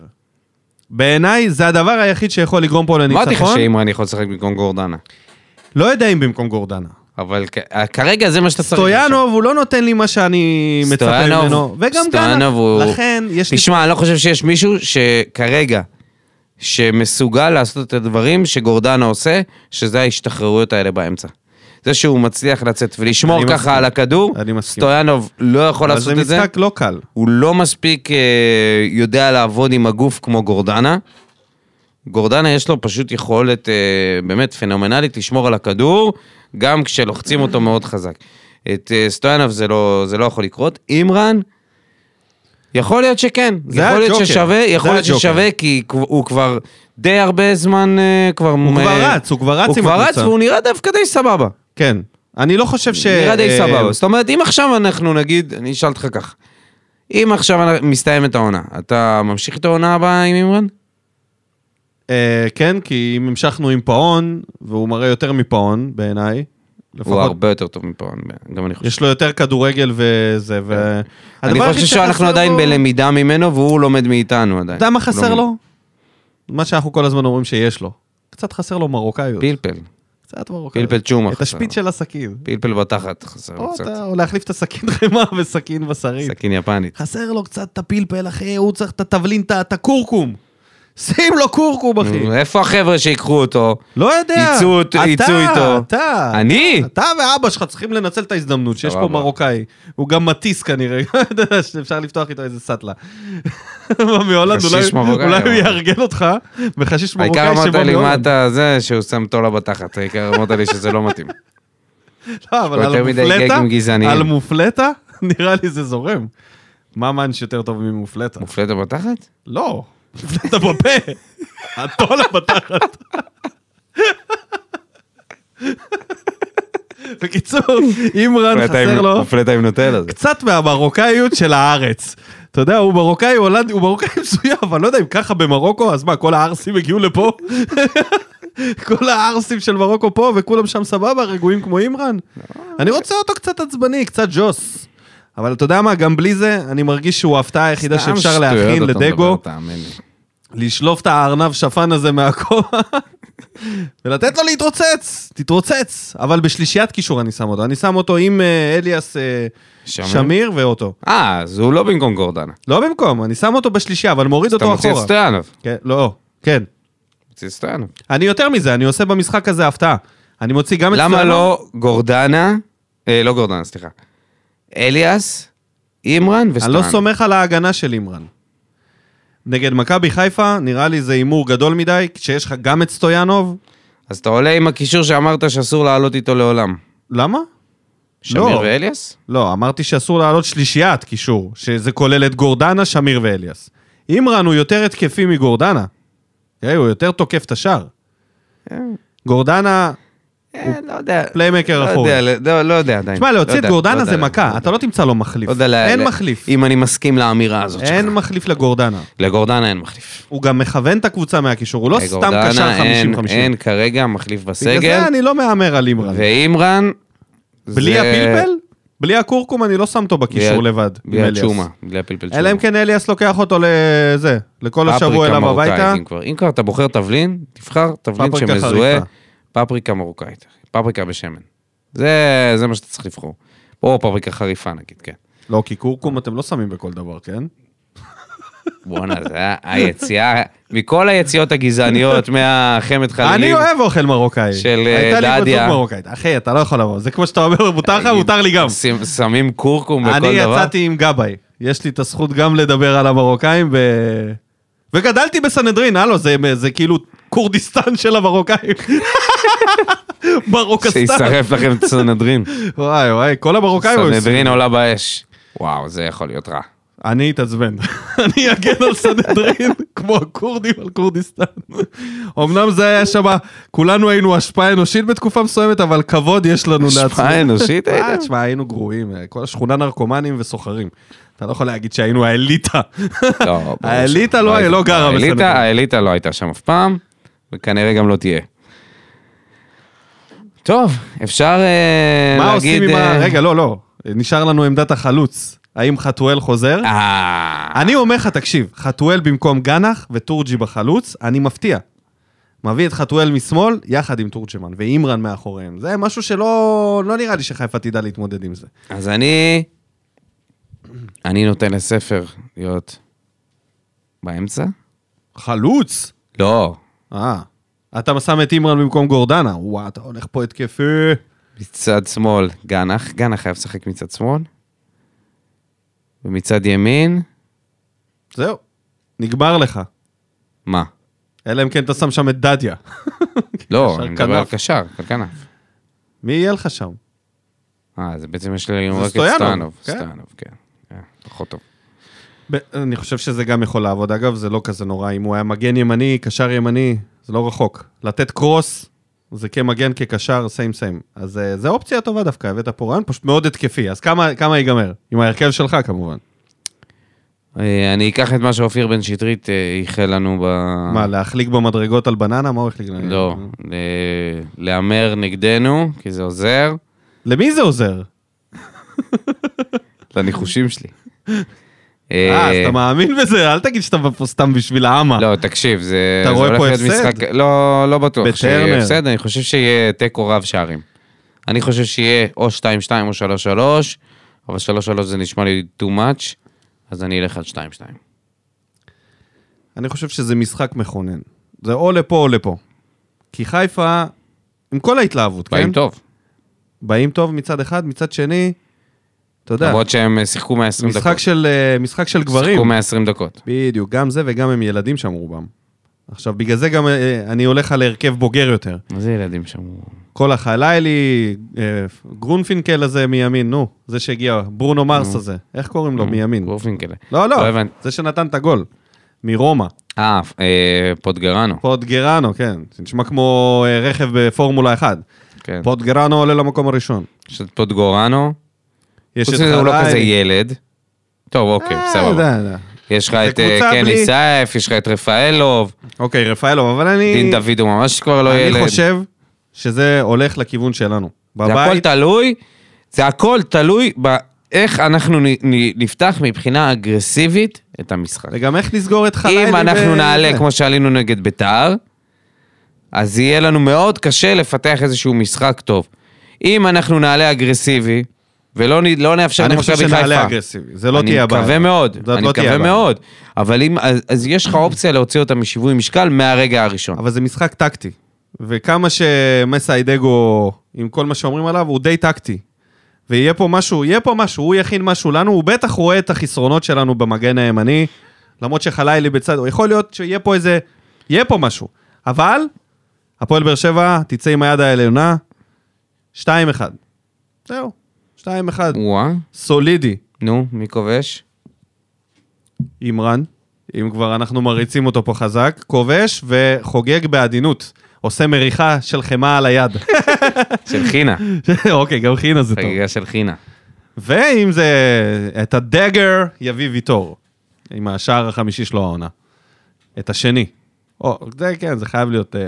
Speaker 1: בעיניי זה הדבר היחיד שיכול לגרום פה
Speaker 2: אמרתי לך
Speaker 1: לניצחון,
Speaker 2: שאימרן יכול לשחק במקום גורדנה.
Speaker 1: לא יודע אם במקום גורדנה.
Speaker 2: אבל כ- כרגע זה מה שאתה צריך.
Speaker 1: סטויאנוב הוא לא נותן לי מה שאני מצפה
Speaker 2: סטויאנוב-
Speaker 1: ממנו, וגם כאן,
Speaker 2: סטויאנוב הוא-
Speaker 1: לכן יש לי
Speaker 2: תשמע, אני לא חושב שיש מישהו שכרגע, שמסוגל לעשות את הדברים שגורדנה עושה, שזה ההשתחררויות האלה באמצע. זה שהוא מצליח לצאת ולשמור
Speaker 1: אני
Speaker 2: ככה
Speaker 1: מסכים.
Speaker 2: על הכדור,
Speaker 1: אני מסכים.
Speaker 2: סטויאנוב לא יכול
Speaker 1: אבל
Speaker 2: לעשות
Speaker 1: זה
Speaker 2: את זה.
Speaker 1: משחק לא קל.
Speaker 2: הוא לא מספיק אה, יודע לעבוד עם הגוף כמו גורדנה. גורדנה יש לו פשוט יכולת אה, באמת פנומנלית לשמור על הכדור, גם כשלוחצים אותו מאוד חזק. את אה, סטויאנוב זה לא, זה לא יכול לקרות. אימרן, יכול להיות שכן.
Speaker 1: זה
Speaker 2: יכול להיות
Speaker 1: הג'וקר.
Speaker 2: ששווה,
Speaker 1: זה
Speaker 2: יכול להיות
Speaker 1: הג'וקר.
Speaker 2: ששווה, כי כב- הוא כבר די הרבה זמן אה, כבר...
Speaker 1: הוא כבר רץ, הוא כבר רץ
Speaker 2: הוא
Speaker 1: עם
Speaker 2: כבר רץ
Speaker 1: הקבוצה.
Speaker 2: והוא נראה דווקא די סבבה.
Speaker 1: כן. אני לא חושב ש...
Speaker 2: נראה די
Speaker 1: אה,
Speaker 2: סבבה. זאת אומרת, אם עכשיו אנחנו נגיד, אני אשאל אותך כך, אם עכשיו אנחנו- מסתיימת העונה, אתה ממשיך את העונה הבאה עם אימרן?
Speaker 1: אה, כן, כי אם המשכנו עם פאון, והוא מראה יותר מפאון בעיניי.
Speaker 2: הוא
Speaker 1: לפחות
Speaker 2: הרבה יותר טוב מפה, גם אני חושב.
Speaker 1: יש לו יותר כדורגל וזה, ו...
Speaker 2: כן. אני
Speaker 1: הדבר
Speaker 2: חושב
Speaker 1: היחיד
Speaker 2: שאנחנו
Speaker 1: שחסר
Speaker 2: עדיין
Speaker 1: לו-
Speaker 2: בלמידה לא ממנו, והוא לומד מאיתנו עדיין.
Speaker 1: אתה יודע מה
Speaker 2: הוא
Speaker 1: חסר
Speaker 2: לומד.
Speaker 1: לו? מה שאנחנו כל הזמן אומרים שיש לו. קצת חסר לו מרוקאיות.
Speaker 2: פלפל,
Speaker 1: קצת מרוקאיות.
Speaker 2: פלפל צ'ומה
Speaker 1: את
Speaker 2: חסר.
Speaker 1: השפיץ של הסכין.
Speaker 2: פלפל בתחת חסר לו
Speaker 1: או,
Speaker 2: קצת.
Speaker 1: אתה- או להחליף את הסכין חמאה בסכין בשרית.
Speaker 2: סכין יפנית.
Speaker 1: חסר לו קצת את הפלפל, אחי, הוא צריך את התבלין, את ה- את הכורכום. שים לו כורכום, אחי.
Speaker 2: איפה החבר'ה שיקחו אותו?
Speaker 1: לא יודע.
Speaker 2: יצאו אותו-
Speaker 1: אתה,
Speaker 2: יצאו איתו.
Speaker 1: אתה,
Speaker 2: אני?
Speaker 1: אה, אתה ואבא שלך צריכים לנצל את ההזדמנות שיש פה
Speaker 2: סבבה.
Speaker 1: מרוקאי. הוא גם מטיס כנראה, אתה יודע שאפשר לפתוח איתו איזה סאטלה. מהולנד,
Speaker 2: חשיש
Speaker 1: אולי-
Speaker 2: מרוקאי,
Speaker 1: אולי הוא
Speaker 2: אבל.
Speaker 1: יארגן אותך בחשיש
Speaker 2: העיקר
Speaker 1: מרוקאי
Speaker 2: אמרת
Speaker 1: שבא
Speaker 2: לי מה
Speaker 1: מהולנד.
Speaker 2: אתה זה שהוא שם תולה בתחת, העיקר אמרת לי שזה לא מתאים.
Speaker 1: לא, אבל
Speaker 2: יש פה
Speaker 1: על
Speaker 2: יותר מדי
Speaker 1: מופלטה,
Speaker 2: גגים גזעניים.
Speaker 1: על מופלטה, נראה לי זה זורם. מה מאנש יותר טוב ממופלטה?
Speaker 2: מופלטה בתחת?
Speaker 1: לא, מופלטה בפה. הטולה בתחת. בקיצור, אם רן
Speaker 2: מופלטה עם-
Speaker 1: חסר לו...
Speaker 2: מופלטה עם נוטלה. זה.
Speaker 1: קצת מהמרוקאיות של הארץ. אתה יודע, הוא מרוקאי הולנדי, הוא מרוקאי מסוים, אבל לא יודע אם ככה במרוקו, אז מה, כל הערסים הגיעו לפה? כל הערסים של מרוקו פה, וכולם שם סבבה, רגועים כמו אימרן? אני רוצה אותו קצת עצבני, קצת ג'וס. אבל אתה יודע מה, גם בלי זה, אני מרגיש שהוא ההפתעה היחידה
Speaker 2: סתם
Speaker 1: שאפשר
Speaker 2: שטויות
Speaker 1: להכין
Speaker 2: אתה
Speaker 1: לדגו,
Speaker 2: מדבר, תאמין לי.
Speaker 1: לשלוף את הארנב שפן הזה מהכוח, ולתת לו להתרוצץ, תתרוצץ. אבל בשלישיית קישור אני שם אותו, אני שם אותו עם אה, אליאס אה,
Speaker 2: שמיר?
Speaker 1: שמיר ואוטו.
Speaker 2: אה, אז הוא לא במקום גורדנה.
Speaker 1: לא במקום, אני שם אותו בשלישייה, אבל מוריד
Speaker 2: אתה
Speaker 1: אותו
Speaker 2: מוציא את
Speaker 1: אחורה.
Speaker 2: סטויאנוב.
Speaker 1: כן, לא, כן.
Speaker 2: מוציא את סטויאנוב.
Speaker 1: אני יותר מזה, אני עושה במשחק הזה הפתעה. אני מוציא גם את
Speaker 2: למה
Speaker 1: סטרנוב,
Speaker 2: לא גורדנה, אה, לא גורדנה, סליחה. אליאס, אימרן
Speaker 1: אני לא
Speaker 2: וסטויאנוב.
Speaker 1: סומך על ההגנה של אימרן. נגד מכבי חיפה, נראה לי זה הימור גדול מדי, כשיש לך גם את סטויאנוב.
Speaker 2: אז אתה עולה עם הקישור שאמרת שאסור לעלות איתו
Speaker 1: לא.
Speaker 2: לעולם.
Speaker 1: למה?
Speaker 2: שמיר ואליאס?
Speaker 1: לא, אמרתי שאסור לעלות שלישיית קישור, שזה כולל את גורדנה, שמיר ואליאס. אימרן הוא יותר התקפי מגורדנה. תראה, הוא יותר תוקף את השאר.
Speaker 2: אה,
Speaker 1: גורדנה,
Speaker 2: אה, לא יודע.
Speaker 1: פליימקר
Speaker 2: לא
Speaker 1: אחורי.
Speaker 2: יודע, לא- לא יודע עדיין.
Speaker 1: תשמע,
Speaker 2: לא
Speaker 1: להוציא את
Speaker 2: יודע, לא
Speaker 1: גורדנה
Speaker 2: יודע,
Speaker 1: זה
Speaker 2: לא
Speaker 1: מכה,
Speaker 2: יודע.
Speaker 1: אתה לא תמצא לו מחליף.
Speaker 2: לא יודע, ל-
Speaker 1: אין
Speaker 2: ל-
Speaker 1: מחליף.
Speaker 2: אם אני מסכים לאמירה הזאת שלך.
Speaker 1: אין מחליף לגורדנה.
Speaker 2: לגורדנה אין מחליף.
Speaker 1: הוא גם מכוון את הקבוצה מהקישור, הוא לא סתם
Speaker 2: לגורדנה
Speaker 1: קשר 50-50.
Speaker 2: אה, אין- אין כרגע מחליף
Speaker 1: בגלל
Speaker 2: בסגל,
Speaker 1: זה אני לא מהמר על אימרן.
Speaker 2: ואימרן...
Speaker 1: בלי
Speaker 2: זה-
Speaker 1: הפלפל, בלי הכורכום, אני לא שם אותו בקישור
Speaker 2: בלי ה-
Speaker 1: לבד. עם
Speaker 2: בלי
Speaker 1: אליאס.
Speaker 2: הצ'ומה, בלי הפלפל צ'ומה.
Speaker 1: אלא אם כן אליאס לוקח אותו לזה, לכל השבוע
Speaker 2: פפריקה
Speaker 1: אליו
Speaker 2: מרוקאית,
Speaker 1: הביתה.
Speaker 2: אם כבר- אם כבר אתה בוחר תבלין, תבחר תבלין
Speaker 1: פפריקה
Speaker 2: שמזוהה,
Speaker 1: חריפה.
Speaker 2: פפריקה מרוקאית, אחי. פפריקה בשמן. זה זה מה שאתה צריך לבחור. או פפריקה חריפה נגיד, כן.
Speaker 1: לא, כי כורכום אתם לא שמים בכל דבר, כן?
Speaker 2: בואנה, זה היה היציאה, מכל היציאות הגזעניות מהחמד חללים.
Speaker 1: אני אוהב אוכל מרוקאי.
Speaker 2: של,
Speaker 1: הייתה לי
Speaker 2: אה,
Speaker 1: בת זוג
Speaker 2: דדיה.
Speaker 1: מרוקאית. אחי, אתה לא יכול לבוא, זה כמו שאתה אומר, מותר לך,
Speaker 2: תגיד,
Speaker 1: מותר לי גם.
Speaker 2: שים- שמים כורכום בכל
Speaker 1: אני
Speaker 2: דבר.
Speaker 1: יצאתי עם גבאי, יש לי את הזכות גם לדבר על המרוקאים ו... וגדלתי בסנהדרין, הלו, זה, זה כאילו כורדיסטן של המרוקאים. מרוקסטן.
Speaker 2: שישרף לכם את סנהדרין.
Speaker 1: וואי וואי, כל המרוקאים היו
Speaker 2: סנהדרין עולה באש. וואו, זה יכול להיות רע.
Speaker 1: אני אתעצבן. אני אגן על סנהדרין כמו הכורדים על כורדיסטן. אמנם זה היה שם, כולנו היינו השפעה אנושית בתקופה מסוימת, אבל כבוד יש לנו לעצמנו.
Speaker 2: השפעה אנושית
Speaker 1: אה,
Speaker 2: הייתם?
Speaker 1: תשמע, היינו גרועים, אה, כל השכונה נרקומנים וסוחרים. אתה לא יכול להגיד שהיינו האליטה.
Speaker 2: לא, ברור
Speaker 1: האליטה
Speaker 2: שלא.
Speaker 1: לא- לא
Speaker 2: הייתה-
Speaker 1: גרה
Speaker 2: האליטה-
Speaker 1: בסנהדרין.
Speaker 2: האליטה לא הייתה שם אף פעם, וכנראה גם לא תהיה. טוב, אפשר אה,
Speaker 1: מה עושים
Speaker 2: להגיד...
Speaker 1: עם ה...
Speaker 2: אה,
Speaker 1: רגע, לא, לא. נשאר לנו עמדת החלוץ. האם חתואל חוזר?
Speaker 2: אה,
Speaker 1: אני אומר לך, תקשיב, חתואל במקום גנח וטורג'י בחלוץ, אני מפתיע. מביא את חתואל משמאל, יחד עם תורג'מן, ואימרן מאחוריהם. זה משהו שלא לא נראה לי שחיפה תדע להתמודד עם זה.
Speaker 2: אז אני... אני נותן לספר להיות באמצע?
Speaker 1: חלוץ?
Speaker 2: לא.
Speaker 1: אה. אתה שם את אימרן במקום גורדנה. וואו, אתה הולך פה התקפי.
Speaker 2: מצד שמאל, גנח. גנח חייב לשחק מצד שמאל. ומצד ימין,
Speaker 1: זהו, נגמר לך.
Speaker 2: מה?
Speaker 1: אלא אם כן אתה שם שם את דדיה.
Speaker 2: לא,
Speaker 1: קשר
Speaker 2: אני מדבר על
Speaker 1: כנף.
Speaker 2: קשר, על כנף.
Speaker 1: מי יהיה לך שם?
Speaker 2: אה, אז בעצם יש לי רק את
Speaker 1: סטויאנוב,
Speaker 2: סטויאנוב.
Speaker 1: כן.
Speaker 2: סטויאנוב, כן. אה, פחות טוב.
Speaker 1: ב- אני חושב שזה גם יכול לעבוד. אגב, זה לא כזה נורא. אם הוא היה מגן ימני, קשר ימני, זה לא רחוק. לתת קרוס, זה כמגן, כקשר, סיים סיים. אז אה, זה אופציה טובה דווקא, הבאת פה רעיון פשוט מאוד התקפי. אז כמה, כמה ייגמר? עם ההרכב שלך, כמובן.
Speaker 2: אה, אני אקח את מה שאופיר בן שטרית אה, איחל לנו ב...
Speaker 1: מה, להחליק במדרגות על בננה? מה הוא החליק? לנו?
Speaker 2: אה. לא, אה, להמר נגדנו, כי זה עוזר.
Speaker 1: למי זה עוזר?
Speaker 2: לניחושים שלי.
Speaker 1: אה, אז אתה מאמין בזה? אל תגיד שאתה פה סתם בשביל האמה.
Speaker 2: לא, תקשיב, זה...
Speaker 1: אתה
Speaker 2: זה
Speaker 1: רואה
Speaker 2: הולך
Speaker 1: פה
Speaker 2: להיות
Speaker 1: הפסד?
Speaker 2: משחק- לא, לא בטוח שיהיה
Speaker 1: בטרנר.
Speaker 2: הפסד, אני חושב שיהיה תיקו רב שערים. אני חושב שיהיה או 2-2 או 3-3, אבל 3-3 זה נשמע לי too much, אז אני אלך על 2-2.
Speaker 1: כן? אני חושב שזה משחק מכונן. זה או לפה או לפה. כי חיפה, עם כל ההתלהבות, כן?
Speaker 2: באים טוב.
Speaker 1: באים טוב מצד אחד, מצד שני, אתה יודע,
Speaker 2: למרות שהם אה, שיחקו 120 דקות.
Speaker 1: משחק של, אה, משחק של גברים.
Speaker 2: שיחקו 120 דקות.
Speaker 1: בדיוק, גם זה וגם הם ילדים שם רובם. עכשיו, בגלל זה גם אה, אני הולך על הרכב בוגר יותר.
Speaker 2: מה זה ילדים שם?
Speaker 1: כל החלילי, אה, גרונפינקל הזה מימין, נו, זה שהגיע, ברונו מרס הזה, איך קוראים לו מימין?
Speaker 2: באופן כאלה.
Speaker 1: לא, לא,
Speaker 2: לא הבנתי.
Speaker 1: זה שנתן את הגול, מרומא.
Speaker 2: אה, אה, פוטגרנו.
Speaker 1: פוטגרנו, כן, זה נשמע כמו אה, רכב בפורמולה 1.
Speaker 2: כן.
Speaker 1: פוטגרנו עולה למקום הראשון.
Speaker 2: יש את פוטגורנו.
Speaker 1: יש
Speaker 2: חוץ
Speaker 1: את
Speaker 2: מזה הוא לא
Speaker 1: חלילי.
Speaker 2: כזה ילד. טוב, אוקיי,
Speaker 1: אה,
Speaker 2: סבבה.
Speaker 1: יודע, יודע.
Speaker 2: יש לך
Speaker 1: זה
Speaker 2: את אה,
Speaker 1: קבוצה
Speaker 2: קני
Speaker 1: בלי-
Speaker 2: סייף, יש לך את רפאלוב,
Speaker 1: אוקיי, רפאלוב, אבל אני...
Speaker 2: דין דוד הוא ממש כבר לא ילד.
Speaker 1: אני חושב שזה הולך לכיוון שלנו.
Speaker 2: זה הכל
Speaker 1: בבית,
Speaker 2: תלוי, זה הכל תלוי באיך אנחנו נ- נ- נפתח מבחינה אגרסיבית את המשחק.
Speaker 1: וגם איך נסגור את אה, חלילי.
Speaker 2: אם אנחנו
Speaker 1: ו-
Speaker 2: נעלה
Speaker 1: זה.
Speaker 2: כמו שעלינו נגד ביתר, אז יהיה לנו מאוד קשה לפתח איזשהו משחק טוב. אם אנחנו נעלה אגרסיבי, ולא נ- לא נאפשר
Speaker 1: אני חושב
Speaker 2: למכבי חיפה.
Speaker 1: שנעלה אגרסיבי, זה לא תהיה הבעיה.
Speaker 2: אני מקווה מאוד,
Speaker 1: זאת
Speaker 2: אני
Speaker 1: לא תהיה
Speaker 2: מקווה
Speaker 1: הבעיה.
Speaker 2: מאוד. אבל אם, אז, אז יש לך אופציה להוציא אותה משיווי משקל מהרגע הראשון.
Speaker 1: אבל זה משחק טקטי. וכמה שמסיידגו, עם כל מה שאומרים עליו, הוא די טקטי. ויהיה פה משהו, יהיה פה משהו, הוא יכין משהו לנו, הוא בטח רואה את החסרונות שלנו במגן הימני, למרות שחלילי בצד, הוא יכול להיות שיהיה פה איזה, יהיה פה משהו. אבל, הפועל באר שבע תצא עם היד העליונה, 2-1. זהו, 2-1,
Speaker 2: וואה,
Speaker 1: סולידי,
Speaker 2: נו, מי כובש?
Speaker 1: אימרן, אם כבר אנחנו מריצים אותו פה חזק, כובש וחוגג בעדינות. עושה מריחה של חמאה על היד.
Speaker 2: של חינה.
Speaker 1: אוקיי, גם חינה זה טוב.
Speaker 2: חגיגה של חינה.
Speaker 1: ואם זה... את הדגר יביא ויטור, עם השער החמישי שלו העונה. את השני. או, זה כן, זה חייב להיות אה,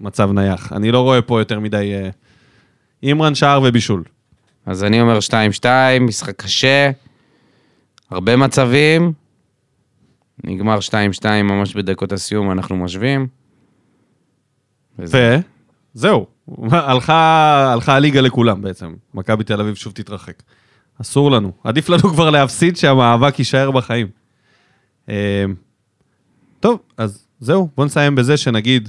Speaker 1: מצב נייח. אני לא רואה פה יותר מדי... אה, אימרן, שער ובישול.
Speaker 2: אז אני אומר 2-2, משחק קשה, הרבה מצבים, נגמר 2-2 ממש בדקות הסיום, אנחנו משווים. וזה-
Speaker 1: ו... זהו, הלכה, הלכה הליגה לכולם בעצם. מכבי תל אביב שוב תתרחק. אסור לנו. עדיף לנו כבר להפסיד שהמאבק יישאר בחיים. אה, טוב, אז זהו, בוא נסיים בזה שנגיד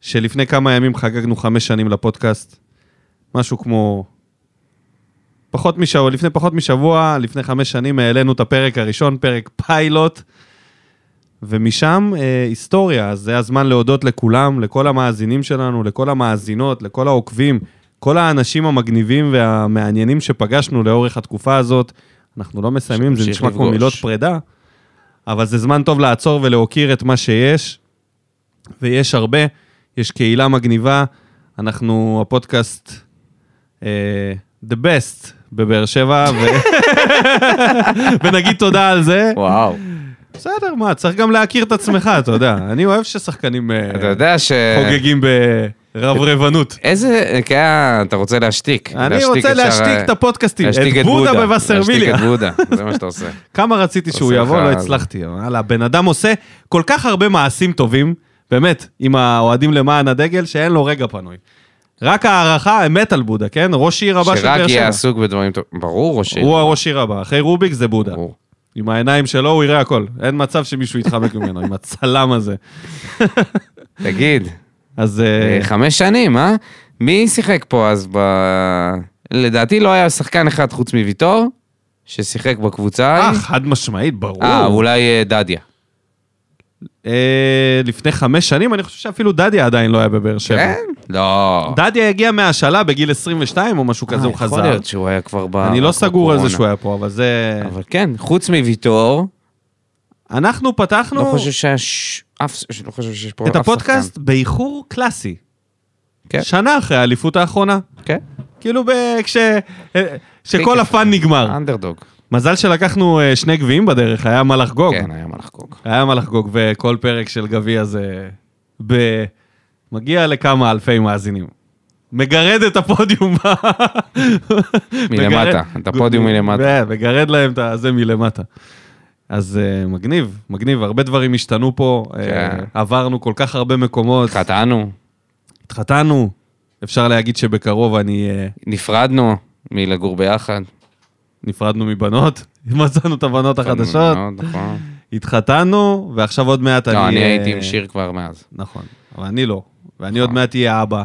Speaker 1: שלפני כמה ימים חגגנו חמש שנים לפודקאסט. משהו כמו... פחות משבוע, לפני פחות משבוע, לפני חמש שנים, העלינו את הפרק הראשון, פרק פיילוט. ומשם אה, היסטוריה, אז זה הזמן להודות לכולם, לכל המאזינים שלנו, לכל המאזינות, לכל העוקבים, כל האנשים המגניבים והמעניינים שפגשנו לאורך התקופה הזאת. אנחנו לא מסיימים, זה
Speaker 2: שנמשיך
Speaker 1: נשמע כמו
Speaker 2: לפגוש.
Speaker 1: מילות פרידה, אבל זה זמן טוב לעצור ולהוקיר את מה שיש, ויש הרבה, יש קהילה מגניבה, אנחנו הפודקאסט אה, The Best בבאר שבע, ו... ונגיד תודה על זה.
Speaker 2: וואו.
Speaker 1: כן. בסדר, מה, צריך גם להכיר את עצמך, אתה יודע. אני אוהב ששחקנים אה,
Speaker 2: אתה יודע ש...
Speaker 1: חוגגים ברברבנות.
Speaker 2: איזה... כי היה- אתה רוצה להשתיק.
Speaker 1: אני
Speaker 2: להשתיק
Speaker 1: רוצה
Speaker 2: את שאר ה-
Speaker 1: להשתיק את הפודקאסטים,
Speaker 2: להשתיק
Speaker 1: את בודה
Speaker 2: להשתיק
Speaker 1: בבשרמיליה.
Speaker 2: את בודה, זה מה שאתה עושה.
Speaker 1: כמה רציתי שהוא
Speaker 2: עושה
Speaker 1: יבוא,
Speaker 2: לך-
Speaker 1: לא הצלחתי. אבל וואלה, הבן אדם עושה כל כך הרבה מעשים טובים, באמת, עם האוהדים למען הדגל, שאין לו רגע פנוי. רק הערכה, אמת על בודה, כן? ראש עיר הבא של
Speaker 2: שרק
Speaker 1: באר
Speaker 2: יהיה
Speaker 1: שבע.
Speaker 2: עסוק בדברים טובים. ברור או ש...
Speaker 1: הוא הראש עיר הבא, אחרי רוביק זה בודה.
Speaker 2: ברור.
Speaker 1: עם העיניים שלו הוא יראה הכל. אין מצב שמישהו יתחמק ממנו, עם הצלם הזה.
Speaker 2: תגיד,
Speaker 1: אז... אה,
Speaker 2: אה, חמש שנים, אה? מי שיחק פה אז ב... לדעתי לא היה שחקן אחד חוץ מוויטור, ששיחק בקבוצה.
Speaker 1: אה,
Speaker 2: ההיא.
Speaker 1: חד משמעית, ברור.
Speaker 2: אה, אולי אה, דדיה.
Speaker 1: אה, לפני חמש שנים, אני חושב שאפילו דדיה עדיין לא היה בבאר שבע.
Speaker 2: כן? לא.
Speaker 1: דדיה הגיע מהשאלה בגיל 22 או משהו
Speaker 2: אה,
Speaker 1: כזה, הוא
Speaker 2: יכול
Speaker 1: חזר.
Speaker 2: להיות שהוא היה כבר ב...
Speaker 1: אני לא סגור על זה
Speaker 2: בקורונה.
Speaker 1: שהוא היה פה, אבל זה...
Speaker 2: אבל כן, חוץ מוויטור,
Speaker 1: אנחנו פתחנו
Speaker 2: לא חושב שיש אף, לא חושב שיש פה אף
Speaker 1: את
Speaker 2: שחקן.
Speaker 1: הפודקאסט באיחור קלאסי.
Speaker 2: כן.
Speaker 1: שנה אחרי האליפות האחרונה.
Speaker 2: כן,
Speaker 1: כאילו ב... כש... אה, שכל הפאן נגמר.
Speaker 2: אנדרדוג.
Speaker 1: מזל שלקחנו אה, שני גביעים בדרך, היה מה לחגוג.
Speaker 2: כן, היה מה לחגוג.
Speaker 1: היה מה לחגוג, וכל פרק של גביע זה ב... מגיע לכמה אלפי מאזינים. מגרד את הפודיום.
Speaker 2: מלמטה, את הפודיום מלמטה.
Speaker 1: כן, מגרד להם את זה מלמטה. אז uh, מגניב, מגניב, הרבה דברים השתנו פה,
Speaker 2: כן.
Speaker 1: uh, עברנו כל כך הרבה מקומות,
Speaker 2: חטאנו,
Speaker 1: התחתנו, אפשר להגיד שבקרוב אני uh,
Speaker 2: נפרדנו מלגור ביחד.
Speaker 1: נפרדנו מבנות, מצאנו את הבנות החדשות,
Speaker 2: מאוד, נכון.
Speaker 1: התחתנו, ועכשיו עוד מעט אני...
Speaker 2: לא, אני
Speaker 1: אה,
Speaker 2: הייתי עם שיר כבר מאז.
Speaker 1: נכון, אבל אני לא. ואני עוד מעט אהיה אבא.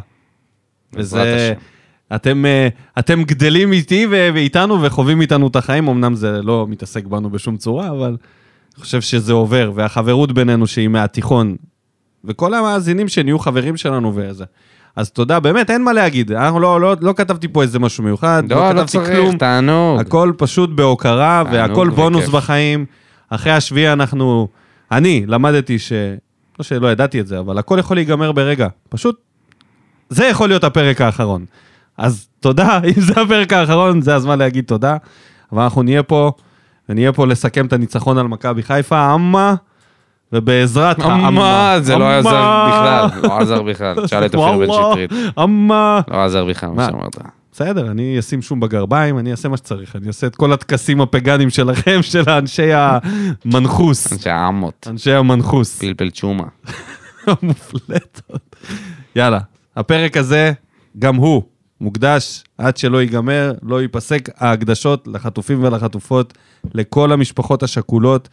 Speaker 1: וזה...
Speaker 2: בעזרת
Speaker 1: אתם, אה, אתם גדלים איתי ו- ואיתנו וחווים איתנו את החיים, אמנם זה לא מתעסק בנו בשום צורה, אבל אני חושב שזה עובר, והחברות בינינו שהיא מהתיכון, וכל המאזינים שנהיו חברים שלנו וזה. אז תודה, באמת, אין מה להגיד. אנחנו לא, לא, לא כתבתי פה איזה משהו מיוחד,
Speaker 2: לא, לא
Speaker 1: כתבתי
Speaker 2: צריך,
Speaker 1: כלום.
Speaker 2: תענוג.
Speaker 1: הכל פשוט בהוקרה,
Speaker 2: תענוג
Speaker 1: והכל
Speaker 2: וכיף.
Speaker 1: בונוס בחיים. אחרי השביעי אנחנו... אני למדתי ש... לא שלא ידעתי את זה, אבל הכל יכול להיגמר ברגע. פשוט, זה יכול להיות הפרק האחרון. אז תודה, אם זה הפרק האחרון, זה הזמן להגיד תודה. אבל אנחנו נהיה פה, ונהיה פה לסכם את הניצחון על מכבי חיפה, אמה, ובעזרת
Speaker 2: אמה, זה
Speaker 1: אמה.
Speaker 2: לא עזר בכלל, לא עזר בכלל. תשאל את אופיר בן
Speaker 1: אמה,
Speaker 2: שטרית.
Speaker 1: אמה.
Speaker 2: לא עזר בכלל מה
Speaker 1: מה?
Speaker 2: שאמרת.
Speaker 1: בסדר, אני אשים שום בגרביים, אני אעשה מה שצריך, אני אעשה את כל הטקסים הפגאנים שלכם, של האנשי המנחוס.
Speaker 2: אנשי העמות,
Speaker 1: אנשי המנחוס.
Speaker 2: פלפל צ'ומה.
Speaker 1: המופלטות. יאללה, הפרק הזה, גם הוא, מוקדש עד שלא ייגמר, לא ייפסק ההקדשות לחטופים ולחטופות, לכל המשפחות השכולות,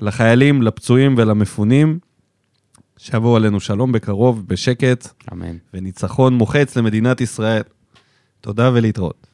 Speaker 1: לחיילים, לפצועים ולמפונים. שיבואו עלינו שלום בקרוב, בשקט,
Speaker 2: אמן.
Speaker 1: וניצחון מוחץ למדינת ישראל. תודה ולהתראות.